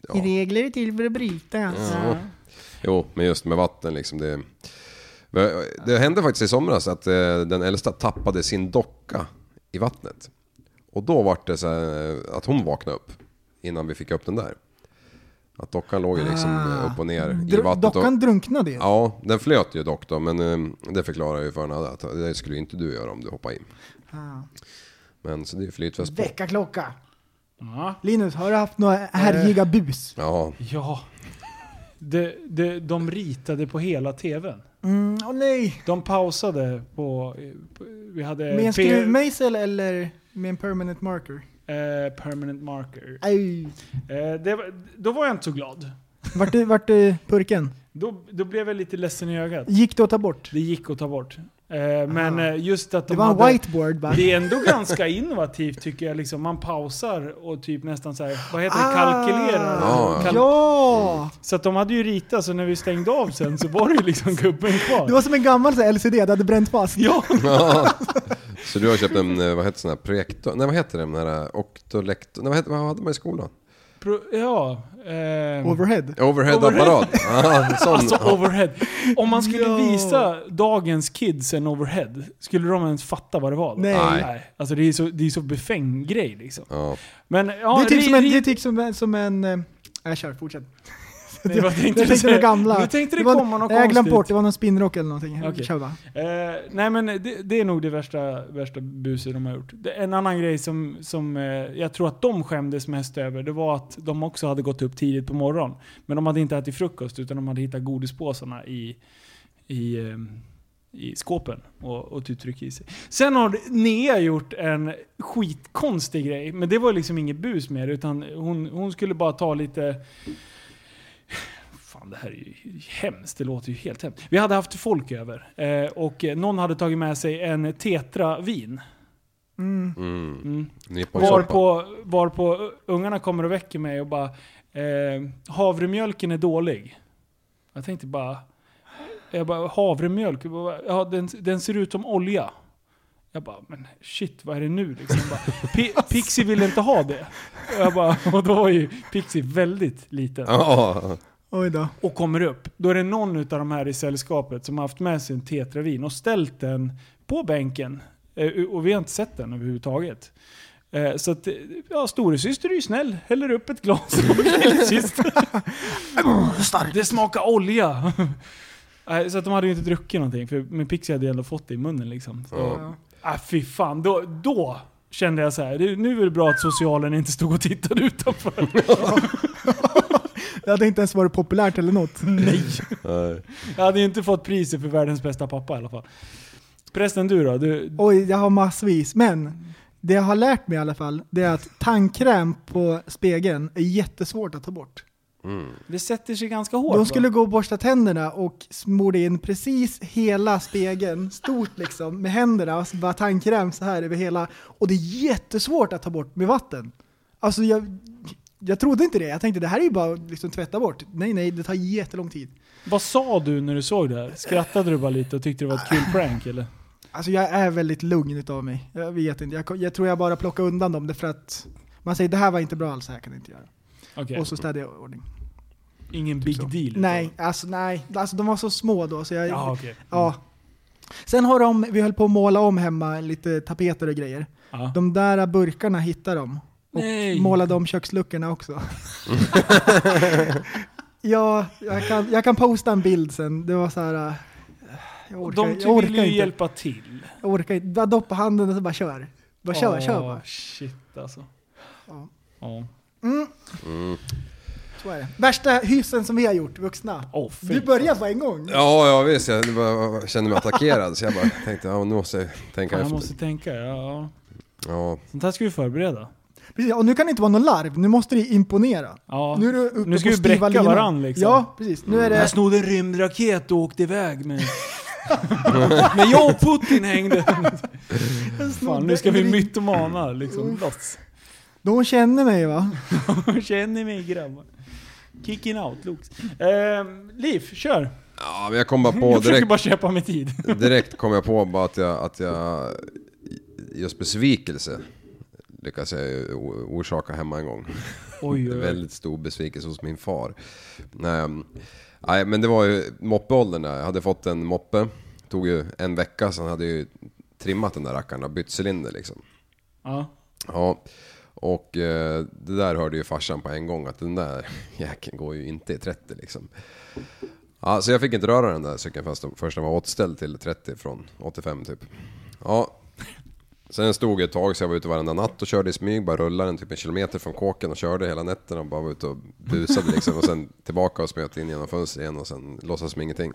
Speaker 4: Ja.
Speaker 3: Regler är till för att bryta. alltså.
Speaker 4: Jo, men just med vatten liksom. Det, det hände faktiskt i somras att eh, den äldsta tappade sin docka i vattnet. Och då var det så här, eh, att hon vaknade upp innan vi fick upp den där. Att dockan låg ju liksom eh, upp och ner i
Speaker 3: Dr-
Speaker 4: vattnet. och-
Speaker 3: Ah. dockan drunknade ju.
Speaker 4: Ja, den flöt ju dock då, men eh, det förklarar ju för henne att det skulle ju inte du göra om du hoppade in.
Speaker 3: Ah.
Speaker 4: Men så det är ju flytväst på.
Speaker 3: Väckarklocka.
Speaker 2: Ja. Eh.
Speaker 3: Linus, har du haft några härjiga bus?
Speaker 4: Ja,
Speaker 2: Ja. de, de, de ritade på hela tvn.
Speaker 3: Mm, åh nej!
Speaker 2: De pausade på... på- Vi hade
Speaker 3: Med en
Speaker 2: Eh, P-
Speaker 3: skruvmejsel eller med en permanent marker?
Speaker 2: eh, permanent marker.
Speaker 3: Aj!
Speaker 2: Eh, det, var- då var jag inte så glad.
Speaker 3: Vart du, vart du purken?
Speaker 2: Då, då blev jag lite ledsen i ögat.
Speaker 3: Gick du att ta bort?
Speaker 2: Det gick att ta bort. Eh, men eh, just att de
Speaker 3: Det var en
Speaker 2: hade,
Speaker 3: whiteboard bara.
Speaker 2: Det är ändå ganska innovativt tycker jag. Liksom, man pausar och typ nästan så här, vad heter det, kalkylerar.
Speaker 4: Ah.
Speaker 2: Kalk-
Speaker 3: Ja!
Speaker 2: Så att de hade ju ritat, så när vi stängde av sen så var det ju liksom gubben kvar.
Speaker 3: Det var som en gammal så här, LCD, det hade bränt fast.
Speaker 2: Ja,
Speaker 4: Så du har köpt en, eh, vad heter sån här projektor? Nej vad heter det? Den här eh, oktolektor? Nej vad, heter, vad hade man i skolan?
Speaker 2: pro, ja. ehm,
Speaker 3: Overhead.
Speaker 4: Overhead-apparat. Ah, en sån.
Speaker 2: Alltså overhead. Om man skulle
Speaker 3: Ja.
Speaker 2: visa dagens kids en overhead, skulle de ens fatta vad det var? då?
Speaker 3: Nej.
Speaker 4: Nej.
Speaker 2: Alltså det är så, det är så befängd grej liksom.
Speaker 4: Ja.
Speaker 2: Men ja,
Speaker 3: det är typ
Speaker 2: ri-
Speaker 3: som en...
Speaker 2: ri-
Speaker 3: Det är typ som en... Som en eh, jag kör, fortsätt.
Speaker 2: Nej, vad tänkte
Speaker 3: Jag
Speaker 2: du
Speaker 3: tänkte det
Speaker 2: säga?
Speaker 3: gamla.
Speaker 2: Du tänkte det,
Speaker 3: var-
Speaker 2: komma något
Speaker 3: Nej, Jag glömde
Speaker 2: konstigt.
Speaker 3: bort, det var någon spinnrock eller någonting.
Speaker 2: Okej.
Speaker 3: Kör bara.
Speaker 2: Eh, nej men det, det är nog det värsta, värsta buset de har gjort. Det, en annan grej som, som eh, jag tror att de skämdes mest över, det var att de också hade gått upp tidigt på morgonen. Men de hade inte ätit frukost utan de hade hittat godispåsarna i, i, eh, i skåpen och, och typ tryckt i sig. Sen har Nea gjort en skitkonstig grej, men det var liksom inget bus mer utan hon, hon skulle bara ta lite Fan, det här är ju hemskt. Det låter ju helt hemskt. Vi hade haft folk över eh, och eh, någon hade tagit med sig en tetra-vin.
Speaker 3: Mm.
Speaker 4: Mm.
Speaker 2: Mm.
Speaker 4: Nipponsoppa.
Speaker 2: Varpå, varpå eh, ungarna kommer och väcker mig och bara eh, “Havremjölken är dålig”. Jag tänkte bara... Jag bara “Havremjölk? Jag bara, Ja, den, den ser ut som olja”. Jag bara “Men shit, vad är det nu?” liksom. Jag bara, "Pi- Pixie ville inte ha det. Jag bara, och då var ju Pixie väldigt liten
Speaker 4: Ja.
Speaker 3: Oj då.
Speaker 2: och kommer upp, då är det någon av de här i sällskapet som har haft med sig en tetravin och ställt den på bänken. Eh, Och vi har inte sett den överhuvudtaget. Eh, Så att, eh, ja, storasyster är ju snäll. Häller upp ett glas och lillasyster. Det smakar olja. <laughs> Nej, Så att de hade ju inte druckit någonting, för med Pixie hade jag ändå fått det i munnen liksom. Så,
Speaker 4: Ja.
Speaker 2: ah, fy fan, då, då kände jag så här. "Det- nu är det bra att socialen inte stod och tittade utanför.
Speaker 3: Det hade inte ens varit populärt eller något.
Speaker 2: Nej.
Speaker 4: Nej.
Speaker 2: Jag hade ju inte fått priset för världens bästa pappa i alla fall. Prästen du då? Du,
Speaker 3: Oj, jag har massvis. Men det jag har lärt mig i alla fall, det är att tandkräm på spegeln är jättesvårt att ta bort.
Speaker 2: det sätter sig ganska hårt
Speaker 3: De
Speaker 2: va?
Speaker 3: skulle gå och borsta tänderna och smorde in precis hela spegeln, stort liksom, med händerna och så bara tandkräm så här över hela. Och det är jättesvårt att ta bort med vatten. Alltså jag, jag trodde inte det. Jag tänkte det här är ju bara att liksom tvätta bort. Nej, nej, det tar jättelång tid.
Speaker 2: Vad sa du när du såg det här? Skrattade du bara lite och tyckte det var ett kul prank eller?
Speaker 3: Alltså jag är väldigt lugn utav mig. Jag vet inte. Jag, jag tror jag bara plockar undan dem därför att man säger det här var inte bra alls, så här kan det inte göra.
Speaker 2: Okej,
Speaker 3: Och så städar jag i ordning.
Speaker 2: ingen big deal? utav
Speaker 3: Nej,
Speaker 2: det.
Speaker 3: alltså nej. Alltså de var så små då så jag...
Speaker 2: Ja, okej.
Speaker 3: Ja. Sen har de, vi höll på att måla om hemma lite tapeter och grejer.
Speaker 2: Ja.
Speaker 3: De där burkarna hittade de. Och
Speaker 2: Nej.
Speaker 3: målade om köksluckorna också. <laughs> ja, jag kan, jag kan posta en bild sen. Det var så här... äh, Jag orkar,
Speaker 2: De typ
Speaker 3: jag orkar
Speaker 2: ville ju
Speaker 3: inte.
Speaker 2: hjälpa till.
Speaker 3: Jag orkar inte. Bara doppa handen och så bara kör. Bara kör,
Speaker 2: Åh,
Speaker 3: kör bara.
Speaker 2: Shit alltså.
Speaker 3: Ja.
Speaker 2: Åh,
Speaker 3: Så är det. Värsta hyssen som vi har gjort, vuxna.
Speaker 2: Åh, fy
Speaker 3: du börjar på en gång.
Speaker 4: Ja, ja visst. Jag det var- jag kände mig attackerad så jag bara tänkte, ja, nu måste jag tänka
Speaker 2: fan, jag
Speaker 4: efter.
Speaker 2: måste tänka. Ja, ja.
Speaker 4: Ja.
Speaker 2: Sånt här ska vi förbereda.
Speaker 3: Precis, och nu kan det inte vara någon larv, nu måste det imponera.
Speaker 2: Ja.
Speaker 3: Nu, är du uppe
Speaker 2: Nu ska
Speaker 3: på
Speaker 2: vi bräcka
Speaker 3: styva linan.
Speaker 2: varann, liksom. Mm.
Speaker 3: Ja, precis. Nu
Speaker 2: Jag
Speaker 3: är det...
Speaker 2: snodde en rymdraket och åkte iväg med... <laughs> Men jag och Putin hängde. Fan, nu ska vi mytomana liksom. Lots.
Speaker 3: De känner mig va?
Speaker 2: Känner mig grabbar. Kicking out looks. Ehm, Liv, kör!
Speaker 4: ja, men jag kom bara på
Speaker 2: jag försöker
Speaker 4: direkt.
Speaker 2: bara köpa mig
Speaker 4: <laughs>
Speaker 2: tid.
Speaker 4: Direkt kom jag på bara att jag, att jag just besvikelse lyckas jag ju o- orsaka hemma en gång.
Speaker 2: Oj, oj, oj.
Speaker 4: Väldigt stor besvikelse hos min far. Nej, nej, men det var ju moppeåldern där. Jag hade fått en moppe. Tog ju en vecka, sen hade jag ju trimmat den där rackaren och bytt cylinder liksom.
Speaker 2: Ja.
Speaker 4: Ja, och eh, det där hörde ju farsan på en gång att den där <laughs> jäkeln går ju inte i 30 liksom. Ja, så jag fick inte röra den där cykeln först, först den var återställd till 30 från 85 typ. Ja, Sen stod jag ett tag så jag var ute varenda natt och körde i smyg, bara rullade den typ en kilometer från kåken och körde hela nätterna och bara var ute och busade liksom. Och sen tillbaka och smöt in genom fönstret igen och sen låtsas som ingenting.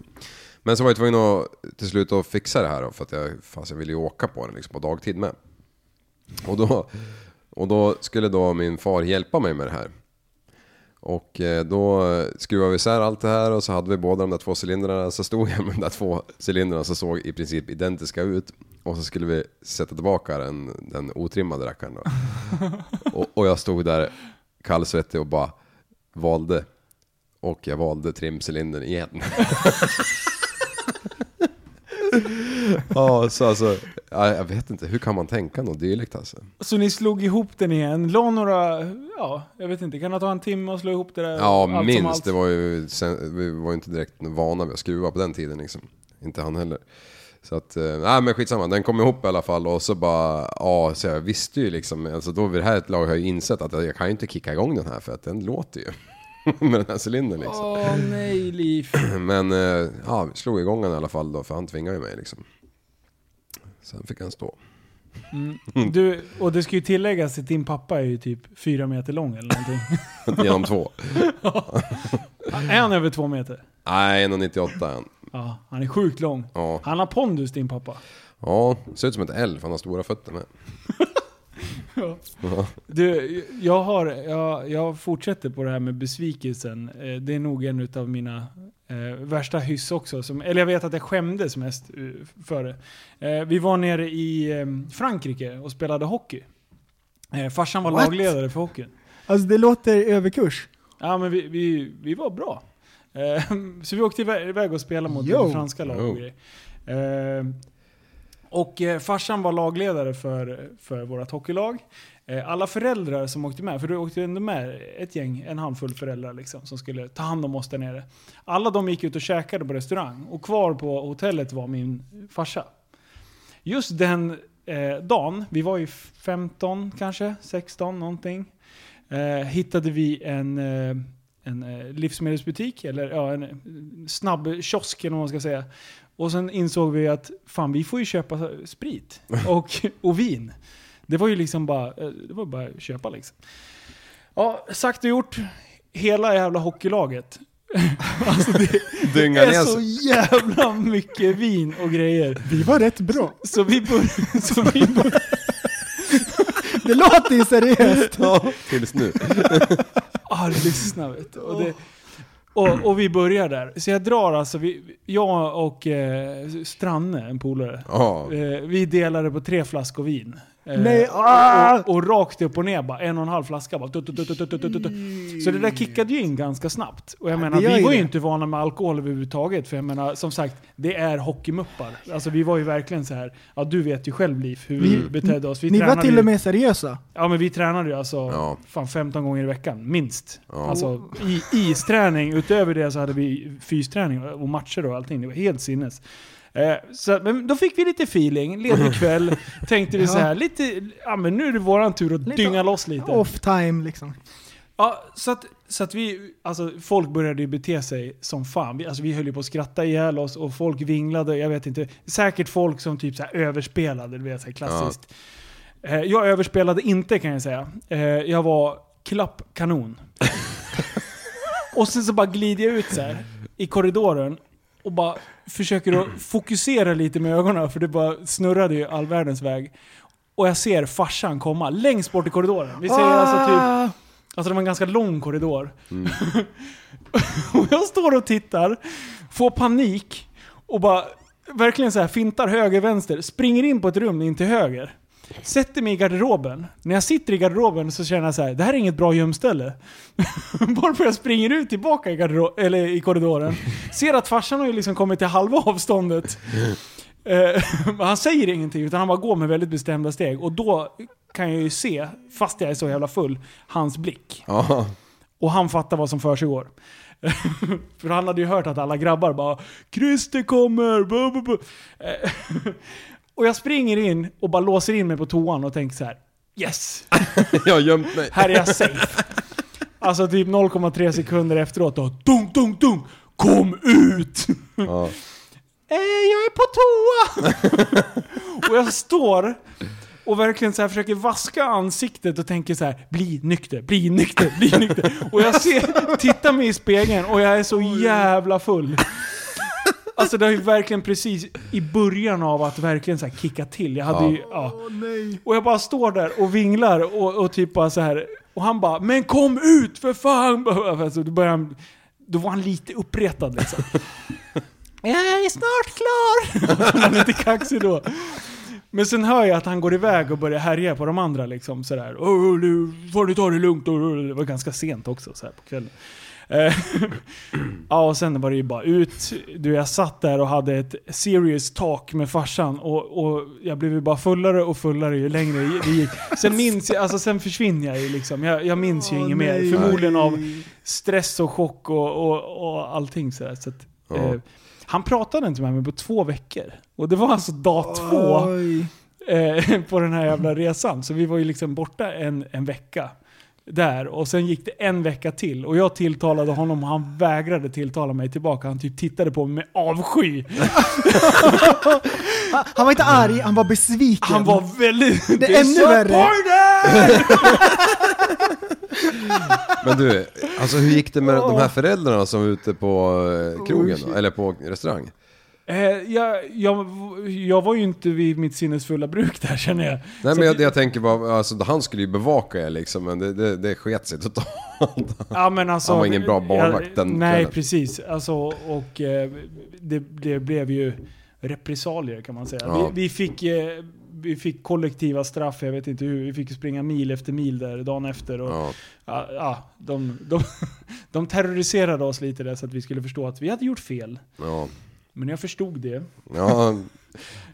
Speaker 4: Men så var jag tvungen att till slut att fixa det här då, för att jag, fast jag ville ju åka på den liksom på dagtid med. Och då, och då skulle då min far hjälpa mig med det här. Och eh, då skruvade vi isär allt det här och så hade vi båda de där två cylindrarna. Så stod jag med de där två cylindrarna som såg i princip identiska ut. Och så skulle vi sätta tillbaka den, den otrimmade rackaren <laughs> då. Och, och jag stod där kallsvettig och bara valde. Och jag valde trimcylindern igen. ja, så alltså, ja, jag vet inte, hur kan man tänka något dylikt alltså?
Speaker 2: Så ni slog ihop den igen, la några, ja, jag vet inte, kan det ta en timme att slå ihop det där?
Speaker 4: Ja,
Speaker 2: Eh, som
Speaker 4: minst. Det var ju, sen, vi var ju inte direkt vana vid att skruva på den tiden liksom. Inte han heller. Så att, eh, nej men skitsamma, den kom ihop i alla fall och så bara, ja, så jag visste ju liksom, alltså då vid det här laget har jag ju insett att jag kan ju inte kicka igång den här för att den låter ju. <laughs> Med den här cylindern liksom.
Speaker 2: Åh nej,
Speaker 4: <laughs>
Speaker 2: Liv.
Speaker 4: Men, eh, ja, vi slog igång den i alla fall då för han tvingade ju mig liksom. Sen fick han stå. <laughs>
Speaker 2: Du, och det ska ju tilläggas att din pappa är ju typ fyra meter lång eller
Speaker 4: <laughs>
Speaker 2: någonting.
Speaker 4: Genom två.
Speaker 2: är han över två meter?
Speaker 4: Nej, 1,98 är han.
Speaker 2: Ja, han är sjukt lång.
Speaker 4: Ja.
Speaker 2: Han har pondus din pappa.
Speaker 4: Ja, ser ut som ett L för han har stora fötter med.
Speaker 2: Du, jag, har, jag, jag fortsätter på det här med besvikelsen. Eh, Det är nog en av mina eh, värsta hyss också. Som, eller jag vet att jag skämdes mest eh, för det. Eh, vi var nere i eh, Frankrike och spelade hockey. Eh, farsan var
Speaker 3: What?
Speaker 2: lagledare för hockeyn.
Speaker 3: Alltså det låter överkurs.
Speaker 2: Ja, men vi, vi, vi var bra. Eh, <laughs> Så vi åkte iväg iväg och spelade mot
Speaker 3: Yo.
Speaker 2: det franska lag
Speaker 4: Yo.
Speaker 2: och grejer. Eh, Och eh, farsan var lagledare för, för vårt hockeylag. Eh, Alla föräldrar som åkte med, för du åkte ändå med ett gäng, en handfull föräldrar liksom, som skulle ta hand om oss där nere. Alla de gick ut och käkade på restaurang och kvar på hotellet var min farsa. Just den eh, dagen, vi var ju 15 kanske, 16 någonting. Eh, hittade vi en, eh, en eh, livsmedelsbutik, eller ja, en eh, snabb kiosk eller vad man ska säga. Och sen insåg vi att fan vi får ju köpa eh, sprit och, och vin. Det var ju liksom bara, eh, det var bara att köpa liksom. Ja, sagt och gjort. Hela jävla hockeylaget. alltså det
Speaker 4: Dynga
Speaker 2: är
Speaker 4: ner
Speaker 2: så
Speaker 4: sig.
Speaker 2: jävla mycket vin och grejer.
Speaker 3: Vi var rätt bra.
Speaker 2: Så vi bör- <laughs> så vi bör-
Speaker 3: Det låter
Speaker 2: <laughs>
Speaker 3: ju seriöst.
Speaker 2: Eh,
Speaker 4: Ja, tills nu.
Speaker 2: Ja, lyssna vet du. Och, det, och, och vi börjar där. Så jag drar alltså, vi, jag och eh, Stranne, en polare,
Speaker 4: Ja.
Speaker 2: eh, vi delade på tre flaskor vin. Eh,
Speaker 3: Nej, ah!
Speaker 2: och, och rakt upp och ner bara, en och en halv flaska bara. Tut, tut, tut, tut, tut, tut, tut. Så det där kickade ju in ganska snabbt. Och jag menar,
Speaker 3: Mm. det gör
Speaker 2: vi
Speaker 3: ju
Speaker 2: var ju
Speaker 3: det.
Speaker 2: inte vana med alkohol överhuvudtaget. För jag menar, som sagt, det är hockeymuppar. Alltså vi var ju verkligen så här. ja du vet ju själv Liv, hur vi,
Speaker 3: Vi-
Speaker 2: betedde oss. Vi
Speaker 3: Mm. Ni var
Speaker 2: tränade
Speaker 3: till
Speaker 2: ju-
Speaker 3: och med seriösa.
Speaker 2: Ja men vi tränade ju alltså
Speaker 4: Ja.
Speaker 2: fan 15 gånger i veckan, minst.
Speaker 4: Ja.
Speaker 2: Alltså i, isträning, utöver det så hade vi fysträning och matcher och allting. Det var helt sinnes. Eh, så, att- men då fick vi lite feeling, ledig
Speaker 4: <laughs>
Speaker 2: kväll. tänkte vi så här, lite, ja men nu är det våran tur att
Speaker 3: Lite
Speaker 2: dynga loss lite.
Speaker 3: Off time liksom.
Speaker 2: Ja, så att, så att vi, alltså folk började ju bete sig som fan. Vi, alltså, vi höll ju på att skratta ihjäl oss och folk vinglade, jag vet inte. Säkert folk som typ så här överspelade, det vet så här klassiskt. Eh, Jag överspelade inte kan jag säga. Eh, Jag var klappkanon. och sen så bara glider jag ut så här i korridoren och bara försöker att fokusera lite med ögonen för det bara snurrade ju all världens väg. Och jag ser farsan komma längst bort i korridoren. Vi ser alltså typ
Speaker 3: Ah!
Speaker 2: Alltså det var en ganska lång korridor. <laughs> och jag står och tittar, får panik och bara verkligen så här fintar höger, vänster, springer in på ett rum in till höger. Sätter mig i garderoben. När jag sitter i garderoben så känner jag så här, det här är inget bra gömställe. <laughs> Varpå jag springer ut tillbaka i, gardero- eller i korridoren. Ser att farsan har ju liksom kommit till halva avståndet. <laughs> Eh, men han säger ingenting utan han bara går med väldigt bestämda steg. Och då kan jag ju se, fast jag är så jävla full, hans blick.
Speaker 4: Ja. <laughs>
Speaker 2: Och han fattar vad som försiggår. <laughs> För han hade ju hört att alla grabbar bara “Christer kommer!” bu, bu, bu. Eh, <laughs> Och jag springer in och bara låser in mig på toan och tänker så här: “Yes!
Speaker 4: Jag har gömt mig.
Speaker 2: Här är jag safe!” Alltså typ 0,3 sekunder efteråt då, dunk, dunk, dunk! Kom ut!
Speaker 4: Ja.
Speaker 2: <laughs> Eh, jag är på toa! och jag står och verkligen så här försöker vaska ansiktet och tänker så här: bli nykter, bli nykter, bli nykter. Och jag ser, tittar mig i spegeln och jag är så jävla full. Alltså det har ju verkligen precis i början av att verkligen så här kicka till. Jag hade
Speaker 4: Ja.
Speaker 2: ju, ja. Och jag bara står där och vinglar och, och typ bara så här. Och han bara 'Men kom ut för fan!' <laughs> Alltså, då, började han, då var han lite uppretad liksom. Jag är snart <laughs> klar! han är lite kaxig då. Men sen hör jag att han går iväg och börjar härja på de andra liksom sådär. Åh, nu får ni ta det lugnt. Åh, Det var ganska sent också så här på kvällen. Eh, <clears throat> ja, och sen var det ju bara ut. Du, jag satt där och hade ett serious talk med farsan och, och jag blev ju bara fullare och fullare ju längre det gick. Sen minns jag, alltså sen försvinner jag ju liksom. Jag, jag minns ju inget mer. Förmodligen av stress och chock och, och, och allting sådär. Så att, eh, han pratade inte med mig på två veckor. Och det var alltså dag två
Speaker 3: Oj.
Speaker 2: eh, på den här jävla resan. Så vi var ju liksom borta en, en vecka. Där och sen gick det en vecka till och jag tilltalade honom och han vägrade tilltala mig tillbaka. Han typ tittade på mig med avsky.
Speaker 3: Han, Ah, han var inte arg, han var besviken.
Speaker 2: Han var väldigt...
Speaker 3: Det är ännu värre.
Speaker 2: Disappointed!
Speaker 4: Men du, alltså hur gick det med de här föräldrarna som var ute på eh, krogen då? Eller på restaurang?
Speaker 2: Eh, jag, jag, jag var ju inte vid mitt sinnesfulla bruk där känner jag.
Speaker 4: Nej
Speaker 2: Så
Speaker 4: men
Speaker 2: att-
Speaker 4: jag, jag tänker bara, alltså han skulle ju bevaka er liksom men det, det, det sket sig totalt.
Speaker 2: Ja, men alltså,
Speaker 4: Han var ingen bra barnvakt
Speaker 2: jag-
Speaker 4: den
Speaker 2: Nej,
Speaker 4: kvällen.
Speaker 2: precis. Alltså, och eh, det, det blev ju repressalier kan man säga.
Speaker 4: Ja.
Speaker 2: Vi, vi, fick, eh, vi fick kollektiva straff, jag vet inte hur. Vi fick springa mil efter mil där dagen efter. Och, ja.
Speaker 4: Ja.
Speaker 2: Ja, de, de, <laughs> de terroriserade oss lite där så att vi skulle förstå att vi hade gjort fel.
Speaker 4: Ja.
Speaker 2: Men jag förstod det.
Speaker 4: Ja.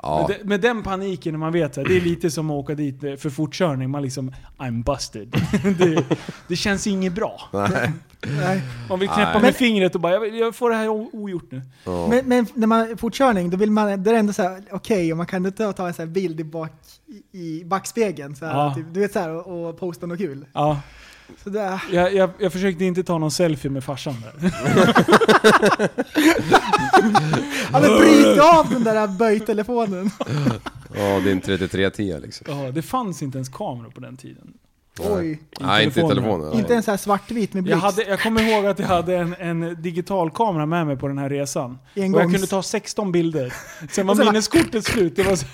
Speaker 4: ja.
Speaker 2: Med, de- med den paniken, när man vet så här, det är lite som att åka dit eh, för fortkörning. Man liksom, I'm busted. <laughs> det, det känns inget bra.
Speaker 4: Nej.
Speaker 3: Nej.
Speaker 2: Man vill knäppa
Speaker 4: Nej.
Speaker 2: med fingret och bara jag, vill- jag får det här o- ogjort nu.
Speaker 4: Ja.
Speaker 3: Men, men när man fortkörning, då vill man, då är det ändå såhär, okej, och man kan inte ta en sån här bild i, bak, i backspegeln. Så här,
Speaker 2: Ja.
Speaker 3: typ, du vet såhär, och, och posta något kul.
Speaker 2: Ja,
Speaker 3: Så det,
Speaker 2: jag, jag, jag försökte inte ta någon selfie med farsan där.
Speaker 3: ja men bryt av den där böjtelefonen.
Speaker 4: ja, din 3310 liksom.
Speaker 2: Ja, det fanns inte ens kameror på den tiden.
Speaker 3: Oj.
Speaker 4: Nej, inte i
Speaker 2: telefonen.
Speaker 4: telefonen.
Speaker 3: Inte en sån här svartvit med
Speaker 2: Jag,
Speaker 3: blixt.
Speaker 2: hade, jag kommer ihåg att jag hade en, en digital kamera med mig på den här resan.
Speaker 3: Engångs.
Speaker 2: Och jag kunde ta 16 bilder. Sen var
Speaker 3: Och sen bara-
Speaker 2: minneskortet slut. Det var så,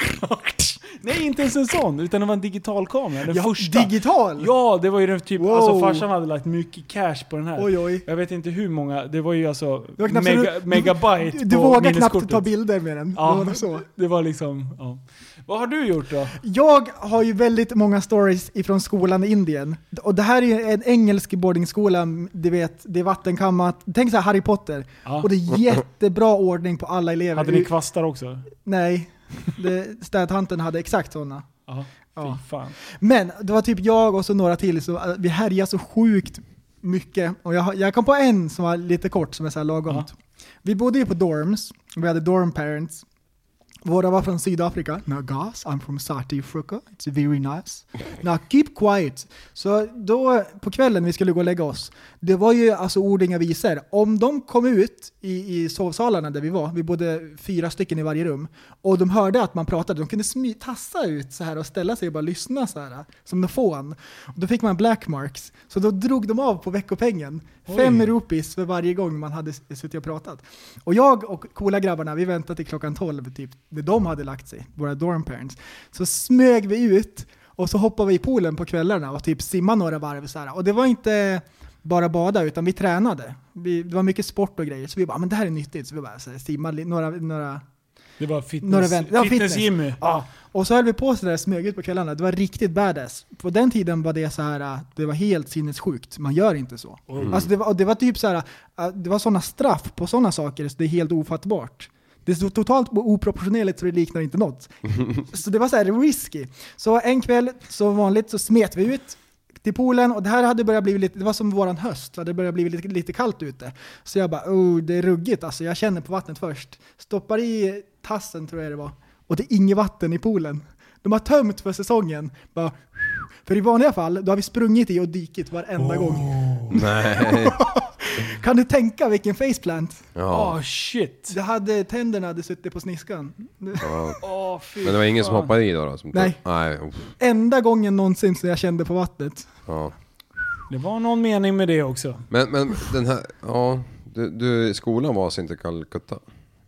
Speaker 2: nej, inte ens en sån. Utan det var en digital kamera. Den
Speaker 3: Ja,
Speaker 2: första.
Speaker 3: Digital!
Speaker 2: Ja, det var ju den typ...
Speaker 3: Wow.
Speaker 2: Alltså farsan hade lagt mycket cash på den här.
Speaker 3: Oj oj.
Speaker 2: Jag vet inte hur många. Det var ju alltså
Speaker 3: var knappt så
Speaker 2: mega,
Speaker 3: du- du-
Speaker 2: megabyte
Speaker 3: Du
Speaker 2: på
Speaker 3: vågar knappt
Speaker 2: minneskortet.
Speaker 3: ta bilder med den.
Speaker 2: Ja.
Speaker 3: Det var nog så.
Speaker 2: Det var liksom, ja. Vad har du gjort då?
Speaker 3: Jag har ju väldigt många stories ifrån skolan i Indien. Och det här är ju en engelsk boardingskola, du vet, det är vattenkammat. Tänk så här Harry Potter.
Speaker 2: Ja.
Speaker 3: Och det är jättebra ordning på alla elever.
Speaker 2: Hade ni kvastar också?
Speaker 3: Nej, det, städtanten hade exakt sådana.
Speaker 2: Ja.
Speaker 3: Ja.
Speaker 2: Fy fan.
Speaker 3: Men det var typ jag och så några till, så eh, vi härjade så sjukt mycket. Och jag, har- jag kom på en som var lite kort, som är så här lagomt. Vi bodde ju på dorms, vi hade dorm parents. Våra var från Sydafrika. Now guys, I'm from South Africa. It's very nice. Now keep quiet. Så då på kvällen vi skulle gå och lägga oss, det var ju alltså ord inga visor. Om de kom ut i, i sovsalarna där vi var, vi bodde fyra stycken i varje rum, och de hörde att man pratade, de kunde smy, tassa ut så här och ställa sig och bara lyssna så här, som en fån. Och Då fick man black marks, så då drog de av på veckopengen. Fem rupees för varje gång man hade s- suttit och pratat. Och jag och coola grabbarna, vi väntade till klockan 12 typ, när de hade lagt sig, våra dorm parents. Så smög vi ut och så hoppade vi i poolen på kvällarna och typ simmade några varv så här. Och det var inte bara bada utan vi tränade. Vi, det var mycket sport och grejer så vi bara, "Ah, men det här är nyttigt. Så vi bara så här, simmade li- några, några
Speaker 2: Det var fitness,
Speaker 3: Några vän- ja, fitness.
Speaker 2: Jimmy.
Speaker 3: Ja. Och så höll vi på sådär smög ut på kvällarna. Det var riktigt badass. På den tiden var det så här, äh, det var helt sinnessjukt. Man gör inte så. Alltså det, var, och det var typ så här, äh, det var sådana straff på sådana saker så det är helt ofattbart. Det är så totalt oproportionerligt så det liknar inte något. Så det var så här risky. Så en kväll, som vanligt, så smet vi ut till poolen och det här hade börjat bli lite, det var som våran höst, det hade börjat bli lite, lite kallt ute. Så jag bara, oh det är ruggigt alltså, jag känner på vattnet först. Stoppar i tassen tror jag det var, och det är inget vatten i poolen. De har tömt för säsongen. Bara, för i vanliga fall, då har vi sprungit i och dykit varenda gång.
Speaker 4: Nej.
Speaker 3: Kan du tänka vilken faceplant?
Speaker 2: Åh
Speaker 4: Ja,
Speaker 2: shit.
Speaker 3: Det hade, tänderna hade suttit på sniskan.
Speaker 4: ja.
Speaker 2: Åh fy
Speaker 4: Men det var ingen som
Speaker 2: fan.
Speaker 4: hoppade i då? då som
Speaker 3: Nej.
Speaker 4: Nej, uff,
Speaker 3: Enda gången någonsin som jag kände på vattnet.
Speaker 4: ja.
Speaker 2: Det var någon mening med det också.
Speaker 4: Men, men den här, ja. Du, du, skolan var alltså inte i Calcutta?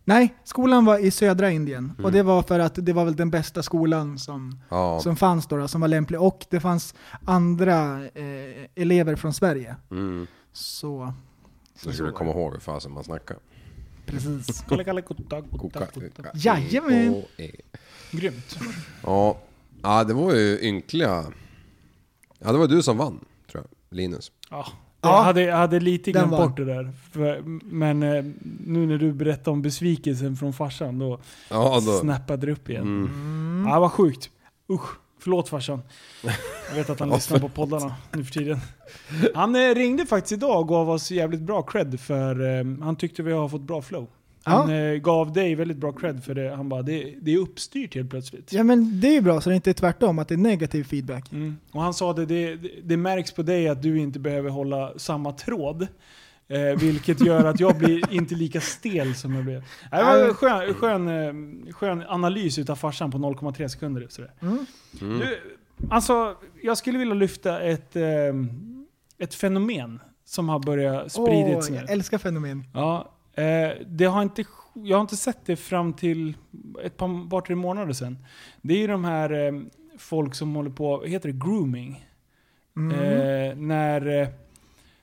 Speaker 3: Nej, skolan var i södra Indien. Och det var för att det var väl den bästa skolan som,
Speaker 4: Ja.
Speaker 3: som fanns då, då, som var lämplig. Och det fanns andra eh, elever från Sverige.
Speaker 4: Mm.
Speaker 3: Så,
Speaker 4: Så skulle du komma ihåg hur fasen man snackar.
Speaker 3: precis.
Speaker 2: Kalle, kalle, kotta, kotta,
Speaker 4: Koka.
Speaker 2: kotta.
Speaker 3: Jajamän.
Speaker 4: Och- eh.
Speaker 2: Grymt.
Speaker 4: Ja. ja, det var ju ynkliga... Ja, det var du som vann, tror jag. Linus.
Speaker 2: Ja.
Speaker 3: Ja,
Speaker 2: Jag hade, jag hade lite
Speaker 3: den
Speaker 2: glömt
Speaker 3: var-
Speaker 2: bort det där. För, men eh, nu när du berättade om besvikelsen från farsan, då
Speaker 4: Ja, då.
Speaker 2: snappade det upp igen.
Speaker 4: Mm.
Speaker 2: Ja, vad sjukt. Usch. Förlåt farsan. Jag vet
Speaker 4: <laughs>
Speaker 2: att han lyssnar på poddarna nu för tiden. Han eh, ringde faktiskt idag och gav oss jävligt bra cred för eh, han tyckte vi har fått bra flow. Han
Speaker 3: Ja.
Speaker 2: eh, gav dig väldigt bra cred för det. Han bara, det, det är uppstyrt helt plötsligt.
Speaker 3: Ja men det är ju bra så det inte är tvärtom, att det är negativ feedback.
Speaker 2: Mm. Och han sa det, det, det märks på dig att du inte behöver hålla samma tråd. Eh, vilket gör att jag blir inte lika stel som jag blev. Nej, Det var en skön, skön, eh, skön analys utav farsan på 0,3 sekunder. och Sådär.
Speaker 4: Mm.
Speaker 2: Du, alltså, jag skulle vilja lyfta ett, eh, ett fenomen som har börjat
Speaker 3: Åh,
Speaker 2: spridits nu.
Speaker 3: jag älskar fenomen.
Speaker 2: Ja, eh, det har inte, jag har inte sett det fram till ett par, par tre månader sedan. Det är ju de här eh, folk som håller på, heter det grooming?
Speaker 3: Mm.
Speaker 2: Eh, när, eh,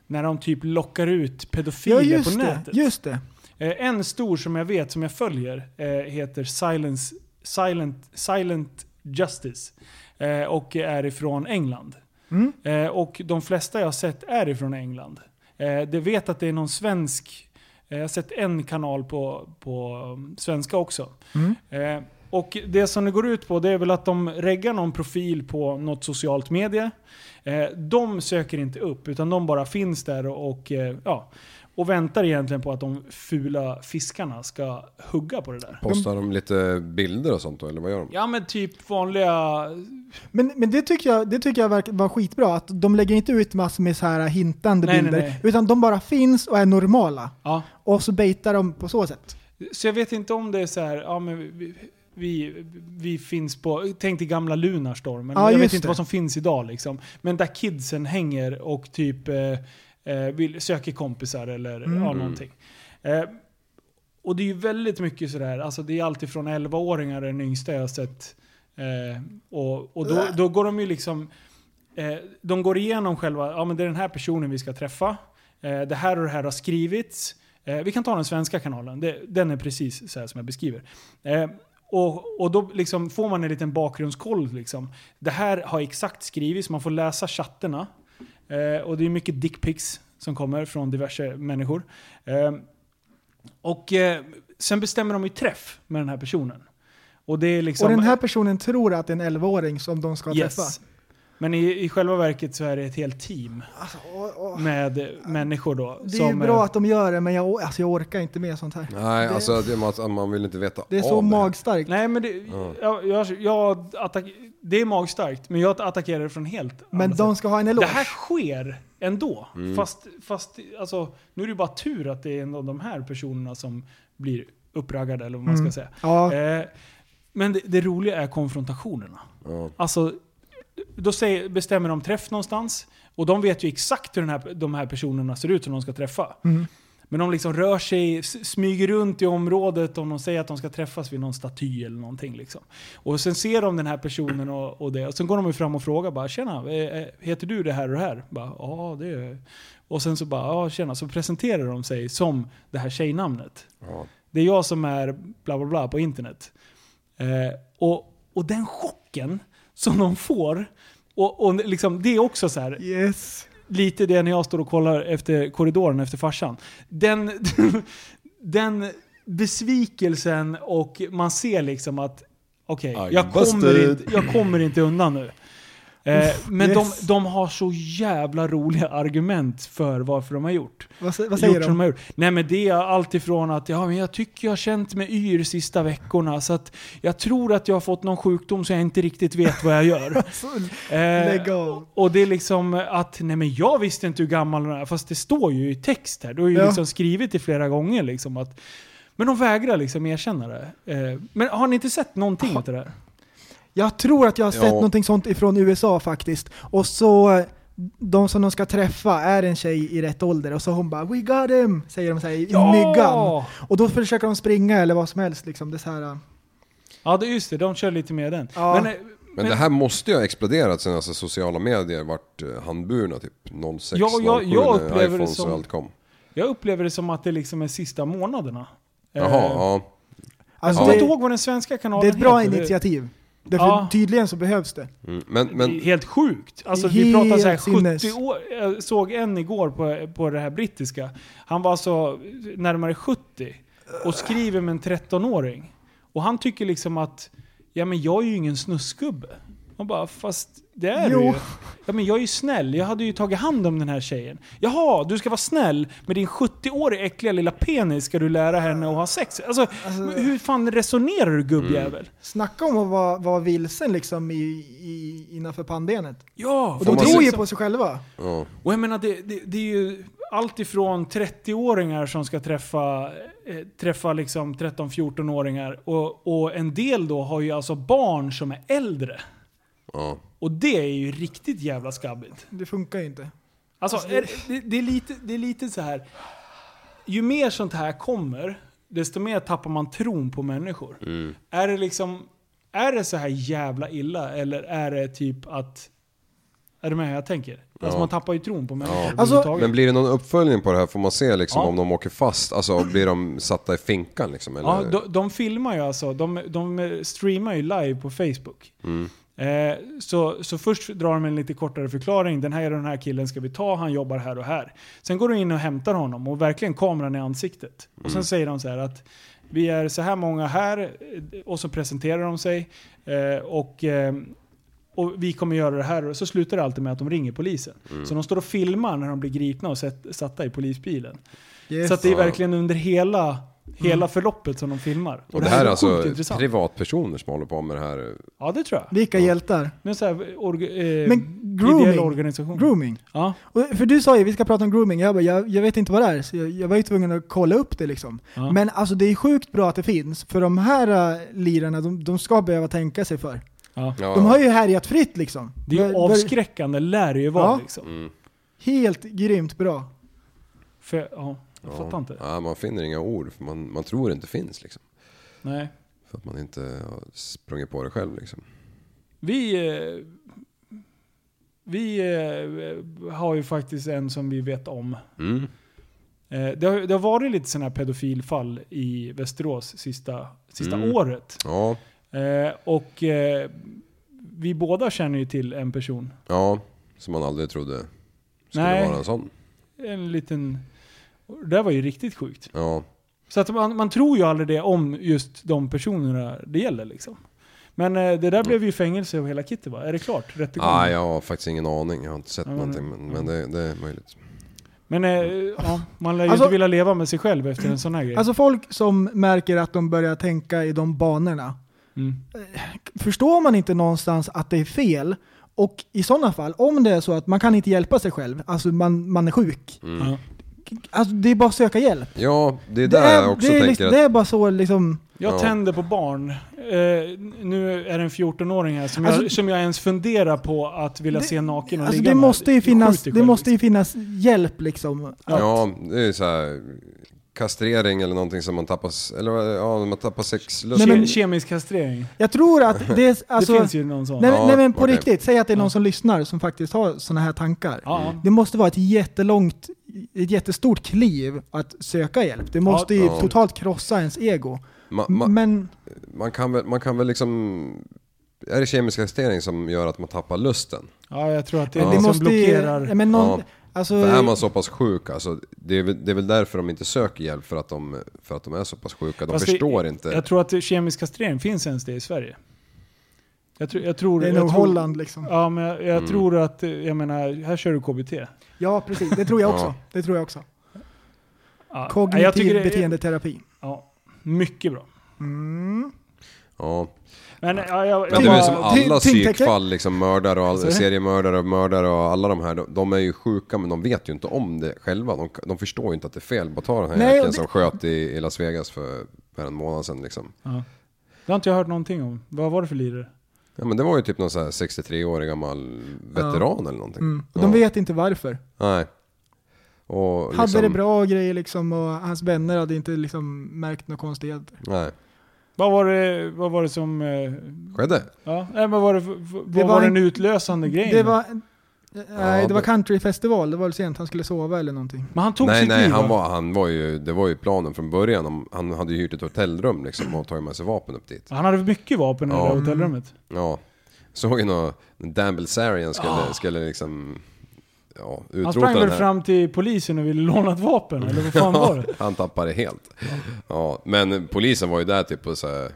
Speaker 2: när de typ lockar ut pedofiler
Speaker 3: ja just
Speaker 2: på
Speaker 3: det,
Speaker 2: nätet.
Speaker 3: just det.
Speaker 2: Eh, en stor som jag vet, som jag följer, eh, heter Silence, Silent, Silent Justice. Eh, och är ifrån England.
Speaker 3: Mm.
Speaker 2: Eh, och de flesta jag har sett är ifrån England. Eh, det vet att det är någon svensk, eh, jag har sett en kanal på, på um, svenska också.
Speaker 3: Mm.
Speaker 2: Eh, och det som det går ut på det är väl att de reggar någon profil på något socialt medie. Eh, de söker inte upp utan de bara finns där och, och, eh, ja, och väntar egentligen på att de fula fiskarna ska hugga på det där.
Speaker 4: Postar de lite bilder och sånt då, eller vad gör de?
Speaker 2: Ja men typ vanliga...
Speaker 3: Men, men det tycker jag, det tycker jag verkar vara skitbra, att de lägger inte ut massor med så här hintande
Speaker 2: Nej, nej,
Speaker 3: bilder,
Speaker 2: nej.
Speaker 3: utan de bara finns och är normala.
Speaker 2: Ja.
Speaker 3: Och så baitar de på så sätt.
Speaker 2: Så jag vet inte om det är så här, ja men vi, vi, vi finns på, tänk dig gamla Lunarstormen.
Speaker 3: Ja,
Speaker 2: jag vet
Speaker 3: just
Speaker 2: inte
Speaker 3: det.
Speaker 2: vad som finns idag liksom. Men där kidsen hänger och typ eh, eh, vill, söker kompisar eller ja,
Speaker 3: Mm.
Speaker 2: någonting. Eh, och det är ju väldigt mycket sådär, alltså det är alltid från 11-åringar är den yngsta jag har sett. Eh, och och då, då går de ju liksom, eh, de går igenom själva, ja men det är den här personen vi ska träffa. Eh, det här och det här har skrivits. Eh, vi kan ta den svenska kanalen, det, den är precis så här som jag beskriver. Eh, och, och då liksom får man en liten bakgrundskoll. Liksom. Det här har exakt skrivits, man får läsa chatterna. Eh, och det är mycket dickpics som kommer från diverse människor. Eh, och eh, sen bestämmer de ju träff med den här personen. Och det är liksom...
Speaker 3: Och den här personen tror att det är en 11-åring som de ska
Speaker 2: yes.
Speaker 3: träffa.
Speaker 2: Men i, i själva verket så är det ett helt team
Speaker 3: Alltså, åh, åh.
Speaker 2: med eh, människor då.
Speaker 3: Det är ju
Speaker 2: som,
Speaker 3: bra
Speaker 2: eh,
Speaker 3: att de gör det, men jag, alltså, jag orkar inte med sånt här.
Speaker 4: Nej,
Speaker 3: Det-
Speaker 4: alltså det, man, man vill inte veta
Speaker 3: Det är så
Speaker 4: av
Speaker 3: magstarkt.
Speaker 2: Nej men det, jag, jag, jag attack, det är magstarkt, men jag attackerar det från helt
Speaker 3: Men
Speaker 2: andra
Speaker 3: de ska ha en
Speaker 2: alltså, Det
Speaker 3: eloge.
Speaker 2: här sker ändå. Fast, fast alltså, nu är det ju bara tur att det är en av de här personerna som blir uppraggade eller vad man
Speaker 3: Mm.
Speaker 2: ska säga.
Speaker 3: Ja,
Speaker 2: Eh, men det, det roliga är konfrontationerna.
Speaker 4: Ja.
Speaker 2: Alltså, då säger, bestämmer de träff någonstans och de vet ju exakt hur den här, de här personerna ser ut som de ska träffa.
Speaker 3: Mm.
Speaker 2: Men de liksom rör sig, s- smyger runt i området om de säger att de ska träffas vid någon staty eller någonting. Liksom. Och sen ser de den här personen och, och det. Och sen går de ju fram och frågar bara “Tjena, eh, eh, heter du det här och det här?” bara, “Ja, det gör jag." Och sen så bara “Ja, tjena”. Så presenterar de sig som det här tjejnamnet.
Speaker 4: Ja.
Speaker 2: Det är jag som är bla bla bla på internet. Eh, och, och den chocken som de får, och, och liksom, det är också så här,
Speaker 3: yes.
Speaker 2: lite det när jag står och kollar efter korridoren efter farsan. Den, <laughs> den besvikelsen och man ser liksom att okej,
Speaker 4: I'm
Speaker 2: jag, kommer
Speaker 4: busted.
Speaker 2: inte- jag kommer inte undan nu. Eh, men
Speaker 3: yes.
Speaker 2: de, de har så jävla roliga argument för varför de har gjort.
Speaker 3: Vad, sä- vad säger
Speaker 2: gjort
Speaker 3: de?
Speaker 2: som har gjort. Nej men det är allt ifrån att ja, men jag tycker jag har känt mig yr sista veckorna så att jag tror att jag har fått någon sjukdom så jag inte riktigt vet vad jag gör.
Speaker 3: <laughs>
Speaker 2: Eh,
Speaker 3: Lägg av.
Speaker 2: Och det är liksom att, nej men jag visste inte hur gammal hon är, fast det står ju i text här. Du har ju
Speaker 3: Ja.
Speaker 2: liksom skrivit det flera gånger liksom att men de vägrar liksom erkänna det. Eh, Men har ni inte sett någonting av det där?
Speaker 3: Jag tror att jag har sett
Speaker 4: Ja.
Speaker 3: någonting sånt ifrån USA faktiskt. Och så, eh, de som de ska träffa är en tjej i rätt ålder och så hon bara “We got him” säger de så här i
Speaker 2: Ja!
Speaker 3: myggan. Och då försöker de springa eller vad som helst liksom. Det är så här, eh,
Speaker 2: Ja, det, just det. De kör lite med den.
Speaker 3: Ja.
Speaker 2: Men, eh,
Speaker 4: Men det här måste ju ha exploderat sen alltså sociala medier vart eh, handburna typ 06,
Speaker 2: Ja, jag-
Speaker 4: 07
Speaker 2: jag
Speaker 4: när
Speaker 2: upplever det
Speaker 4: iPhones
Speaker 2: som-
Speaker 4: och allt kom.
Speaker 2: jag upplever det som att det liksom är sista månaderna. Eh,
Speaker 4: Jaha, ja.
Speaker 2: Jag
Speaker 3: alltså,
Speaker 2: kommer inte
Speaker 3: det,
Speaker 2: ihåg vad den svenska kanalen
Speaker 3: det är ett bra
Speaker 2: heter.
Speaker 3: initiativ. Därför
Speaker 2: Ja.
Speaker 3: tydligen så behövs det.
Speaker 4: Mm. Men,
Speaker 2: Det är
Speaker 4: men
Speaker 2: helt sjukt. Alltså,
Speaker 3: Det är
Speaker 2: vi pratar så här
Speaker 3: helt sinnes.
Speaker 2: 70 år. Jag såg en igår på, på det här brittiska. Han var alltså närmare 70 och skriver med en 13-åring. Och han tycker liksom att ja, men jag är ju ingen snuskgubbe. Man bara, fast det är
Speaker 3: Jo.
Speaker 2: du ju. Ja, men jag är ju snäll. Jag hade ju tagit hand om den här tjejen. Jaha, du ska vara snäll med din 70-åriga äckliga lilla penis ska du lära henne att ha sex. Alltså,
Speaker 3: Alltså- Mm.
Speaker 2: hur fan resonerar du gubbjävel?
Speaker 3: Snacka om att vara, vara vilsen liksom i, i, innanför pannbenet.
Speaker 2: Ja,
Speaker 3: Och de
Speaker 4: man
Speaker 3: tror
Speaker 4: se-
Speaker 3: ju på sig själva.
Speaker 4: ja.
Speaker 2: Och jag menar, det, det, det är ju allt ifrån 30-åringar som ska träffa, eh, träffa liksom 13-14-åringar och, och en del då har ju alltså barn som är äldre.
Speaker 4: ja.
Speaker 2: Och det är ju riktigt jävla skabbigt.
Speaker 3: Det funkar ju inte.
Speaker 2: Alltså, är, det, det, är lite, det är lite så här. Ju mer sånt här kommer, desto mer tappar man tron på människor.
Speaker 4: Mm.
Speaker 2: Är det liksom, är det så här jävla illa eller är det typ att... Är du med hur jag tänker? Alltså
Speaker 4: Ja.
Speaker 2: man tappar ju tron på människor
Speaker 3: Alltså,
Speaker 2: överhuvudtaget.
Speaker 4: Men blir det någon uppföljning på det här? Får man se liksom
Speaker 2: Ja.
Speaker 4: om de åker fast? Alltså blir de satta i finkan liksom? Eller?
Speaker 2: Ja, de, de filmar ju alltså. De, de streamar ju live på Facebook. Eh, så, så först drar de en lite kortare förklaring. Den här och den här killen ska vi ta, han jobbar här och här. Sen går de in och hämtar honom och verkligen kameran i ansiktet. Och sen säger de så här att vi är så här många här eh, och så presenterar de sig. Eh, och, eh, och vi kommer göra det här och så slutar det alltid med att de ringer polisen. Så de står och filmar när de blir gripna och sätt, satta i polisbilen.
Speaker 3: Yes. Mm.
Speaker 2: Så att det är verkligen under hela, hela förloppet som de filmar.
Speaker 4: Och det här är
Speaker 2: sjukt
Speaker 4: alltså
Speaker 2: intressant.
Speaker 4: privatpersoner som håller på med det här?
Speaker 2: Ja, det tror jag.
Speaker 3: Vilka hjältar.
Speaker 2: Nu så här, orga, eh,
Speaker 3: Men
Speaker 2: ideell
Speaker 3: grooming.
Speaker 2: organisation.
Speaker 3: grooming.
Speaker 2: Ja.
Speaker 3: Och, för du sa ju vi ska prata om grooming, jag, bara, jag, jag vet inte vad det är, så jag, jag var ju tvungen att kolla upp det liksom.
Speaker 2: Ja.
Speaker 3: Men alltså det är sjukt bra att det finns, för de här äh, lirarna, de, de ska behöva tänka sig för.
Speaker 2: Ja.
Speaker 4: Ja,
Speaker 3: De har ju härjat fritt liksom.
Speaker 2: Det är
Speaker 3: Var-
Speaker 2: ju
Speaker 3: var-
Speaker 2: avskräckande, lär det ju vara.
Speaker 3: Ja.
Speaker 2: Liksom.
Speaker 4: mm,
Speaker 3: Helt grymt bra.
Speaker 2: För, ja, jag
Speaker 4: ja.
Speaker 2: fattar inte.
Speaker 4: Ja, man finner inga ord, för man, man tror det inte finns liksom.
Speaker 2: Nej.
Speaker 4: För att man inte har sprungit på det själv liksom.
Speaker 2: Vi, eh, vi eh, har ju faktiskt en som vi vet om.
Speaker 4: Mm.
Speaker 2: Eh, det, har, det har varit lite sådana här pedofilfall i Västerås sista, sista
Speaker 4: Mm.
Speaker 2: året.
Speaker 4: Ja,
Speaker 2: Eh, och eh, vi båda känner ju till en person.
Speaker 4: ja, som man aldrig trodde skulle
Speaker 2: Nej.
Speaker 4: vara en sån.
Speaker 2: En liten... Det där var ju riktigt sjukt.
Speaker 4: Ja,
Speaker 2: Så att man, man tror ju aldrig det om just de personerna det gäller liksom. Men eh, det där
Speaker 3: Mm.
Speaker 2: blev ju fängelse och hela kittet va? Är det klart? Rättegång?
Speaker 4: ah, jag har faktiskt ingen aning. Jag har inte sett
Speaker 2: Ja, men-
Speaker 4: någonting, men, men det, det är möjligt.
Speaker 2: Men eh, ja, man lär ju
Speaker 3: Alltså-
Speaker 2: inte vilja leva med sig själv efter en sån här grej.
Speaker 3: Alltså folk som märker att de börjar tänka i de banorna,
Speaker 2: mm.
Speaker 3: förstår man inte någonstans att det är fel, och i sådana fall, om det är så att man kan inte hjälpa sig själv, alltså man, man är sjuk,
Speaker 2: ja.
Speaker 3: alltså det är bara att söka hjälp.
Speaker 4: Ja, det är där jag också
Speaker 3: det, är,
Speaker 4: tänker
Speaker 3: liksom-
Speaker 4: att...
Speaker 3: det är bara så liksom,
Speaker 2: Jag
Speaker 4: Ja.
Speaker 2: tänder på barn. Eh, nu är det en 14-åring här som,
Speaker 3: Alltså-
Speaker 2: jag, som jag ens funderar på att vilja
Speaker 3: Det-
Speaker 2: se naken och
Speaker 3: Alltså
Speaker 2: ligga
Speaker 3: det
Speaker 2: med.
Speaker 3: måste, ju
Speaker 2: Jag
Speaker 3: finnas,
Speaker 2: skjuter
Speaker 3: det
Speaker 2: själv,
Speaker 3: måste ju finnas hjälp liksom.
Speaker 4: Ja, det är ju så här kastrering eller någonting som man tappas, eller vad- ja, man tappar sexlust.
Speaker 3: Nej,
Speaker 2: Ke-
Speaker 3: men-
Speaker 2: Kemisk kastrering.
Speaker 3: Jag tror
Speaker 4: <laughs>
Speaker 3: att det är... Alltså,
Speaker 2: det finns ju någon sån.
Speaker 3: nej,
Speaker 4: Ja,
Speaker 3: nej men på
Speaker 4: okej.
Speaker 3: riktigt, säg att det är någon
Speaker 2: Ja.
Speaker 3: som lyssnar som faktiskt har sådana här tankar.
Speaker 2: Ja.
Speaker 3: Det måste vara ett jättelångt, ett jättestort kliv att söka hjälp. Det måste ju
Speaker 4: Ja.
Speaker 3: totalt krossa ens ego.
Speaker 4: Ma, ma,
Speaker 3: men
Speaker 4: man, kan väl, man kan väl liksom... Är det kemisk kastrering som gör att man tappar lusten?
Speaker 2: Ja, jag tror att det
Speaker 3: det,
Speaker 2: är det som
Speaker 3: måste ju...
Speaker 2: blockerar.
Speaker 3: nej, Men någon,
Speaker 4: Ja.
Speaker 3: alltså,
Speaker 4: För är man så pass sjuk, alltså, det, är, väl- det är väl därför de inte söker hjälp, för att de, för att de är så pass sjuka. De
Speaker 2: Fast det-
Speaker 4: förstår inte.
Speaker 2: Jag tror att kemisk kastrering finns ens det i Sverige. Jag, tror- jag tror...
Speaker 3: Det är
Speaker 2: jag
Speaker 3: nog
Speaker 2: tror,
Speaker 3: Holland liksom.
Speaker 2: Ja, men jag,
Speaker 4: Mm.
Speaker 2: jag tror att, eh, jag menar, här kör du KBT.
Speaker 3: Ja, precis. Det tror jag också.
Speaker 4: Ja.
Speaker 3: Det tror jag också.
Speaker 2: Ja,
Speaker 3: Kognitiv
Speaker 2: jag tycker det är-
Speaker 3: beteendeterapi.
Speaker 2: Ja, mycket bra.
Speaker 3: Mm.
Speaker 4: Ja.
Speaker 2: Men, ja, jag, jag
Speaker 4: Men det är
Speaker 2: bara,
Speaker 4: väl som
Speaker 3: Ty-
Speaker 4: alla
Speaker 3: tyngdtäcke?
Speaker 4: psykfall, liksom mördare och all,
Speaker 2: Sorry.
Speaker 4: seriemördare och mördare och alla de här. De, de är ju sjuka men de vet ju inte om det själva. De, de förstår ju inte att det är fel. Bara ta den här
Speaker 3: Nej, och
Speaker 4: jäkeln
Speaker 3: det-
Speaker 4: som sköt i, i Las Vegas för, för en månad sedan liksom.
Speaker 2: det har inte jag hört någonting om. Vad var det för lirare?
Speaker 4: Ja men det var ju typ någon så här 63-årig gammal veteran eller någonting.
Speaker 3: Mm. Och
Speaker 4: Ja.
Speaker 3: De vet inte varför.
Speaker 4: Nej. Och liksom,
Speaker 3: Hade det bra och grejer liksom och hans vänner hade inte liksom märkt några konstigheter.
Speaker 4: Nej.
Speaker 2: Vad var det, vad var det som... eh,
Speaker 4: Skedde.
Speaker 2: Ja, nej, men var det, för- för- vad
Speaker 3: var
Speaker 2: var den
Speaker 3: en-
Speaker 2: utlösande grejen?
Speaker 3: Det var, eh, nej, det var
Speaker 4: det-
Speaker 3: countryfestival. Det var väl sent han skulle sova eller någonting.
Speaker 2: men han tog
Speaker 4: nej,
Speaker 2: sitt
Speaker 4: nej,
Speaker 2: liv
Speaker 4: han
Speaker 2: va?
Speaker 4: var, han var ju, det var ju planen från början. Om- Han hade ju hyrt ett hotellrum liksom och tagit med sig vapen upp dit.
Speaker 2: Han hade mycket vapen i
Speaker 4: Ja.
Speaker 2: det där hotellrummet.
Speaker 4: Ja. Såg ju nå- Dan Bilzerian skulle, skulle liksom, ja, utrota
Speaker 2: Ah. Han sprang
Speaker 4: den
Speaker 2: väl
Speaker 4: här.
Speaker 2: fram till polisen och ville låna ett vapen, eller vad fan var det?
Speaker 4: Han tappade helt. Ja, men polisen var ju där typ och så här,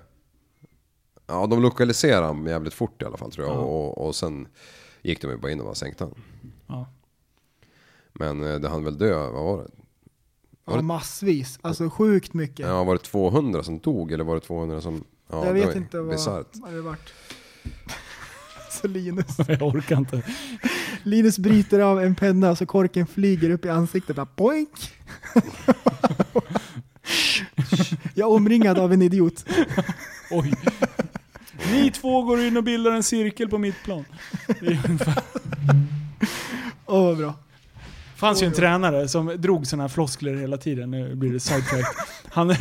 Speaker 4: Ja, de lokaliserade honom jävligt fort i alla fall tror
Speaker 2: Ah.
Speaker 4: jag. Och, och sen gick de ju bara in och bara sänkte han.
Speaker 2: <laughs> Ja.
Speaker 4: Men eh, det han väl dö, vad var det? Var
Speaker 3: Ja,
Speaker 4: det-
Speaker 3: massvis. Alltså sjukt mycket.
Speaker 4: Ja, var det 200 som dog eller var det 200 som... Ja,
Speaker 3: jag
Speaker 4: det
Speaker 3: vet
Speaker 4: var ju
Speaker 3: inte vad,
Speaker 4: Bisarrt.
Speaker 3: vad det vart. <laughs> Så Linus,
Speaker 2: Jag orkar inte.
Speaker 3: Linus bryter av en penna så korken flyger upp i ansiktet. Bara boink! <laughs> jag är omringad av en idiot.
Speaker 2: Oj. Ni två går in och bildar en cirkel på mitt plan.
Speaker 3: Åh vad bra.
Speaker 2: fanns ju en tränare som drog sådana här floskler hela tiden. Nu blir det sidetrack. Han,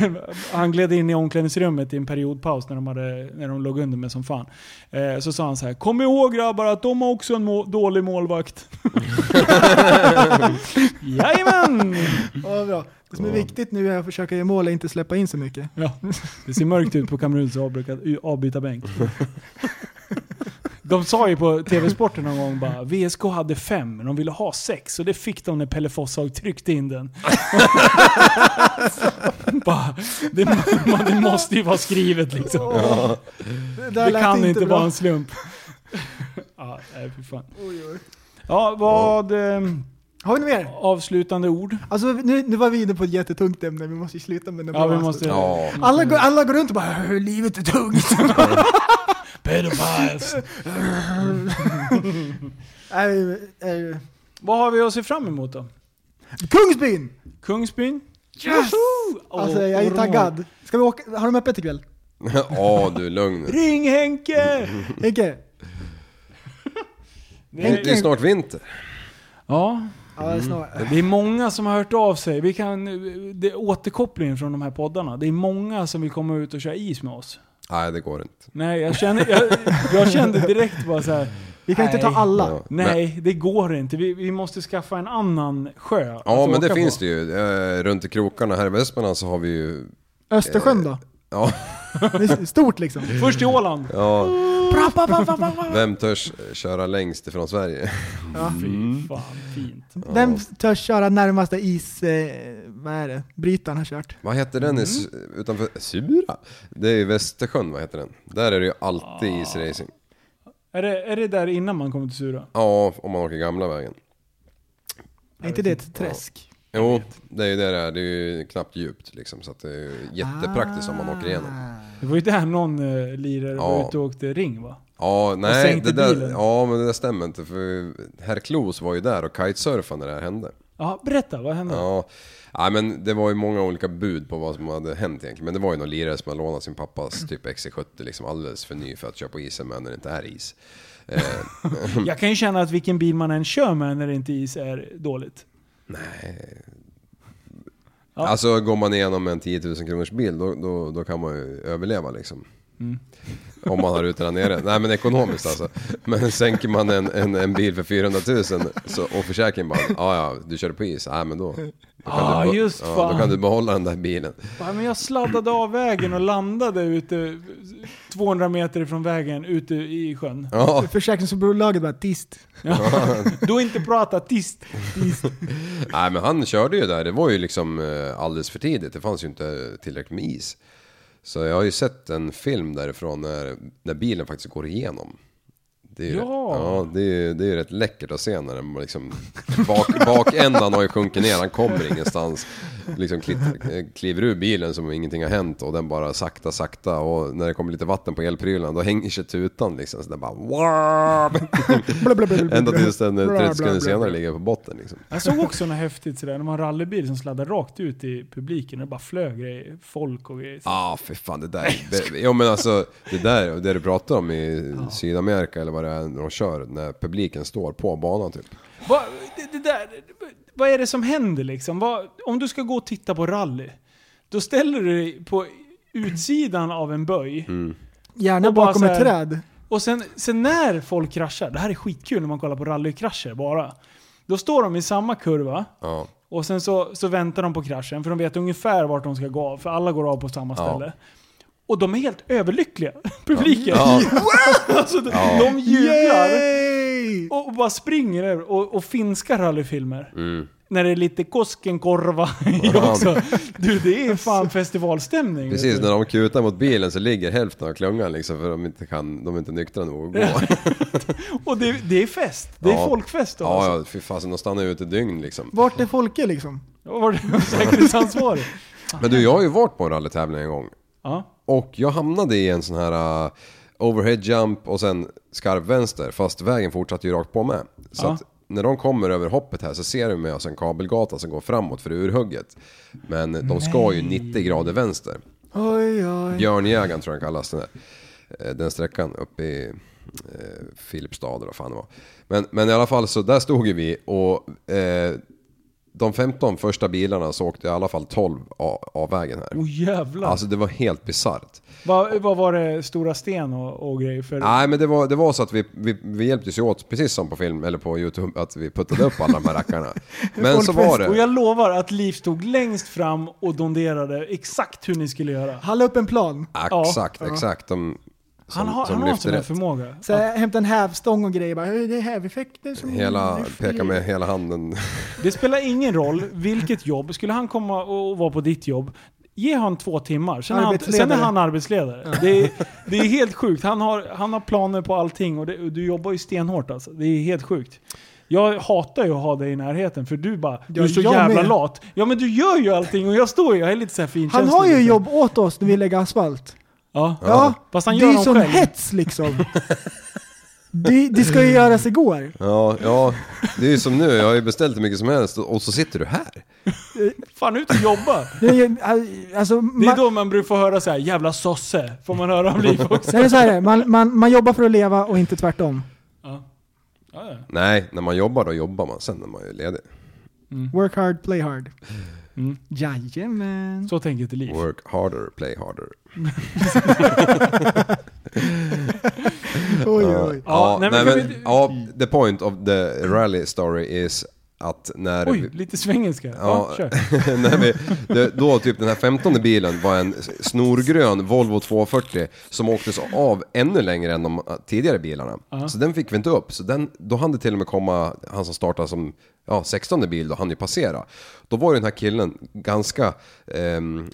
Speaker 2: han gled in i omklädningsrummet i en periodpaus när de, hade, när de låg under med som fan. Eh, så sa han så här: Kom ihåg grabbar att de har också en må- dålig målvakt. <laughs> Jajamän!
Speaker 3: Åh vad bra. Det som är viktigt nu är att försöka göra mål och inte släppa in så mycket.
Speaker 2: Ja, det ser mörkt ut på Kameruns avbruka- avbytarbänk. De sa ju på TV-sporten någon gång bara VSK hade fem, men de ville ha sex och det fick de när Pelle Fosshag tryckte in den. <laughs> bara, det, man, det måste ju vara skrivet liksom.
Speaker 3: Det, där
Speaker 2: Det
Speaker 3: lät
Speaker 2: kan inte
Speaker 3: bra.
Speaker 2: vara en slump. ja, nej, fy fan. Ja, vad... ehm,
Speaker 3: Har vi något mer?
Speaker 2: avslutande ord?
Speaker 3: Alltså nu, nu var vi inne på ett jättetungt ämne, vi måste ju sluta med det.
Speaker 2: Ja, vi måste...
Speaker 4: Ja. <laughs>
Speaker 3: Alla, går, alla går runt och bara "Hur, livet är tungt.
Speaker 2: <laughs> Pedofiles.
Speaker 3: Nej, eh,
Speaker 2: Vad har vi att se fram emot då?
Speaker 3: Kungsbyn!
Speaker 2: Kungsbyn?
Speaker 3: Yes!
Speaker 2: Åh,
Speaker 3: Alltså jag är
Speaker 2: ormar.
Speaker 3: taggad. Ska vi åka? Har de öppet ikväll?
Speaker 4: Ja, du lugn.
Speaker 2: Ring
Speaker 4: <laughs>
Speaker 2: Henke!
Speaker 3: Henke?
Speaker 4: Det är ju snart vinter.
Speaker 2: Ja,
Speaker 3: Ja,
Speaker 2: Mm.
Speaker 3: det är snart.
Speaker 2: det är många som har hört av sig. Vi kan, det är återkopplingen från de här poddarna. Det är många som vill komma ut och köra is med oss.
Speaker 4: Nej, det går inte.
Speaker 2: Nej, jag kände, jag, jag kände direkt bara så här.
Speaker 3: Vi kan inte ta
Speaker 2: Nej.
Speaker 3: alla.
Speaker 4: Ja, Men,
Speaker 2: Nej, Alltså, det går inte. Vi, vi måste skaffa en annan sjö att
Speaker 4: ja, men
Speaker 2: åka
Speaker 4: det
Speaker 2: på.
Speaker 4: finns det ju. Eh, Runt i krokarna här i Västmanland så har vi ju...
Speaker 3: Östersjön då?
Speaker 4: Ja,
Speaker 3: Det är stort
Speaker 2: <laughs>
Speaker 3: liksom.
Speaker 2: Först till Åland.
Speaker 4: ja.
Speaker 3: Bra, bra, bra, bra, bra.
Speaker 4: Vem törs köra längst ifrån Sverige? Mm.
Speaker 2: Fy fan, fint.
Speaker 3: Vem törs köra närmaste is... Eh, vad är det? Brytaren har kört.
Speaker 4: Vad heter
Speaker 3: Mm.
Speaker 4: den i, Su- utanför Sura? Det är ju Västersjön, vad heter den? Där är det ju alltid isracing.
Speaker 2: Är det, är det där innan man kommer till Sura?
Speaker 4: Ja, om man åker gamla vägen.
Speaker 3: Är inte det
Speaker 2: typ-
Speaker 3: ett träsk?
Speaker 4: Jo, det är ju det där. Det är ju knappt djupt liksom. Så att det är ju jättepraktiskt om man åker igenom.
Speaker 2: Det var ju där någon eh, lirare var
Speaker 4: Ja.
Speaker 2: ute och åkte ring va?
Speaker 4: Ja, nej,
Speaker 2: sänkte
Speaker 4: det där,
Speaker 2: bilen.
Speaker 4: ja, men det där stämmer inte för herr Klos var ju där och kitesurfade när det här hände.
Speaker 2: Ja, berätta, vad hände?
Speaker 4: Ja, ja, men det var ju många olika bud på vad som hade hänt egentligen. Men det var ju någon lirare som hade lånat sin pappas typ XC70 liksom alldeles för ny för att köra på isen men när det inte är is.
Speaker 2: Jag kan ju känna att vilken bil man än kör med när det inte är is är dåligt. Ja.
Speaker 4: Alltså går man igenom en 10 000 kronors bil då, då, då kan man ju överleva liksom.
Speaker 2: Mm.
Speaker 4: Om man har rutorna nere. Nej men ekonomiskt alltså. Men sänker man en, en, en bil för 400 000 så, och försäkringen bara, ja ja du körde på is, nej men då. då kan
Speaker 2: Ah,
Speaker 4: du, be-
Speaker 2: just
Speaker 4: ja,
Speaker 2: fan.
Speaker 4: Då kan du behålla den där bilen.
Speaker 2: Ja, men jag sladdade av vägen och landade ute 200 meter ifrån vägen ute i sjön.
Speaker 4: Ja,
Speaker 3: Ah. Försäkringsbolaget bara tist.
Speaker 2: Du har inte pratat tyst.
Speaker 4: nej men han körde ju där, det var ju liksom eh, alldeles för tidigt. Det fanns ju inte tillräckligt med is. Så jag har ju sett en film därifrån när, när bilen faktiskt går igenom. Det är ju,
Speaker 2: Ja.
Speaker 4: ja, det är, ju- det är ju rätt läckert att se när den bara liksom, bak, bakändan har ju sjunkit ner, han kommer ingenstans. Liksom klitt- eh, kliver ur bilen som om ingenting har hänt och den bara sakta, sakta och när det kommer lite vatten på elprylarna då hänger sig tutan liksom. Så den bara "Wah!" Ända tills den eh, 30 sekunder senare ligger på botten liksom.
Speaker 2: Jag såg också något häftigt sådär, när man har rallybil som sladdar rakt ut i publiken och det bara flög grejer, folk och grejer.
Speaker 4: Ja, ah, för fan det där. det- Jo men alltså det där, det du pratar om i Sydamerika eller vad det är när de kör, när publiken står på banan typ.
Speaker 2: Vad, det, det där, vad är det som händer liksom? Vad, om du ska gå och titta på rally, då ställer du dig på utsidan av en böj.
Speaker 3: Gärna
Speaker 2: Och bara
Speaker 3: bakom
Speaker 2: så
Speaker 3: ett
Speaker 2: här-
Speaker 3: träd.
Speaker 2: Och sen, sen när folk kraschar, det här är skitkul när man kollar på rallykrascher bara. Då står de i samma kurva
Speaker 4: Ja.
Speaker 2: och sen så, så väntar de på kraschen för de vet ungefär vart de ska gå av, för alla går av på samma
Speaker 4: Ja.
Speaker 2: ställe. Och de är helt överlyckliga, <laughs> publiken.
Speaker 4: Ja.
Speaker 2: <laughs> alltså, de- De jublar
Speaker 3: Yay!
Speaker 2: och, och bara springer över. Och, och finska rallyfilmer. När det är lite Koskenkorva i
Speaker 4: Mm. Ja.
Speaker 2: också. Du, det är fan festivalstämning. vet
Speaker 4: Precis,
Speaker 2: du.
Speaker 4: när de kutar mot bilen så ligger hälften av klungan liksom för de inte kan, de är inte nyktra nog att gå.
Speaker 2: Och det, det är fest. <laughs> Det är
Speaker 4: Ja.
Speaker 2: folkfest då.
Speaker 4: Ja,
Speaker 2: alltså.
Speaker 4: ja, fy fasen, de stannar ute dygn liksom.
Speaker 3: Vart är Folke liksom?
Speaker 2: Vad var det säkerhetsansvarig?
Speaker 4: Men du, jag har ju varit på en rallytävling en gång.
Speaker 2: Ja.
Speaker 4: Och jag hamnade i en sån här uh, overhead jump och sen skarv vänster fast vägen fortsatte ju rakt på med. Så
Speaker 2: Ja.
Speaker 4: att när de kommer över hoppet här så ser du med oss en kabelgata som går framåt för urhugget. Men de ska ju 90 grader vänster.
Speaker 3: Oj, oj.
Speaker 4: Björnjägaren tror jag den kallas den där. Eh, Den sträckan uppe i eh, Filipstad eller vad fan det var. Men, men i alla fall så där stod ju vi och eh, de 15 första bilarna så åkte i alla fall 12 av, av vägen här.
Speaker 2: Åh jävlar.
Speaker 4: Alltså det var helt bisarrt.
Speaker 2: vad, vad var det Stora Sten och, och grejer för?
Speaker 4: Nej men det var, det var så att vi, vi, vi hjälptes ju åt, precis som på film eller på YouTube, att vi puttade upp alla de
Speaker 2: <laughs>
Speaker 4: här rackarna. Men så var
Speaker 2: Och
Speaker 4: det.
Speaker 2: jag lovar att Liv stod längst fram och donderade exakt hur ni skulle göra.
Speaker 3: Halla upp en plan.
Speaker 2: Ja.
Speaker 4: Exakt, exakt. De, som,
Speaker 2: Han har,
Speaker 4: som
Speaker 2: han har en
Speaker 4: lyfte
Speaker 2: sån här
Speaker 4: rätt.
Speaker 2: förmåga.
Speaker 3: Så här, hämta en hävstång och grejer bara. "Hej, Det är häveffekter som...
Speaker 4: Hela, peka med hela handen.
Speaker 2: Det spelar ingen roll vilket jobb. Skulle han komma och vara på ditt jobb, ge han två timmar. Sen är han, sen är han arbetsledare. Det, är, det är helt sjukt. Han har, han har planer på allting och, det, och du jobbar ju stenhårt alltså. Det är helt sjukt. Jag hatar ju att ha dig i närheten för du bara, du
Speaker 3: Ja,
Speaker 2: är så
Speaker 3: jag
Speaker 2: jävla
Speaker 3: med.
Speaker 2: lat. Ja men du gör ju allting och jag står ju, jag är lite såhär finkänslig.
Speaker 3: Han har ju
Speaker 2: liksom.
Speaker 3: jobb åt oss när vi lägger asfalt.
Speaker 2: Ja.
Speaker 3: Ja,
Speaker 2: Fast han
Speaker 3: det
Speaker 2: gör
Speaker 3: är
Speaker 2: dem
Speaker 3: ju sån
Speaker 2: själv.
Speaker 3: hets <laughs> liksom. det, det ska ju göras igår.
Speaker 4: Ja, ja, det är ju som nu, jag har ju beställt hur mycket som helst och så sitter du här.
Speaker 2: Fan ut och jobba.
Speaker 3: Det är, ju- alltså,
Speaker 2: Det är
Speaker 3: man,
Speaker 2: då man brukar få höra så här, jävla sosse. Får man höra av Liv också.
Speaker 3: så är det så här, man, man, man jobbar för att leva och inte tvärtom.
Speaker 2: Ja, ja.
Speaker 4: Nej, när man jobbar då jobbar man, sen är man ju ledig.
Speaker 3: Work hard, play hard.
Speaker 2: Mm.
Speaker 3: Jajamän.
Speaker 2: Så tänker inte Liv.
Speaker 4: Work harder, play harder.
Speaker 3: Oj, oj.
Speaker 4: Ja,
Speaker 2: nej,
Speaker 4: nej,
Speaker 2: men
Speaker 4: men,
Speaker 2: kan vi-
Speaker 4: ja, the point of the rally story is att när
Speaker 2: Oj,
Speaker 4: vi,
Speaker 2: lite svengelska. Ja,
Speaker 4: Ja.
Speaker 2: kör.
Speaker 4: <laughs> när vi, det- då typ den här 15 bilen var en snorgrön Volvo 240 som åktes av ännu längre än de tidigare bilarna. Så den fick vi inte upp. Så den, då hann det till och med komma, han som startade som ja, 16 bil, då hann ju passera. Då var ju den här killen ganska ehm,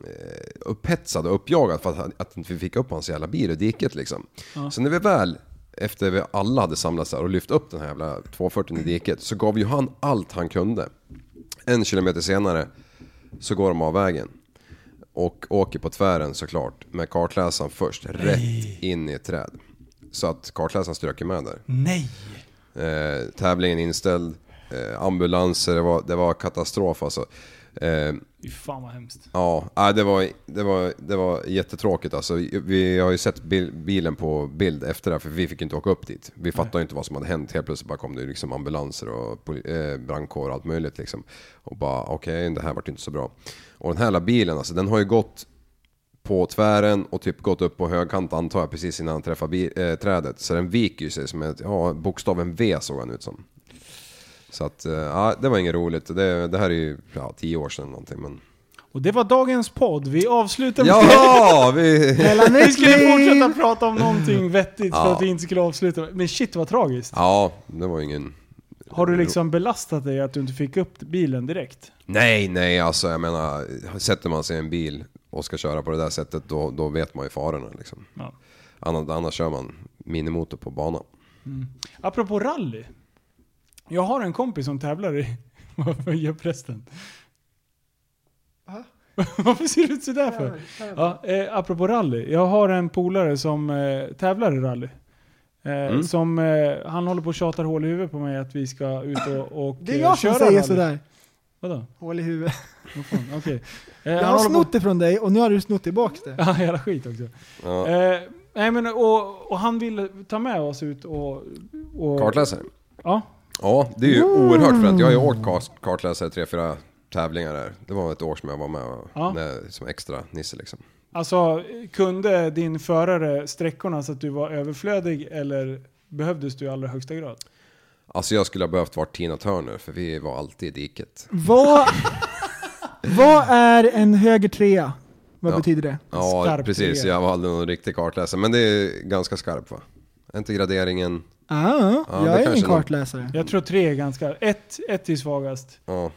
Speaker 4: upphetsad och uppjagad för att, han- att vi fick upp hans jävla bil ur diket liksom. Så när vi väl efter vi alla hade samlats där och lyft upp den här jävla 240 i diket så gav ju han allt han kunde. En kilometer senare så går de av vägen. Och åker på tvären såklart med kartläsaren först rätt in i ett träd. Så att kartläsaren strök ju med där.
Speaker 2: Nej!
Speaker 4: Eh, tävlingen inställd, eh, ambulanser, det var, det var katastrof alltså. Eh,
Speaker 2: Fy fan vad hemskt.
Speaker 4: Ja, nej, det var, det, var, det var jättetråkigt alltså. Vi har ju sett bil, bilen på bild efter det här, för vi fick inte åka upp dit. Vi fattade ju inte vad som hade hänt. Helt plötsligt bara kom det ju liksom ambulanser och poli- eh, brandkår och allt möjligt liksom. Och bara okej, det här vart ju inte så bra. Och den här lilla bilen alltså, den har ju gått på tvären och typ gått upp på högkant antar jag precis innan han träffar bi- eh, trädet. Så den viker ju sig som ett, ja bokstaven V såg han ut som. Så att, eh, ja det var inget roligt. Det, det här är ju, ja, tio år sedan någonting men.
Speaker 2: Och det var dagens podd. Vi avslutar med... <laughs>
Speaker 4: Ja, vi... <laughs>
Speaker 3: Hela
Speaker 2: Vi skulle fortsätta
Speaker 3: Netflix!
Speaker 2: prata om någonting vettigt för
Speaker 4: Ja.
Speaker 2: att vi inte skulle avsluta. med- Men shit vad tragiskt.
Speaker 4: Ja, det var ju ingen...
Speaker 2: Har du liksom belastat dig att du inte fick upp bilen direkt?
Speaker 4: Nej, nej, alltså jag menar, sätter man sig i en bil och ska köra på det där sättet då, då vet man ju farorna. Liksom.
Speaker 2: Ja.
Speaker 4: Annars, annars kör man minimotor på banan.
Speaker 2: Apropå rally. Jag har en kompis som tävlar i... <laughs> Varför gör prästen? <laughs> Varför ser du ut sådär för? Ja, eh, apropå rally. Jag har en polare som eh, tävlar i rally. Eh, Som, eh, han håller på och tjatar hål i huvudet på mig att vi ska ut och, och
Speaker 3: Det är
Speaker 2: eh,
Speaker 3: jag som
Speaker 2: köra
Speaker 3: säger
Speaker 2: rally.
Speaker 3: sådär.
Speaker 2: Vadå?
Speaker 3: Hål i huvudet.
Speaker 2: Vad fan? Okej. Eh,
Speaker 3: Jag
Speaker 2: han
Speaker 3: har
Speaker 2: håller på-
Speaker 3: snott det från dig och nu har du snott tillbaks det.
Speaker 2: <laughs> Ja, hela skit också.
Speaker 4: Ja.
Speaker 2: Eh, nej, men, och, och han vill ta med oss ut och... och
Speaker 4: Kartläsare?
Speaker 2: Ja.
Speaker 4: Ja, det är ju oerhört för att jag har ju åkt kar- kartläsare tre, fyra tävlingar där. Det var ett år som jag var med och-
Speaker 2: Ja.
Speaker 4: när, som extra nisse liksom.
Speaker 2: Alltså, kunde din förare sträckorna så att du var överflödig eller behövdes du i allra högsta grad?
Speaker 4: Alltså jag skulle ha behövt vara Tina Turner för vi var alltid i diket.
Speaker 3: Vad, vad är en höger trea? Vad
Speaker 4: Ja.
Speaker 3: betyder det?
Speaker 4: Ja,
Speaker 2: Skarp
Speaker 4: precis.
Speaker 2: trea.
Speaker 4: Jag var aldrig någon riktig kartläsare. Men det är ganska skarp va? Är inte graderingen...
Speaker 3: Ah,
Speaker 4: Ja, det
Speaker 3: jag är ingen
Speaker 4: kanske någon- <laughs>
Speaker 3: kartläsare.
Speaker 2: Jag tror tre är ganska... Ett, ett är svagast.
Speaker 4: Ja.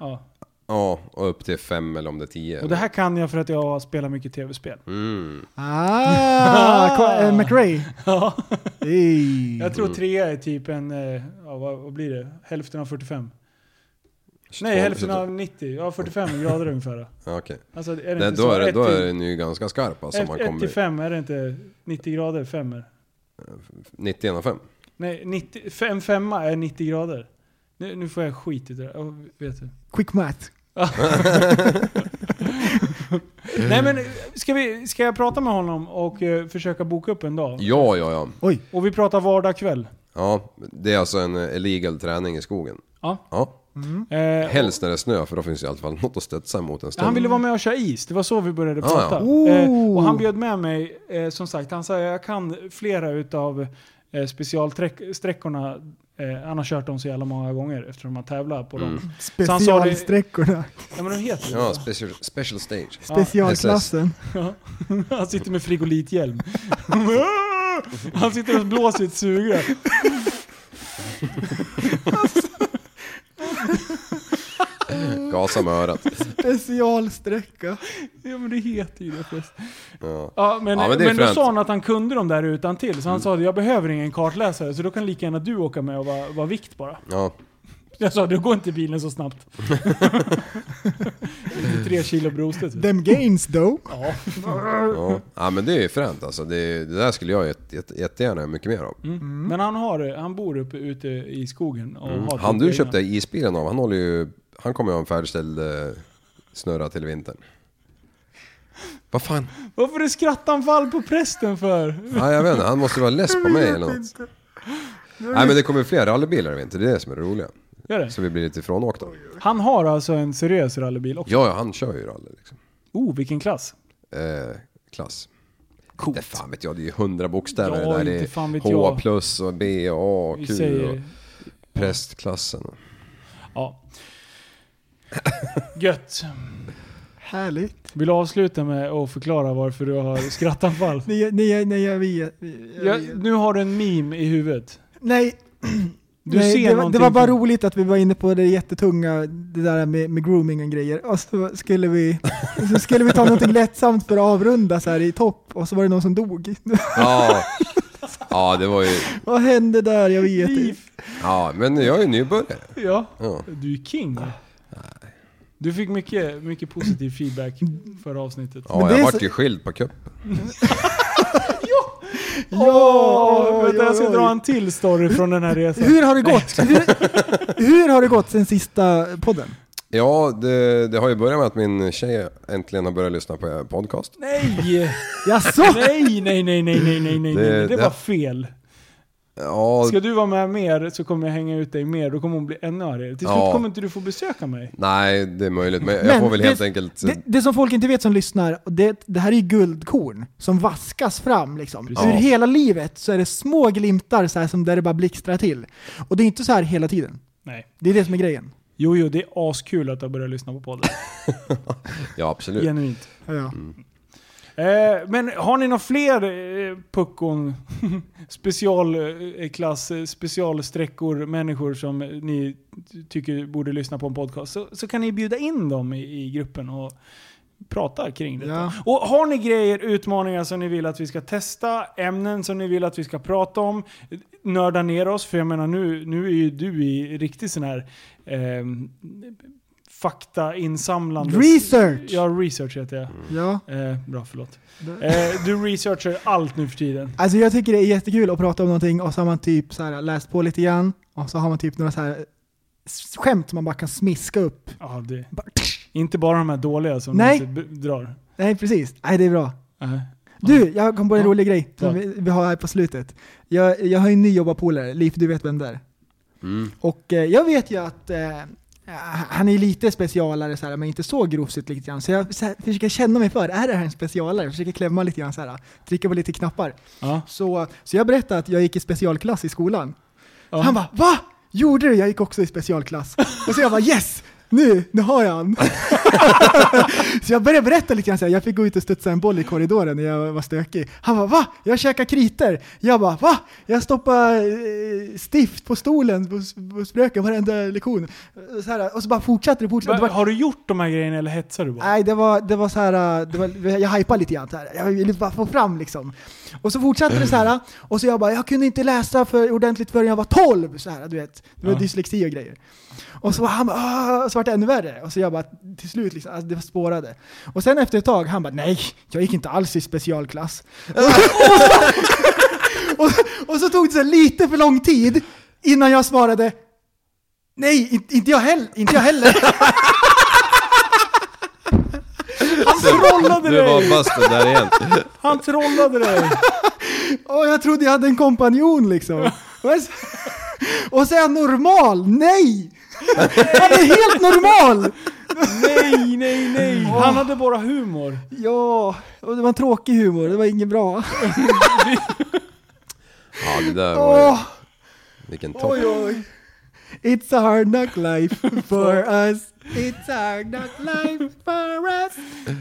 Speaker 2: Ja.
Speaker 4: ja, och upp till fem eller om det är tio.
Speaker 2: Och det här kan jag för att jag spelar mycket tv-spel.
Speaker 4: Mm.
Speaker 3: Ah, ko- eh, McRae.
Speaker 2: Ja.
Speaker 3: Ey.
Speaker 2: Jag
Speaker 4: Mm.
Speaker 2: tror tre är typ en... eh, Ja, vad, vad blir det? Hälften av 45?
Speaker 4: 22,
Speaker 2: Nej, hälften av 90. Ja, 45 grader ungefär.
Speaker 4: Ja, okej.
Speaker 2: Alltså, är det
Speaker 4: Nej,
Speaker 2: inte
Speaker 4: då,
Speaker 2: så?
Speaker 4: är det,
Speaker 2: Ett
Speaker 4: då
Speaker 2: till-
Speaker 4: är den ju ganska skarp alltså. om man
Speaker 2: 1 till
Speaker 4: kommer
Speaker 2: 5, är det inte 90 grader femmer?
Speaker 4: 90 genom fem.
Speaker 2: Nej, 90, fem femma är 90 grader. Nu, nu får jag skit i det där. Oh, vet
Speaker 4: <laughs>
Speaker 2: du.
Speaker 3: Quick math.
Speaker 2: Nej men, eh, ska, vi, ska jag prata med honom och eh, försöka boka upp en dag?
Speaker 4: Ja, ja, ja.
Speaker 3: Oj,
Speaker 2: Och vi pratar vardag kväll.
Speaker 4: Ja, det är alltså en eh, illegal träning i skogen.
Speaker 2: Ja.
Speaker 4: Ja.
Speaker 2: Eh,
Speaker 4: Helst när det är snö för då finns det i alla fall något att studsa emot en stund.
Speaker 2: han ville vara med och köra is, det var så vi började
Speaker 4: Ah, ja.
Speaker 2: prata. Eh, och han bjöd med mig, eh, som sagt, han sa jag kan flera utav eh, specialsträckorna. Eh, han har kört dem så jävla många gånger eftersom han tävlar på dem. Så han sa det-
Speaker 3: specialsträckorna.
Speaker 2: Ja men de heter det.
Speaker 4: Mm. Ja, special, special stage.
Speaker 3: Specialklassen.
Speaker 2: <laughs>
Speaker 4: <laughs>
Speaker 2: Han sitter med frigolithjälm. <laughs> Han sitter och blåser i ett sugrör.
Speaker 4: Gasa med örat.
Speaker 3: Specialsträcka.
Speaker 2: Ja men det heter ju det först.
Speaker 4: Ja.
Speaker 2: Ja men, men,
Speaker 4: Ja, men det är
Speaker 2: då
Speaker 4: fränt. Mm.
Speaker 2: sa han att han kunde dem där utan till. Så han sa jag behöver ingen kartläsare så då kan lika gärna du åka med och vara, vara vikt bara.
Speaker 4: Ja.
Speaker 2: Jag sa du går inte bilen så
Speaker 4: <laughs>
Speaker 2: snabbt. 93 kilo brostet. typ.
Speaker 3: Them gains though.
Speaker 2: Ja.
Speaker 4: Ja. ja, men det är ju fränt alltså. Det, det där skulle jag jätte, jätte, jättegärna göra mycket mer av.
Speaker 2: Mm. Men han, har, han bor uppe ute i skogen. Och har
Speaker 4: Mm. Han
Speaker 2: typ
Speaker 4: du
Speaker 2: egna-
Speaker 4: köpte isbilen av, han håller ju... Han kommer ju ha en färdigställd eh, snurra till vintern. Vad fan?
Speaker 2: Varför är skrattanfall på prästen för?
Speaker 4: Ja, jag vet inte, han måste vara less på mig eller något. Nej men det kommer fler rallybilar i vinter, det är det som är det roliga.
Speaker 2: Gör det.
Speaker 4: Så vi blir lite ifrånåkta.
Speaker 2: Han har alltså en seriös rallybil också.
Speaker 4: Ja, ja, han kör ju rally liksom.
Speaker 2: Oh, vilken klass.
Speaker 4: Eh, klass. Coolt. Det fan vet jag, det är ju hundra bokstäver
Speaker 2: Ja,
Speaker 4: det där.
Speaker 2: inte fan
Speaker 4: Det är
Speaker 2: vet
Speaker 4: H
Speaker 2: jag.
Speaker 4: plus och B och A och
Speaker 2: Vi
Speaker 4: Q
Speaker 2: säger...
Speaker 4: och prästklassen. och-
Speaker 2: Ja. Gött.
Speaker 3: Härligt.
Speaker 2: Vill du avsluta med att förklara varför du har
Speaker 3: <laughs>
Speaker 2: skrattanfall?
Speaker 3: Nej, nej, nej, jag vet.
Speaker 2: Ja, nu har du en meme i huvudet.
Speaker 3: Nej.
Speaker 2: Du
Speaker 3: Nej,
Speaker 2: ser
Speaker 3: det, var, det
Speaker 2: någonting
Speaker 3: var bara
Speaker 2: på-
Speaker 3: roligt att vi var inne på det jättetunga, det där med, med grooming och grejer. Och så
Speaker 2: <laughs>
Speaker 3: skulle vi, så skulle vi ta någonting lättsamt för att avrunda så här i topp och så var det någon som dog. <laughs>
Speaker 4: Ja, ja det var ju...
Speaker 3: Vad hände där? Jag vet inte.
Speaker 4: Ja, men jag är ju nybörjare.
Speaker 2: Ja,
Speaker 4: Ja.
Speaker 2: du är king. Du fick mycket, mycket positiv feedback förra avsnittet.
Speaker 4: Ja,
Speaker 3: Men det
Speaker 4: jag
Speaker 3: är
Speaker 4: vart
Speaker 3: så-
Speaker 4: ju skild på kuppen.
Speaker 3: Ja,
Speaker 2: Åh, vänta, jag ska
Speaker 3: oj, oj.
Speaker 2: dra en till story från den här resan.
Speaker 3: Hur har det gått? Hur, hur har det gått sen sista podden?
Speaker 4: Ja, det, det har ju börjat med att min tjej äntligen har börjat lyssna på er podcast.
Speaker 3: <laughs>
Speaker 2: Nej!
Speaker 3: Jaså?
Speaker 2: Nej, nej, nej, nej, nej, nej, nej, nej.
Speaker 4: Det-
Speaker 2: Det
Speaker 4: det-
Speaker 2: var fel.
Speaker 4: Ja,
Speaker 2: Ska du vara med mer så kommer jag hänga ut dig mer, då kommer hon bli ännu argare. Till slut
Speaker 4: Ja.
Speaker 2: kommer inte du få besöka mig.
Speaker 4: nej det är möjligt. Men jag
Speaker 3: Men
Speaker 4: får väl
Speaker 3: det-
Speaker 4: helt enkelt...
Speaker 3: Det, det som folk inte vet som lyssnar, och det, det här är ju guldkorn som vaskas fram liksom.
Speaker 2: Precis.
Speaker 3: Ur
Speaker 4: Ja.
Speaker 3: hela livet så är det små glimtar så här som där det bara blixtrar till. Och det är inte så här hela tiden.
Speaker 2: Nej.
Speaker 3: Det är det som är grejen.
Speaker 2: Jo, jo, det är askul att du har börjat lyssna på podden.
Speaker 4: Ja, absolut.
Speaker 2: Genuint.
Speaker 3: Ja.
Speaker 2: Mm. Eh, men har ni några fler eh, puckon, <laughs> specialklass, eh, specialsträckor, människor som eh, ni ty- tycker borde lyssna på en podcast så, så kan ni bjuda in dem i, i gruppen och prata kring detta.
Speaker 3: Ja.
Speaker 2: Och har ni grejer, utmaningar som ni vill att vi ska testa, ämnen som ni vill att vi ska prata om, nörda ner oss, för jag menar nu, nu är ju du i riktigt sån här eh, faktainsamlande...
Speaker 3: Research!
Speaker 2: Ja, research heter jag.
Speaker 3: Ja.
Speaker 2: Eh, bra, förlåt. Eh, du researchar allt nu för tiden.
Speaker 3: Alltså jag tycker det är jättekul att prata om någonting och så har man typ så här läst på lite grann och så har man typ några så här s- skämt man bara kan smiska upp.
Speaker 2: Ja, det,
Speaker 3: Bara-
Speaker 2: inte bara de här dåliga som
Speaker 3: Nej.
Speaker 2: du inte b- drar.
Speaker 3: Nej precis, nej det är bra.
Speaker 2: Eh.
Speaker 3: Du, jag kom på en
Speaker 2: Ja.
Speaker 3: rolig grej som
Speaker 2: Ja.
Speaker 3: vi, vi har här på slutet. Jag, jag har ju en ny jobbarpolare, Liv, du vet vem det är.
Speaker 4: Mm.
Speaker 3: Och eh, jag vet ju att eh, han är lite specialare så här, men inte så grovsigt lite grann. Så jag så här, försöker känna mig för, är det här en specialare? Försöker klämma lite grann så här, trycka på lite knappar.
Speaker 2: Ja.
Speaker 3: Så, så jag berättade att jag gick i specialklass i skolan.
Speaker 2: Ja.
Speaker 3: Han bara va? Gjorde du? Jag gick också i specialklass. Och så jag bara yes! Nu, nu har jag han. <laughs> så jag började berätta lite grann så här, jag fick gå ut och studsa en boll i korridoren när jag var stökig. Han bara va? Jag käkar kriter. Jag bara va? Jag stoppar eh, stift på stolen hos hos fröken varenda lektion. Så här, och så bara fortsatte det, fortsatte det.
Speaker 2: Va-
Speaker 3: Bara,
Speaker 2: Har du gjort de här grejerna eller hetsar du bara?
Speaker 3: Nej, det var, det var så här, äh, det var, jag hypade lite grann. Så här. Jag ville bara få fram liksom. Och så fortsatte det så här, äh, och så jag bara, jag kunde inte läsa för ordentligt förrän jag var 12. Så här, du vet, det var
Speaker 2: Ja.
Speaker 3: dyslexi och grejer. Och så var han bara, "Ah", så vart det ännu värre. Och så jag bara, till slut liksom, alltså, det spårade. Och sen efter ett tag, han bara, nej, jag gick inte alls i specialklass. <laughs> och, och så tog det så här lite för lång tid innan jag svarade, nej, inte- inte jag heller. Inte
Speaker 2: <laughs>
Speaker 3: jag heller. Alltså,
Speaker 2: Han trollade
Speaker 4: Du var
Speaker 2: dig!
Speaker 4: bastu där igen.
Speaker 2: Han trollade dig!
Speaker 3: Åh, jag trodde jag hade en kompanjon liksom. Och så- Och säga normal, nej! Han är helt normal!
Speaker 2: Nej, nej, nej!
Speaker 3: <laughs>
Speaker 2: Han hade bara humor.
Speaker 3: Ja, och det var en tråkig humor, det var inget bra.
Speaker 4: Ja, det där var ju...
Speaker 3: Åh,
Speaker 4: Vilken topp.
Speaker 3: oj, oj. It's a hard knock life for us. It's a hard knock life for us.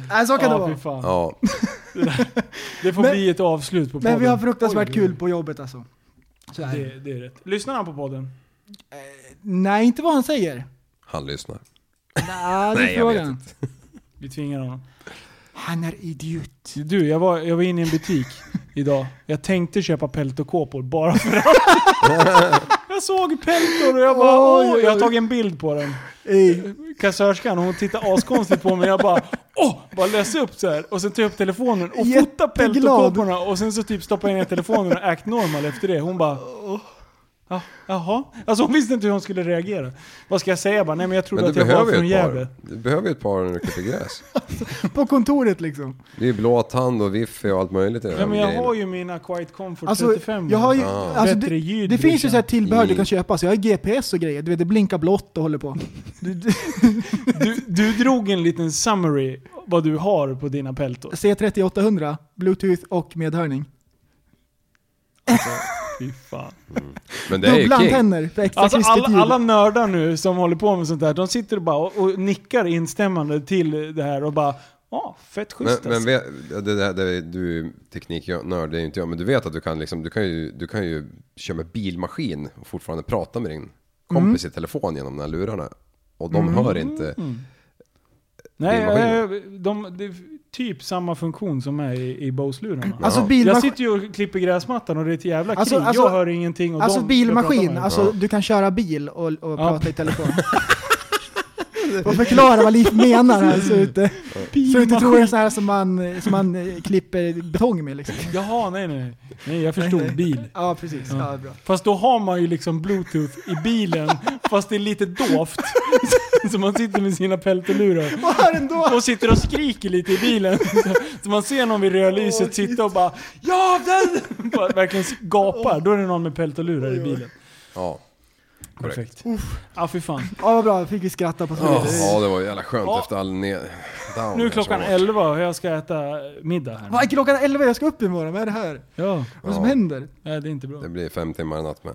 Speaker 3: Nej, så kan det
Speaker 2: Ja, fy fan.
Speaker 3: vara.
Speaker 4: Ja,
Speaker 2: Det får
Speaker 3: Men-
Speaker 2: bli ett avslut på podden.
Speaker 3: Men vi har fruktansvärt
Speaker 2: Oj,
Speaker 3: kul på jobbet alltså. Så här.
Speaker 2: Det, det är rätt. Lyssnar han på podden?
Speaker 3: Nej, inte vad han säger.
Speaker 4: han lyssnar.
Speaker 3: Nej, det
Speaker 4: Nej,
Speaker 3: är
Speaker 4: jag vet
Speaker 3: frågan.
Speaker 2: Vi tvingar honom.
Speaker 3: Han är idiot.
Speaker 2: Du, jag var, jag var inne i en butik idag. Jag tänkte köpa peltokåpor bara för att... Jag såg peltor och jag bara
Speaker 3: Oj,
Speaker 2: åh,
Speaker 3: oj,
Speaker 2: jag har
Speaker 3: oj.
Speaker 2: tagit en bild på den.
Speaker 3: Ey.
Speaker 2: Kassörskan, hon tittar askonstigt på mig. Jag bara åh, bara lös upp så här. Och sen tar jag upp telefonen och fotar
Speaker 3: Jätteglad.
Speaker 2: peltokåporna och sen så typ stoppar jag ner telefonen och act normal efter det. Hon bara Ja, jaha? Alltså hon visste inte hur hon skulle reagera. Vad ska jag säga? Jag bara, nej men jag trodde
Speaker 4: Men du
Speaker 2: att jag var
Speaker 4: behöver
Speaker 2: från
Speaker 4: ju ett
Speaker 2: Gävle.
Speaker 4: par. Du behöver ju ett par när du klipper gräs.
Speaker 3: På kontoret liksom.
Speaker 4: Det är ju blåtand och viffi och allt möjligt i den
Speaker 2: Nej
Speaker 4: här
Speaker 2: men jag
Speaker 4: grejen.
Speaker 2: har ju mina Quiet Comfort
Speaker 3: Alltså,
Speaker 2: 35.
Speaker 3: jag har ju,
Speaker 4: Ah.
Speaker 3: alltså,
Speaker 2: Bättre
Speaker 3: det,
Speaker 2: ljud,
Speaker 3: det finns ju
Speaker 2: brorsan.
Speaker 3: så här tillbehör du
Speaker 4: Mm.
Speaker 3: kan köpa, så jag har GPS och grejer. Du vet, det blinkar blått och håller på. Du, du,
Speaker 2: Du, du drog en liten summary vad du har på dina peltor.
Speaker 3: C3800, bluetooth och medhörning.
Speaker 2: Fy fan.
Speaker 4: Men det är ju
Speaker 3: Dubbla
Speaker 4: king.
Speaker 3: antenner för extra
Speaker 2: Alltså
Speaker 3: krispigt
Speaker 2: alla,
Speaker 3: ljud.
Speaker 2: alla nördar nu som håller på med sånt där, de sitter och bara och, och nickar instämmande till det här och bara Ja, fett
Speaker 4: Men,
Speaker 2: schysst
Speaker 4: men
Speaker 2: alltså.
Speaker 4: vet, det, där- det, du är ju tekniknörd, det är ju inte jag. Men du vet att du kan, liksom, du kan, ju, du kan ju köra med bilmaskin och fortfarande prata med din
Speaker 2: Mm.
Speaker 4: kompis i telefon genom de här lurarna. Och de hör inte.
Speaker 2: Nej,
Speaker 4: bilmaskiner.
Speaker 2: eh, de, det är typ samma funktion som är i, i Bose-lurarna.
Speaker 3: Alltså
Speaker 4: Ja.
Speaker 2: jag
Speaker 3: bilmaskin,
Speaker 2: sitter ju och klipper gräsmattan och det är ett jävla
Speaker 3: Alltså-
Speaker 2: krig.
Speaker 3: alltså-
Speaker 2: jag hör ingenting och
Speaker 3: alltså
Speaker 2: de
Speaker 3: bilmaskin,
Speaker 2: pratar med
Speaker 3: alltså
Speaker 4: Ja.
Speaker 3: du kan köra bil och, och prata
Speaker 2: <laughs>
Speaker 3: i telefon. och förklara vad Liv menar här så ute.
Speaker 2: mig.
Speaker 3: Så du inte tror det är
Speaker 2: Bilmaskin.
Speaker 3: så här som man, som man eh, klipper betong med liksom.
Speaker 2: Jaha, nej nej. Nej, jag förstod. Bil.
Speaker 3: Ja, precis.
Speaker 2: Ja.
Speaker 3: Ja, bra.
Speaker 2: Fast då har man ju liksom bluetooth i bilen, fast det är lite dovt. <laughs> Så man sitter med sina peltelurar
Speaker 3: Och här ändå!
Speaker 2: och sitter och skriker lite i bilen. Så man ser någon vid
Speaker 3: Åh,
Speaker 2: rödlyset sitta och bara Ja, den! Bara Verkligen gapar. Då är det någon med peltelurar i
Speaker 3: Oj, oj.
Speaker 2: bilen.
Speaker 4: Ja. Korrekt.
Speaker 2: Perfekt. Ja, fy fan.
Speaker 3: Ja, vad bra. Fick vi skratta på
Speaker 4: Ja,
Speaker 3: slutet.
Speaker 4: det var ju jävla skönt
Speaker 2: Ja.
Speaker 4: efter all ned... down
Speaker 2: Nu är
Speaker 4: här som
Speaker 2: klockan
Speaker 4: var.
Speaker 2: 11 och jag ska äta middag här.
Speaker 3: Vad är klockan 11? Jag ska upp imorgon. Vad är det här?
Speaker 2: Ja,
Speaker 3: Vad som
Speaker 4: Ja.
Speaker 3: händer?
Speaker 2: nej, det är inte bra.
Speaker 4: Det blir fem timmar i natt med.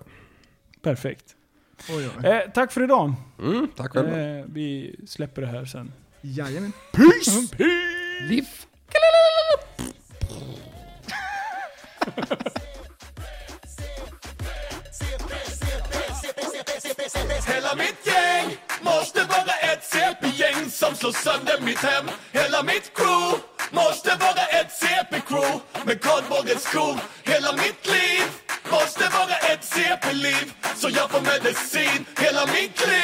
Speaker 2: Perfekt.
Speaker 3: Oj, oj.
Speaker 2: Eh, tack för idag.
Speaker 4: Mm, tack själv.
Speaker 2: Eh, vi släpper det här sen.
Speaker 3: Jajamän.
Speaker 1: Hela mitt gäng måste vara ett CP-gäng som som slår sönder mitt hem Hela mitt crew måste vara ett CP-crew Med kardborrens skov Hela mitt liv måste vara ett CP-liv Så jag får medicin hela mitt liv